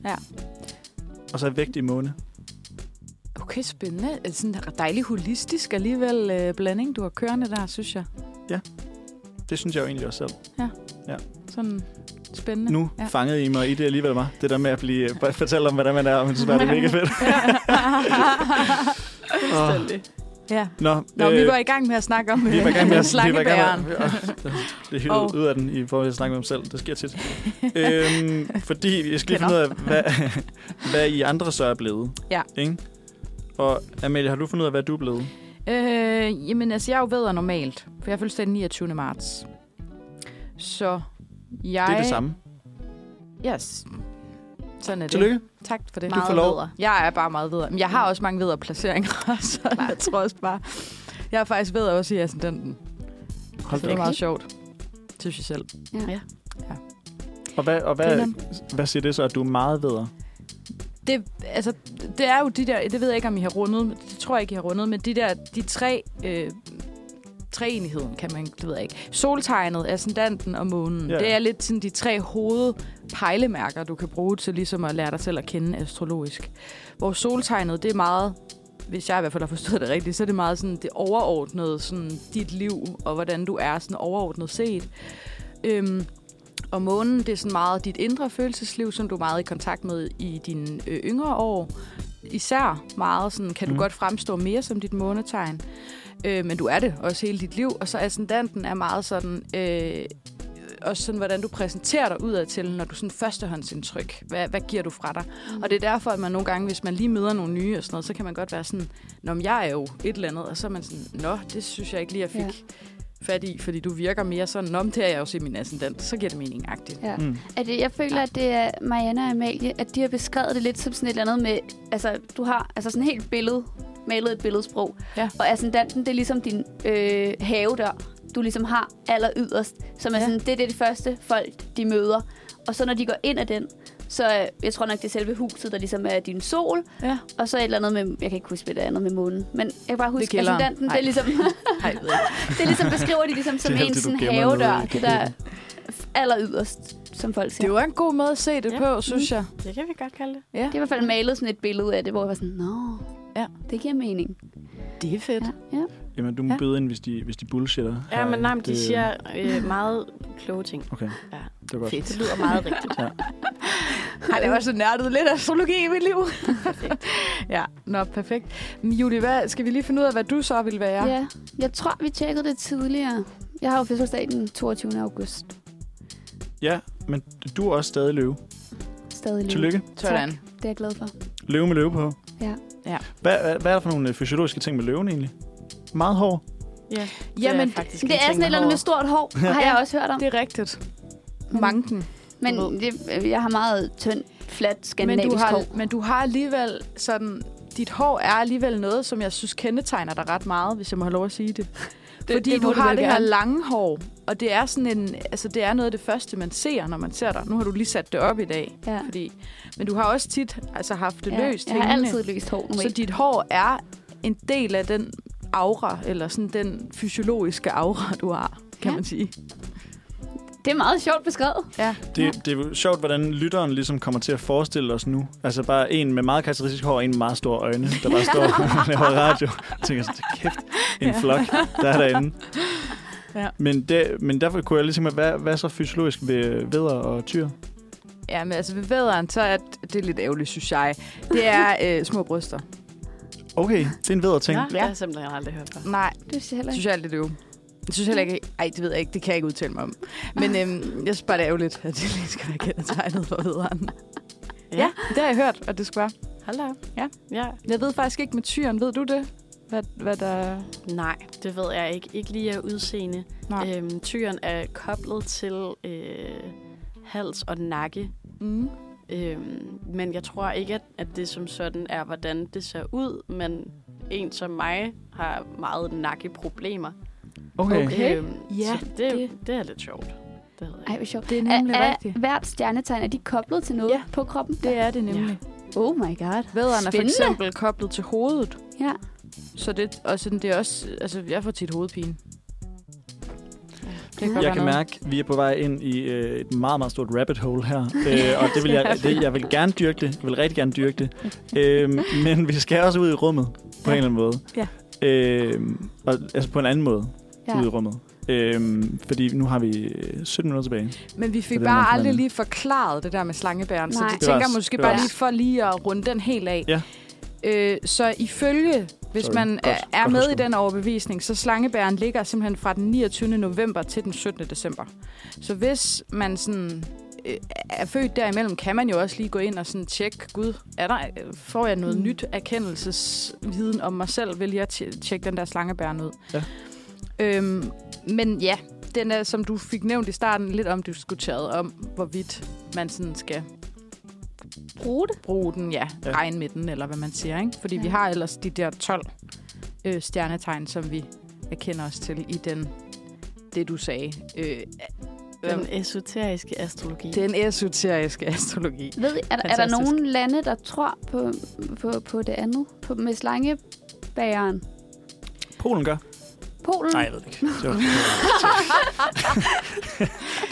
hvad?
Og så er vægt i måne.
Okay, spændende. Øh, Sådan en dejlig holistisk alligevel øh, blanding, du har kørende der, synes jeg.
Det synes jeg jo egentlig også selv.
Sådan spændende.
Nu ja.
Ja.
fangede I mig i det alligevel var. Det der med at blive bare fortælle om, hvordan man er, men så var det mega fedt. oh.
Fuldstændig.
Ja.
Nå,
Nå, øh, vi var i gang med at snakke om øh,
vi var i gang med at vi var i gang
slangebæren.
med, Det er helt
Og-
ud af den i forhold til at snakke med dem selv. Det sker tit. øhm, fordi jeg skal lige finde ud af, hvad, hvad I andre så er blevet.
Ja.
Ikke? Og Amalie, har du fundet ud af, hvad du er blevet?
Øh, jamen, altså, jeg er jo bedre normalt, for jeg er fuldstændig 29. marts. Så jeg...
Det er det samme.
Yes. Sådan er det.
Tillykke.
Tak for det.
Meget
får lov.
bedre.
Jeg er bare meget videre. Men jeg har også mange videre placeringer, så jeg tror også bare... Jeg er faktisk videre også i ascendenten.
Hold
Så
da
det er
op.
meget sjovt. Synes jeg selv.
Og, hvad, og hvad,
Grineren.
hvad siger det så, at du er meget bedre?
Det, altså, det er jo de der... Det ved jeg ikke, om I har rundet. men Det tror jeg ikke, I har rundet. Men de der... De tre... Øh, treenigheden, kan man... Det ved jeg ikke. Soltegnet, ascendanten og månen.
Ja.
Yeah. Det er lidt sådan de tre hovedpejlemærker, du kan bruge til ligesom at lære dig selv at kende astrologisk. Hvor soltegnet, det er meget hvis jeg i hvert fald har forstået det rigtigt, så er det meget sådan det overordnede, sådan dit liv, og hvordan du er sådan overordnet set. Øhm, og månen, det er sådan meget dit indre følelsesliv, som du er meget i kontakt med i dine øh, yngre år. Især meget sådan, kan du
Mm.
mm. godt fremstå mere som dit månetegn, øh, men du er det også hele dit liv. Og så ascendanten er meget sådan, øh, også sådan, hvordan du præsenterer dig udadtil, når du sådan førstehåndsindtryk. Hvad, hvad giver du fra dig? Og det er derfor, at man nogle gange, hvis man lige møder nogle nye og sådan noget, så kan man godt være sådan, Nå, men jeg er jo et eller andet, og så er man sådan, Nå, det synes jeg ikke lige, jeg fik ja. fat i, fordi du virker mere sådan, Nå, men det er jeg også i min ascendant, så giver det mening agtigt.
Ja.
Mm.
At det, jeg føler, at det er Marianne og Amalie, at de har beskrevet det lidt som sådan et eller andet med, altså du har altså sådan helt billede, malet et billedsprog,
Ja.
og ascendanten, det er ligesom din øh, have der, du ligesom har aller yderst, som er
Ja.
sådan, det, det er det første folk, de møder. Og så når de går ind af den, så øh, jeg tror nok, det er selve huset, der ligesom er din sol,
Ja.
og så et eller andet med, jeg kan ikke huske, hvad det andet med månen, men jeg kan bare huske,
kælderen.
ascendanten, det
Nej.
er ligesom,
Ej, jeg ved ikke.
det er ligesom beskriver de ligesom som
Det er
en
altid, du
sådan
gemmer noget
havedør,
i
det der aller yderst, som folk siger.
Det var en god måde at se det
Ja.
på, synes jeg.
Det kan vi godt kalde det.
Ja.
Det er i hvert fald malet sådan et billede af det, hvor jeg var sådan, nå,
Ja.
det giver mening.
Det er fedt.
Ja, ja.
Emma, du må
Ja.
ja. byde ind, hvis de, hvis de bullshitter.
Ja, men nej, men
Øh,
de siger øh, meget kloge ting.
Okay,
Ja.
det var godt.
Fedt.
Det lyder meget rigtigt.
Ej, det var så nærtet lidt astrologi i mit liv. ja, nå, perfekt. Men Julie, hvad, skal vi lige finde ud af, hvad du så vil være?
Ja. ja. Jeg tror, vi tjekkede det tidligere. Jeg har jo fødselsdag den 22. august.
Ja, men du er også stadig løve.
Stadig lige.
Tillykke.
Sådan.
Det er jeg glad for.
Løve med løve på.
Ja.
Ja.
Hvad, hvad, hvad er der for nogle øh, fysiologiske ting med løven egentlig? Meget hård.
Ja,
Jamen,
det er, faktisk
Det
en
er
ting
sådan et eller andet med
herovre.
stort hår, har jeg også hørt om.
Det er rigtigt.
Men-
Manken.
Men
du ved.
det, jeg har meget tynd, fladt
Men
skandinavisk
du, har,
hår.
men du har alligevel sådan... Dit hår er alligevel noget, som jeg synes kendetegner dig ret meget, hvis jeg må have lov at sige det. det Fordi
det
du
må du
har
vel
det her
gerne.
lange hår, og det er sådan en, altså det er noget af det første, man ser, når man ser dig. Nu har du lige sat det op i dag,
Ja.
fordi, men du har også tit altså, haft det løst.
Jeg har
hængende.
altid løst hår
Så
normalt.
dit hår er en del af den aura, eller sådan den fysiologiske aura, du har, kan
Ja.
man sige.
Det er meget sjovt beskrevet.
Ja.
Det, ja. det er jo sjovt, hvordan lytteren ligesom kommer til at forestille os nu. Altså bare en med meget karakteristisk hår og en med meget store øjne, der bare står og laver radio. Jeg tænker sådan, kæft, en ja. flok, der er derinde.
Ja.
Men, det, men derfor kunne jeg ligesom, hvad, hvad er så fysiologisk ved veder og tyr?
Ja, men altså ved vædderen, så er det, det er lidt ærgerligt, synes jeg. Det er øh, små bryster.
Okay, det er en veder ting.
Ja,
Ja.
det har jeg simpelthen aldrig hørt fra.
Nej,
Det synes jeg heller
synes
ikke.
jeg er lidt øv. Jeg synes heller ikke, ej, det ved jeg ikke, det kan jeg ikke udtale mig om. Men øhm, jeg synes bare, det er ærgerligt, at det lige skal være kendetegnet for vædderen. Ja.
Ja.
ja, det har jeg hørt, og det skal være.
Hold da op.
Ja.
ja.
Jeg ved faktisk ikke med tyren, ved du det? Hvad, hvad der...
Nej, det ved jeg ikke. Ikke lige af udseende.
Nej.
Øhm, tyren er koblet til øh, hals og nakke.
Mm.
Øhm, men jeg tror ikke, at, at det som sådan er, hvordan det ser ud. Men en som mig har meget nakkeproblemer.
Okay. okay.
Okay. Ja,
ja, så det,
det-
det. det er lidt sjovt. Det ved jeg
Ej,
ikke.
hvor sjovt.
Det er
Er,
nemlig er,
er
rigtigt.
hvert stjernetegn, er de koblet til noget
Ja.
ja. på kroppen?
Det er det nemlig.
Oh my god.
Vædderen er for
Spændende.
eksempel koblet til hovedet.
Ja.
Så det, og sådan, det er også... Altså, jeg får tit hovedpine. Det
Jeg
godt
Jeg
være
kan
noget.
mærke, at vi er på vej ind i øh, et meget, meget stort rabbit hole her. Øh, og det vil jeg, det, jeg vil gerne dyrke det. Jeg vil rigtig gerne dyrke det. Øh, men vi skal også ud i rummet på en eller anden måde.
Ja.
Øh, og, altså på en anden måde
Ja.
ja. ud i rummet. Øh, fordi nu har vi øh, 17 minutter tilbage.
Men vi fik
Så det er
bare
nok
aldrig
noget.
lige forklaret det der med slangebæren, så
Nej.
det
Det var
tænker jeg
s-
måske
det var
bare
s-
lige for lige at runde den helt af.
Ja.
Øh, så ifølge, hvis
Sorry.
man
Godt.
er, er
Godt
med i
husket.
den overbevisning, så slangebæren ligger simpelthen fra den 29. november til den 17. december. Så hvis man sådan øh, er født derimellem, kan man jo også lige gå ind og sådan tjekke, gud, er der, øh, får jeg noget
Mm.
mm. nyt erkendelsesviden om mig selv, vil jeg tje- tjekke den der slangebæren ud.
Ja.
Øhm, men ja, den er, som du fik nævnt i starten, lidt omdiskuteret om, hvorvidt man sådan skal
Bruge det.
bruge den, ja, ja.
Ja.
regne med den, eller hvad man siger. Ikke? Fordi ja. vi
Ja.
har ellers de der 12 øh, stjernetegn, som vi erkender os til i den, det du sagde. Øh,
Den esoteriske astrologi.
den esoteriske astrologi.
Ved, I- er, der- er der
Fantastisk.
nogen lande, der tror på, på, på det andet? På, med slangebæren?
Polen gør.
Polen?
Nej, jeg ved det ikke. Det var,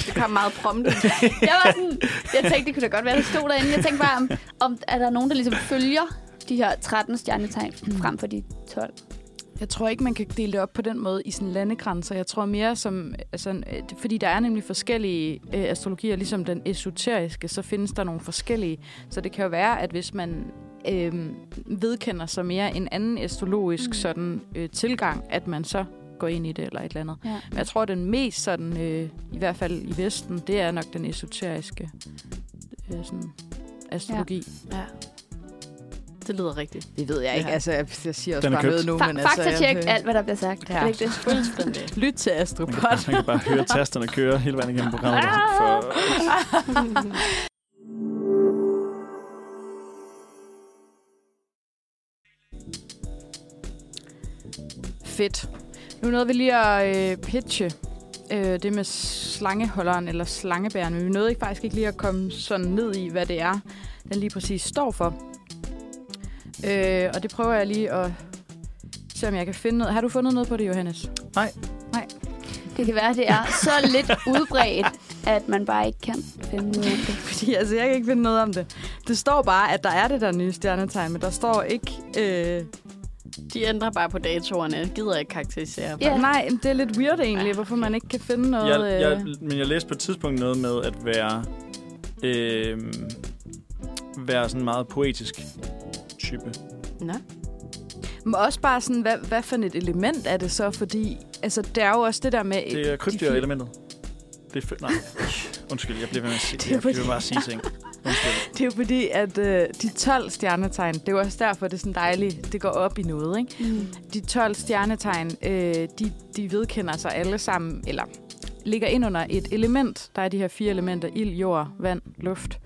Det kom meget prompte.
Jeg var sådan, jeg tænkte, det kunne da godt være, det stod derinde. Jeg tænkte bare, om, om er der nogen, der ligesom følger de her 13 stjernetegn frem for de 12?
Uh, Jeg tror ikke, man kan dele det op på den måde i sådan landegrænser. Jeg tror mere som... Altså, øh, det- fordi der er nemlig forskellige øh, astrologier, ligesom den esoteriske, så findes der nogle forskellige. Så det kan jo være, at hvis man øh, vedkender sig mere en anden astrologisk
Mm.
mm. sådan øh, tilgang, at man så går ind i det eller et eller andet.
Ja.
Men jeg tror, den mest sådan, øh, i hvert fald i Vesten, det er nok den esoteriske øh, sådan, astrologi.
ja. Det lyder rigtigt.
Det ved jeg
ikke.
Altså, jeg, jeg siger
også Den er bare købt.
nu,
Fa- Faktatjek alt, hvad der bliver sagt.
altså, Ja.
Ja. Er det ikke det?
Fuldstændig.
Lyt til
man, kan, bare-
Astropod.
man kan bare høre tasterne køre hele vejen igennem programmet.
Ah!
For,
Fedt. Nu nåede vi lige at øh, pitche øh, det med slangeholderen eller slangebæren, men vi nåede ikke, faktisk ikke lige at komme sådan ned i, hvad det er, den lige præcis står for. Øh, og det prøver jeg lige at se, om jeg kan finde noget. Har du fundet noget på det, Johannes?
Det kan være, det er så lidt udbredt, at man bare ikke kan finde ud af det.
Fordi altså, jeg kan ikke finde noget om det. Det står bare, at der er det der nye stjernetegn, men der står ikke øh,
De ændrer bare på datoerne. Jeg gider ikke karakterisere.
Ja. Nej, men det er lidt weird egentlig, hvorfor man ikke kan finde noget...
Jeg, jeg,
øh,
men jeg læste på et tidspunkt noget med at være, øh, være sådan meget poetisk type.
Nå.
Men også bare sådan, hvad, hvad for et element er det så? Fordi altså, det er jo også det der med...
Det er
de-
krybdyr-elementet. Det er fe- Nej, undskyld, jeg bliver ved med at sige,
Det er
jeg bliver ved
fordi-
med at sige ting. Undskyld.
Det er jo fordi, at øh, de 12 stjernetegn, det er jo også derfor, det er sådan dejligt, det går op i noget, ikke? Mm. De 12 stjernetegn, øh, de, de vedkender sig alle sammen, eller ligger ind under et element. Der er de her fire elementer, ild, jord, vand, luft.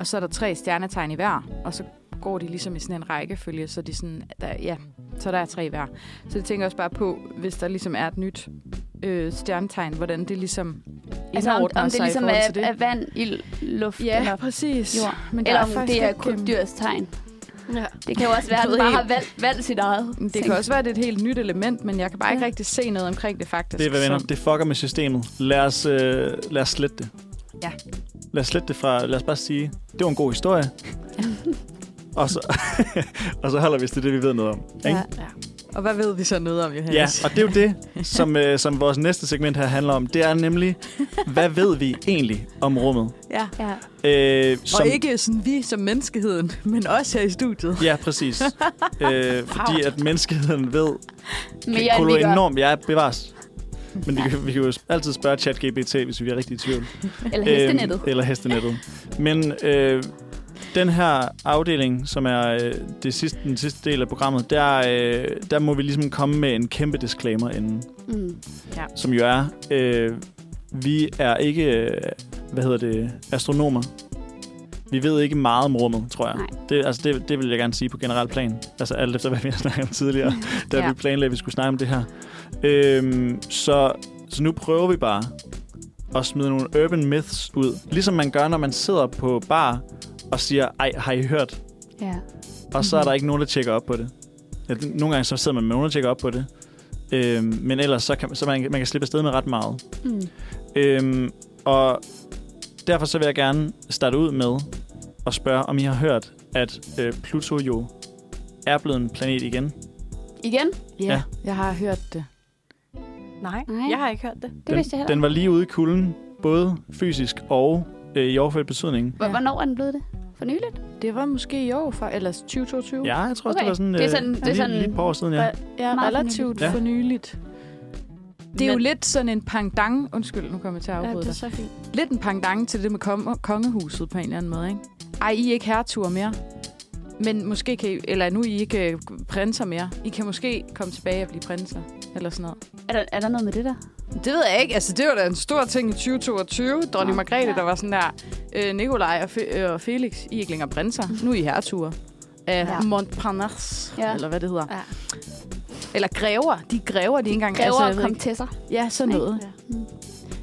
Og så er der tre stjernetegn i hver, og så går de ligesom i sådan en rækkefølge, så de sådan, der, ja, så der er tre i hver. Så jeg tænker også bare på, hvis der ligesom er et nyt øh, stjernetegn, hvordan det ligesom
Altså om,
indordner
om det
sig i
ligesom
forhold
er,
til det.
er vand, ild, luft
Ja,
eller
præcis.
jord.
Men der
Eller om
faktisk
det er
ikke, øhm,
krybdyrs tegn.
Ja.
Det kan jo også være, at
ved
den bare
ikke.
har valgt, valgt sit eget.
Det
Tænk.
kan også være, at det er et helt nyt element, men jeg kan bare ikke
Ja.
rigtig se noget omkring det faktisk.
Det er, hvad venner,
Så-
det fucker med systemet. Lad os, øh, lad os slette det.
Ja.
Lad os slette det fra, lad os bare sige, det var en god historie. og, så, og så holder vi os til det, vi ved noget om. Ikke?
Ja. Og hvad ved vi så noget om, Johannes?
Ja, og det er jo det, som, øh, som vores næste segment her handler om. Det er nemlig, hvad ved vi egentlig om rummet?
ja.
Ja.
Øh,
Som... Og ikke sådan vi som menneskeheden, men også her i studiet.
Ja, præcis. øh, fordi at menneskeheden ved
Mere end vi gør.
enormt. Ja, bevares. Men vi, kan- vi kan jo altid spørge ChatGPT, hvis vi er rigtig i tvivl.
Eller hestenettet.
Øhm, eller hestenettet. Men øh, den her afdeling, som er øh, det sidste, den sidste del af programmet, der, øh, der må vi ligesom komme med en kæmpe disclaimer inden.
Mm.
som jo er, øh, vi er ikke, øh, hvad hedder det, astronomer. Vi ved ikke meget om rummet, tror jeg.
Nej.
Det, altså det, det vil jeg gerne sige på generelt plan. Altså alt efter, hvad vi har snakket om tidligere, da
Ja.
vi planlagde, at vi skulle snakke om det her. Øhm, så, så nu prøver vi bare at smide nogle urban myths ud. Ligesom man gør, når man sidder på bar og siger, ej, har I hørt?
Ja.
Og så er der ikke nogen, der tjekker op på det. Ja, det- nogle gange så sidder man med nogen, der tjekker op på det. Øhm, men ellers så kan så man, man kan slippe afsted med ret meget.
Mm.
Øhm, og derfor så vil jeg gerne starte ud med at spørge, om I har hørt, at øh, Pluto jo er blevet en planet igen.
Igen?
Ja.
Jeg har hørt det.
Nej,
Nej.
jeg har ikke hørt det.
Det
den,
vidste jeg heller
den var lige ude i kulden, både fysisk og øh, i overført betydning.
ikke. Hvor- Hvornår er den blevet det? For nyligt?
Det var måske i år, for, eller 2022.
Ja, jeg tror også,
Okay.
det var sådan, øh,
Det er sådan- det er
lige,
sådan-
lige et par år siden, ja.
Re- ja
Meget
relativt
for nyligt.
for nyligt. Det er jo
Men-
lidt sådan en pangdang. Undskyld, nu kommer jeg til at
Ja,
afbryde
det er
dig.
så fint.
Lidt en pangdang til det med kom- kongehuset på en eller anden måde, ikke? Ej, I er ikke hertuger mere. Men måske kan I, eller nu er I ikke øh, prinser mere. I kan måske komme tilbage og blive prinser, eller sådan noget.
Er der, er der noget med det der?
Det ved jeg ikke. Altså, det var da en stor ting i 2022. Dronning
Nå.
Margrethe,
Ja.
der var sådan der, øh, Nikolaj og, Fe- øh, og Felix, I er ikke længere prinser. Nu er I hertuger. Af
Ja.
ja. Montparnasse,
Ja.
ja. eller hvad det hedder.
Ja.
Eller grever. De er grever, de er ikke engang.
Græver
jeg
altså,
ved
og kom
ikke.
til sig.
Ja, sådan
Nej.
noget. Mm.
Ja.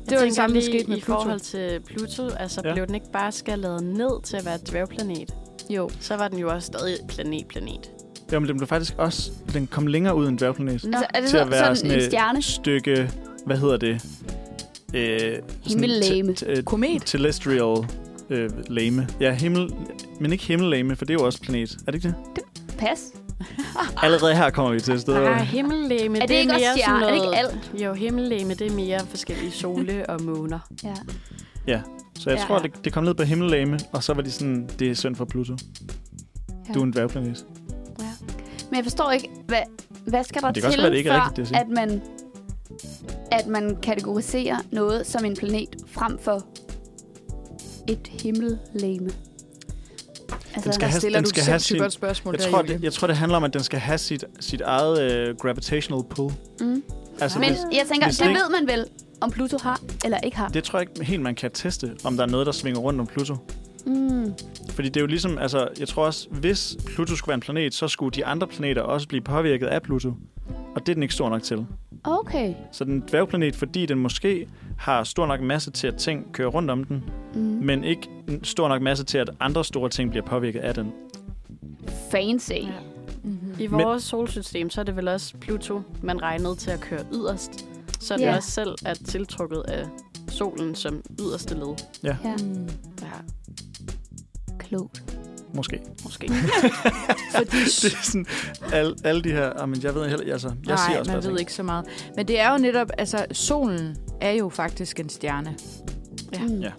Det var det samme, der skete med
i
Pluto.
forhold til Pluto. Altså,
Ja.
ja. blev den ikke bare skaleret ned til at være et dværgplanet?
Jo.
Så var den jo også stadig planet-planet.
Jo, men den blev faktisk også... Den kom længere ud end dværgplanet.
Altså, er
til
det så,
at være
sådan,
sådan,
en
et
stjerne?
stykke... Hvad hedder det? Øh,
Himmellame.
te- te-
Komet.
Terrestrial øh, lame. Ja, himmel... Men ikke himmellame, for det er jo også planet. Er det ikke det?
Pas. Ah.
Allerede her kommer vi til et sted.
Ah, himmellegeme,
Er det ikke
er
også
mere sådan
stjerne? Er
noget...
det ikke alt?
Jo, himmellegeme, det er mere forskellige sole og måner.
Ja.
Så jeg
Ja.
tror, det, det kom ned på himmellame, og så var de sådan, det er synd for Pluto.
Ja.
Du er en dværgplanet.
Men jeg forstår ikke, hvad, hvad skal der
Det
til,
kan også være, det ikke er
for,
rigtigt, det jeg siger.
at man at man kategoriserer noget som en planet frem for et himmellegeme. Altså,
Den skal
Der
have-
stiller
den
du
skal
et
have
sindssygt
sin-
godt spørgsmål
Jeg
der,
tror,
Julie.
det, jeg tror, det handler om, at den skal have sit, sit eget øh, gravitational pull.
mm.
Altså,
Men
hvis,
jeg tænker,
hvis
det
ikke-
ved man vel, om Pluto har eller ikke har.
det tror jeg ikke helt, man kan teste, om der er noget, der svinger rundt om Pluto.
Mm.
Fordi det er jo ligesom, altså, jeg tror også, hvis Pluto skulle være en planet, så skulle de andre planeter også blive påvirket af Pluto. Og det er den ikke stor nok til.
Okay.
Så den er en dværgplanet, fordi den måske har stor nok masse til, at ting kører rundt om den,
Mm.
men ikke en stor nok masse til, at andre store ting bliver påvirket af den.
Fancy.
Ja.
Mhm.
I
Men-
vores solsystem, så er det vel også Pluto, man regnede til at køre yderst. Så den
Ja.
også selv er tiltrukket af solen som yderste led.
Ja.
Mm.
Ja.
Klogt.
Måske.
måske.
Fordi
Det er sådan, alle, alle de her, ah, men jeg ved heller, altså, jeg
Nej,
siger også,
man
hvad jeg
ved ikke så meget. Men det er jo netop, altså solen er jo faktisk en stjerne.
Ja.
Mm.
Ja.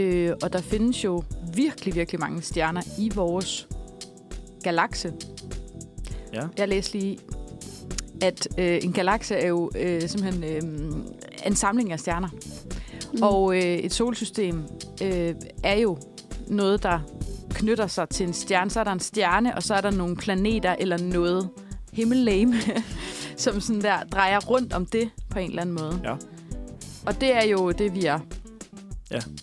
Øh, og der findes jo virkelig, virkelig mange stjerner i vores galakse.
Ja.
Jeg læste lige, at øh, en galakse er jo øh, simpelthen øh, en samling af stjerner. Mm. Og øh, et solsystem øh, er jo noget, der knytter sig til en stjerne. Så er der en stjerne, og så er der nogle planeter eller noget himmellegeme, som sådan der drejer rundt om det på en eller anden måde.
Ja.
Og det er jo det, vi er.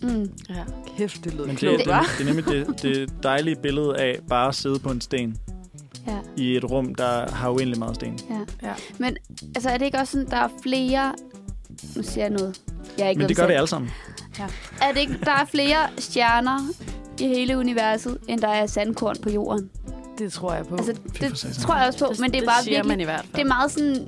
Mm.
Ja.
Kæft, det lyder
Men det,
klogt,
det,
hva'?
det er nemlig det, det dejlige billede af bare at sidde på en sten
Ja.
i et rum, der har uendelig meget sten.
Altså, er det ikke også sådan, der er flere... Nu siger jeg noget. Jeg er ikke
Men det gør det alle sammen.
Er det ikke, der er flere stjerner i hele universet, end der er sandkorn på jorden?
Det tror jeg på.
Altså,
Fy for
det
satan.
tror jeg også på, men det er bare
det siger
virkelig...
man i hvert fald.
Det er meget sådan...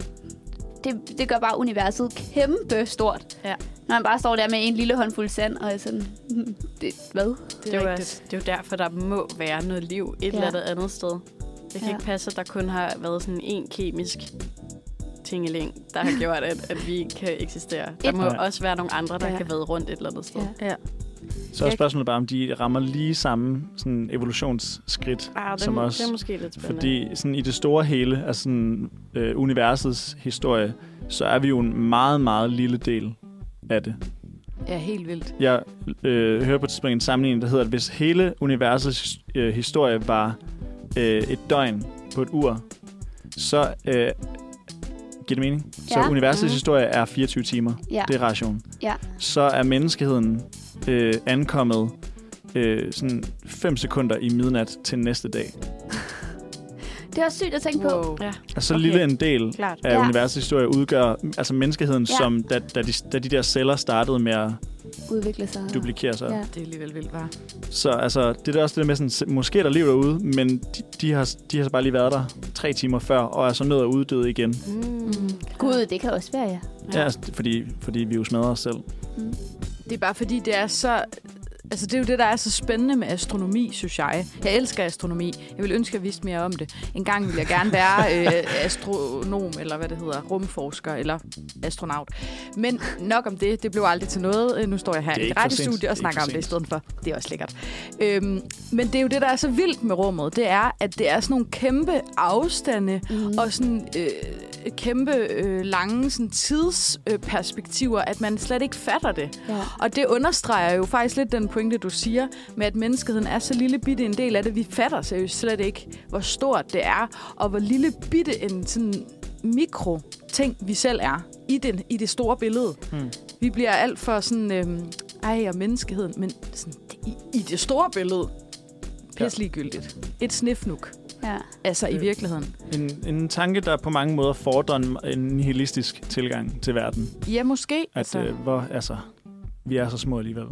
Det, det gør bare universet kæmpe stort.
Ja.
Når man bare står der med en lille håndfuld sand, og er sådan... "Hmm, Det, hvad?
Det er, jo også, det er jo derfor, der må være noget liv et ja. eller andet andet sted. Det kan
Ja.
ja. ikke passe, at der kun har været sådan en kemisk tingeling, der har gjort, at, at vi kan eksistere. Der
Et-
må
Ja.
også være nogle andre, der
Ja.
ja. kan vade rundt et eller andet sted.
Ja.
Ja.
Så er spørgsmålet bare, om de rammer lige samme sådan evolutionsskridt.
Ah, det,
Som
er,
også-
det er måske lidt spændende.
Fordi sådan i det store hele af sådan, øh, universets historie, så er vi jo en meget, meget lille del af det.
Ja, helt vildt.
Jeg øh, hører på et tidspunkt en sammenligning, der hedder, at hvis hele universets his- øh, historie var øh, et døgn på et ur, så øh, giver det mening?
Ja.
Så universets
Mhm.
historie er 24 timer.
Ja.
Det er ration.
Ja.
Så er menneskeheden øh, ankommet øh, sådan 5 sekunder i midnat til næste dag.
Det er også sygt at tænke wow. på.
Wow.
Ja,
Altså okay.
Okay.
lille en del
klart.
af
Ja.
ja. universets historie udgør altså menneskeheden,
Ja.
ja. som da, da, de, da de der celler startede med at
Udvikle sig.
duplikere sig.
Ja.
Ja.
Det er alligevel vildt, var.
Så altså, det er da også det der med, sådan, se- måske er der liv derude, men de, de, har, de har så bare lige været der tre timer før, og er så nødt at uddøde igen.
Mm.
Gud, det kan også være, ja.
Ja. altså, fordi, fordi vi jo smadrer os selv.
Mm.
Det er bare fordi, det er så... Altså, det er jo det, der er så spændende med astronomi, synes jeg. Jeg elsker astronomi. Jeg vil ønske, at jeg vidste mere om det. En gang ville jeg gerne være øh, astronom, eller hvad det hedder, rumforsker, eller astronaut. Men nok om det. Det blev aldrig til noget. Øh, Nu står jeg her
Det er
i et
ikke for sent. Det
radiostudie
er
og
ikke
snakker
for
om det i
sent.
stedet for. Det er også lækkert. Øhm, men det er jo det, der er så vildt med rummet. Det er, at det er sådan nogle kæmpe afstande,
Mm.
og sådan øh, kæmpe øh, lange sådan tidsperspektiver, øh, perspektiver, at man slet ikke fatter det.
Ja.
Og det understreger jo faktisk lidt den pointe, du siger, med at menneskeheden er så lille bitte en del af det. Vi fatter seriøst slet ikke, hvor stort det er, og hvor lille bitte en sådan mikro ting, vi selv er i, den, i det store billede.
Mm.
Vi bliver alt for sådan, øhm, ej og menneskeheden, men sådan, i, i det store billede, pis ligegyldigt. Et snifnuk,
ja.
altså i
Øh.
virkeligheden.
En, en tanke, der på mange måder fordrer en, en nihilistisk tilgang til verden.
Ja, måske.
At altså. øh, hvor, altså, vi er så små alligevel.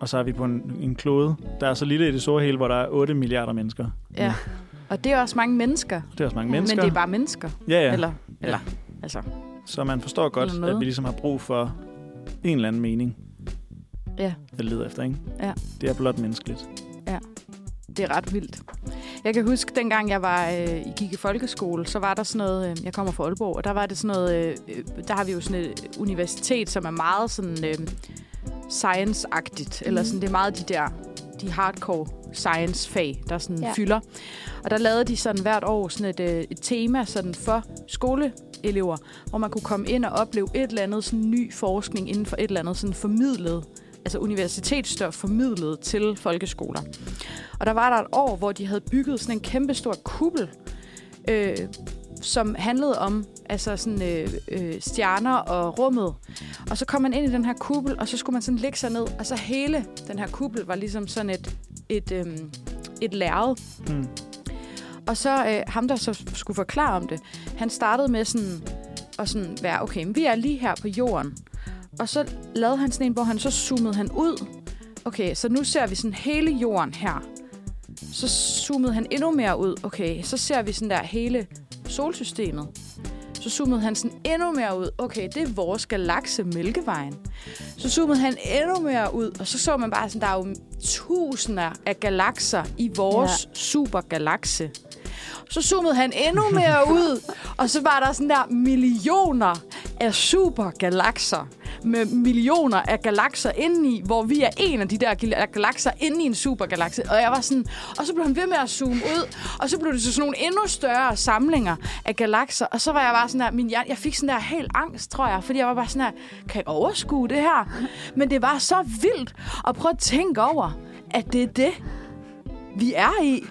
Og så er vi på en, en klode, der er så lille i det store hele, hvor der er 8 milliarder mennesker.
Ja. Og det er også mange mennesker.
Det er også mange mm.
Ja, men
mennesker.
Men det er bare mennesker.
ja, ja.
Ja. Eller, eller, altså,
Så man forstår
Eller
godt,
noget.
at vi ligesom har brug for en eller anden mening
ja,
at lede efter, ikke?
Ja.
Det er blot menneskeligt.
det er ret vildt. Jeg kan huske, dengang jeg var, øh, gik i folkeskole, så var der sådan noget, øh, jeg kommer fra Aalborg, og der var det sådan noget, øh, øh, der har vi jo sådan et universitet, som er meget sådan øh, science-agtigt, eller sådan, det er meget de der, de hardcore science-fag, der sådan
Ja.
ja. fylder. Og der lavede de sådan hvert år sådan et, øh, et tema sådan for skoleelever, hvor man kunne komme ind og opleve et eller andet sådan ny forskning inden for et eller andet sådan formidlet, altså universitetsstof formidlet til folkeskoler. Og der var der et år, hvor de havde bygget sådan en kæmpe stor kuppel, øh, som handlede om altså sådan, øh, øh, stjerner og rummet. Og så kom man ind i den her kuppel, og så skulle man sådan lægge sig ned, og så hele den her kuppel var ligesom sådan et, et, øh, et lærred.
Mm.
Og så øh, ham, der så skulle forklare om det, han startede med sådan at sådan være, okay, men vi er lige her på jorden. Og så lavede han sådan en, hvor han så zoomede han ud. Okay, så nu ser vi sådan hele jorden her. Så zoomede han endnu mere ud. Okay, så ser vi sådan der hele solsystemet. Så Så zoomede han sådan endnu mere ud. Okay, det er vores galakse Mælkevejen. Så zoomede han endnu mere ud, og så så man bare sådan, der er jo tusinder af galakser i vores ja. supergalakse. Så zoomede han endnu mere ud, og så var der sådan der millioner af supergalakser med millioner af galakser indeni, hvor vi er en af de der gal- galakser inde i en supergalakse. Og jeg var sådan, og så blev han ved med at zoome ud, og så blev det til sådan nogle endnu større samlinger af galakser. Og så var jeg bare sådan der, min hjerne, jeg fik sådan der helt angst, tror jeg, fordi jeg var bare sådan der, kan jeg overskue det her? Men det var så vildt at prøve at tænke over, at det er det, vi er i.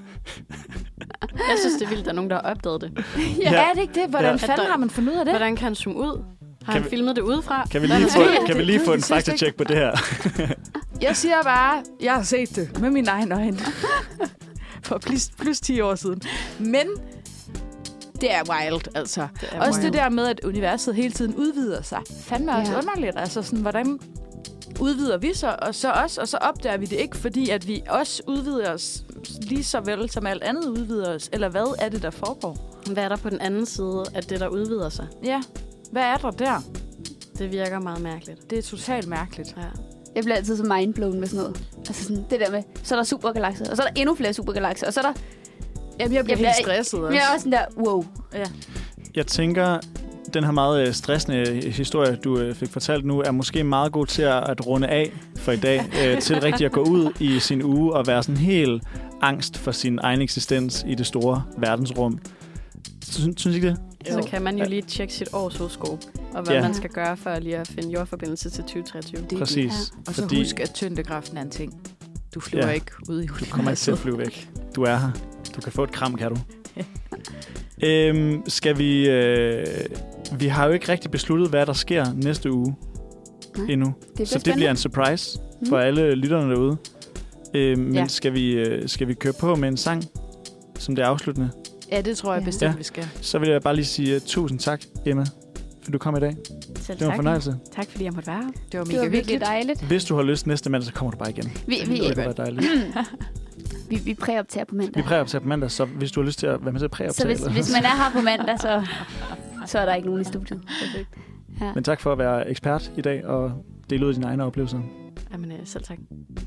Jeg synes, det er vildt, at der er nogen, der har opdaget det.
Ja. Er det ikke det? Hvordan
Ja.
ja. fanden har man fundet ud af det?
Hvordan kan han zoome ud? Har
Kan
kan
vi-
han filmet det udefra?
Kan vi
Hvad
lige
har
få,
han set?
kan vi lige få en
Det er ikke-
faktatjek på det her?
Jeg siger bare, jeg har set det med mine egne øjne. For plus, plus 10 år siden. Men det er wild, altså. Det
er
også
wild.
det der med, at universet hele tiden udvider sig. Fandme også
Ja.
underligt. Altså sådan, hvordan udvider vi så, og så os, og så opdager vi det ikke, fordi at vi også udvider os lige så vel, som alt andet udvider os. Eller hvad er det, der foregår?
Hvad er der på den anden side af det, der udvider sig?
Ja, hvad er der der?
Det virker meget mærkeligt.
Det er totalt mærkeligt.
Ja.
Jeg bliver altid så mindblown med sådan noget. Altså sådan, det der med, så er der supergalakser, og så er der endnu flere supergalakser, og så er der...
Jamen, jeg bliver
Jamen,
helt
jeg-
stresset også.
Men jeg er også sådan der, wow.
Jeg tænker, den her meget øh, stressende historie, du øh, fik fortalt nu, er måske meget god til at, at runde af for i dag, øh, til rigtig at gå ud i sin uge og være sådan helt angst for sin egen eksistens i det store verdensrum. Synes, synes I ikke det?
Så kan man jo lige tjekke sit års horoskop, og hvad
Ja.
ja. man skal gøre for lige at finde jordforbindelse til 2023.
Det er
Præcis.
Og så
Fordi-
Fordi... husk, at tyngdekraften er en ting. Du flyver
Ja.
ja. ikke ud i
Du kommer ikke til at flyve væk. Du er her. Du kan få et kram, kan du. øhm, skal vi... Øh, vi har jo ikke rigtig besluttet, hvad der sker næste uge
Nej.
endnu.
Det er
Så det bliver en surprise
Mm.
for alle lytterne derude. Øh, men
Ja.
skal, vi, øh, skal vi køre på med en sang, som det er afsluttende?
Ja, det tror jeg
Ja.
bestemt,
Ja.
ja. vi skal.
Så vil jeg bare lige sige uh, tusind tak, Emma, for du kom i dag. Det
Selv
var en
tak.
fornøjelse.
Tak fordi jeg måtte være her.
Det var
Det
mega
var virkelig
hyggeligt.
dejligt.
Hvis du har lyst næste mandag, så kommer du bare igen.
Vi, vi,
Det kunne være dejligt.
vi, vi præoptager på mandag.
Vi præoptager på mandag, så hvis du har lyst til at være med til at præoptage.
Så hvis,
eller-
hvis man er her på mandag, så, så er der ikke nogen i studiet. Perfekt.
Men tak for at være ekspert i dag og dele ud af dine egne oplevelser.
Jamen, øh, selv tak.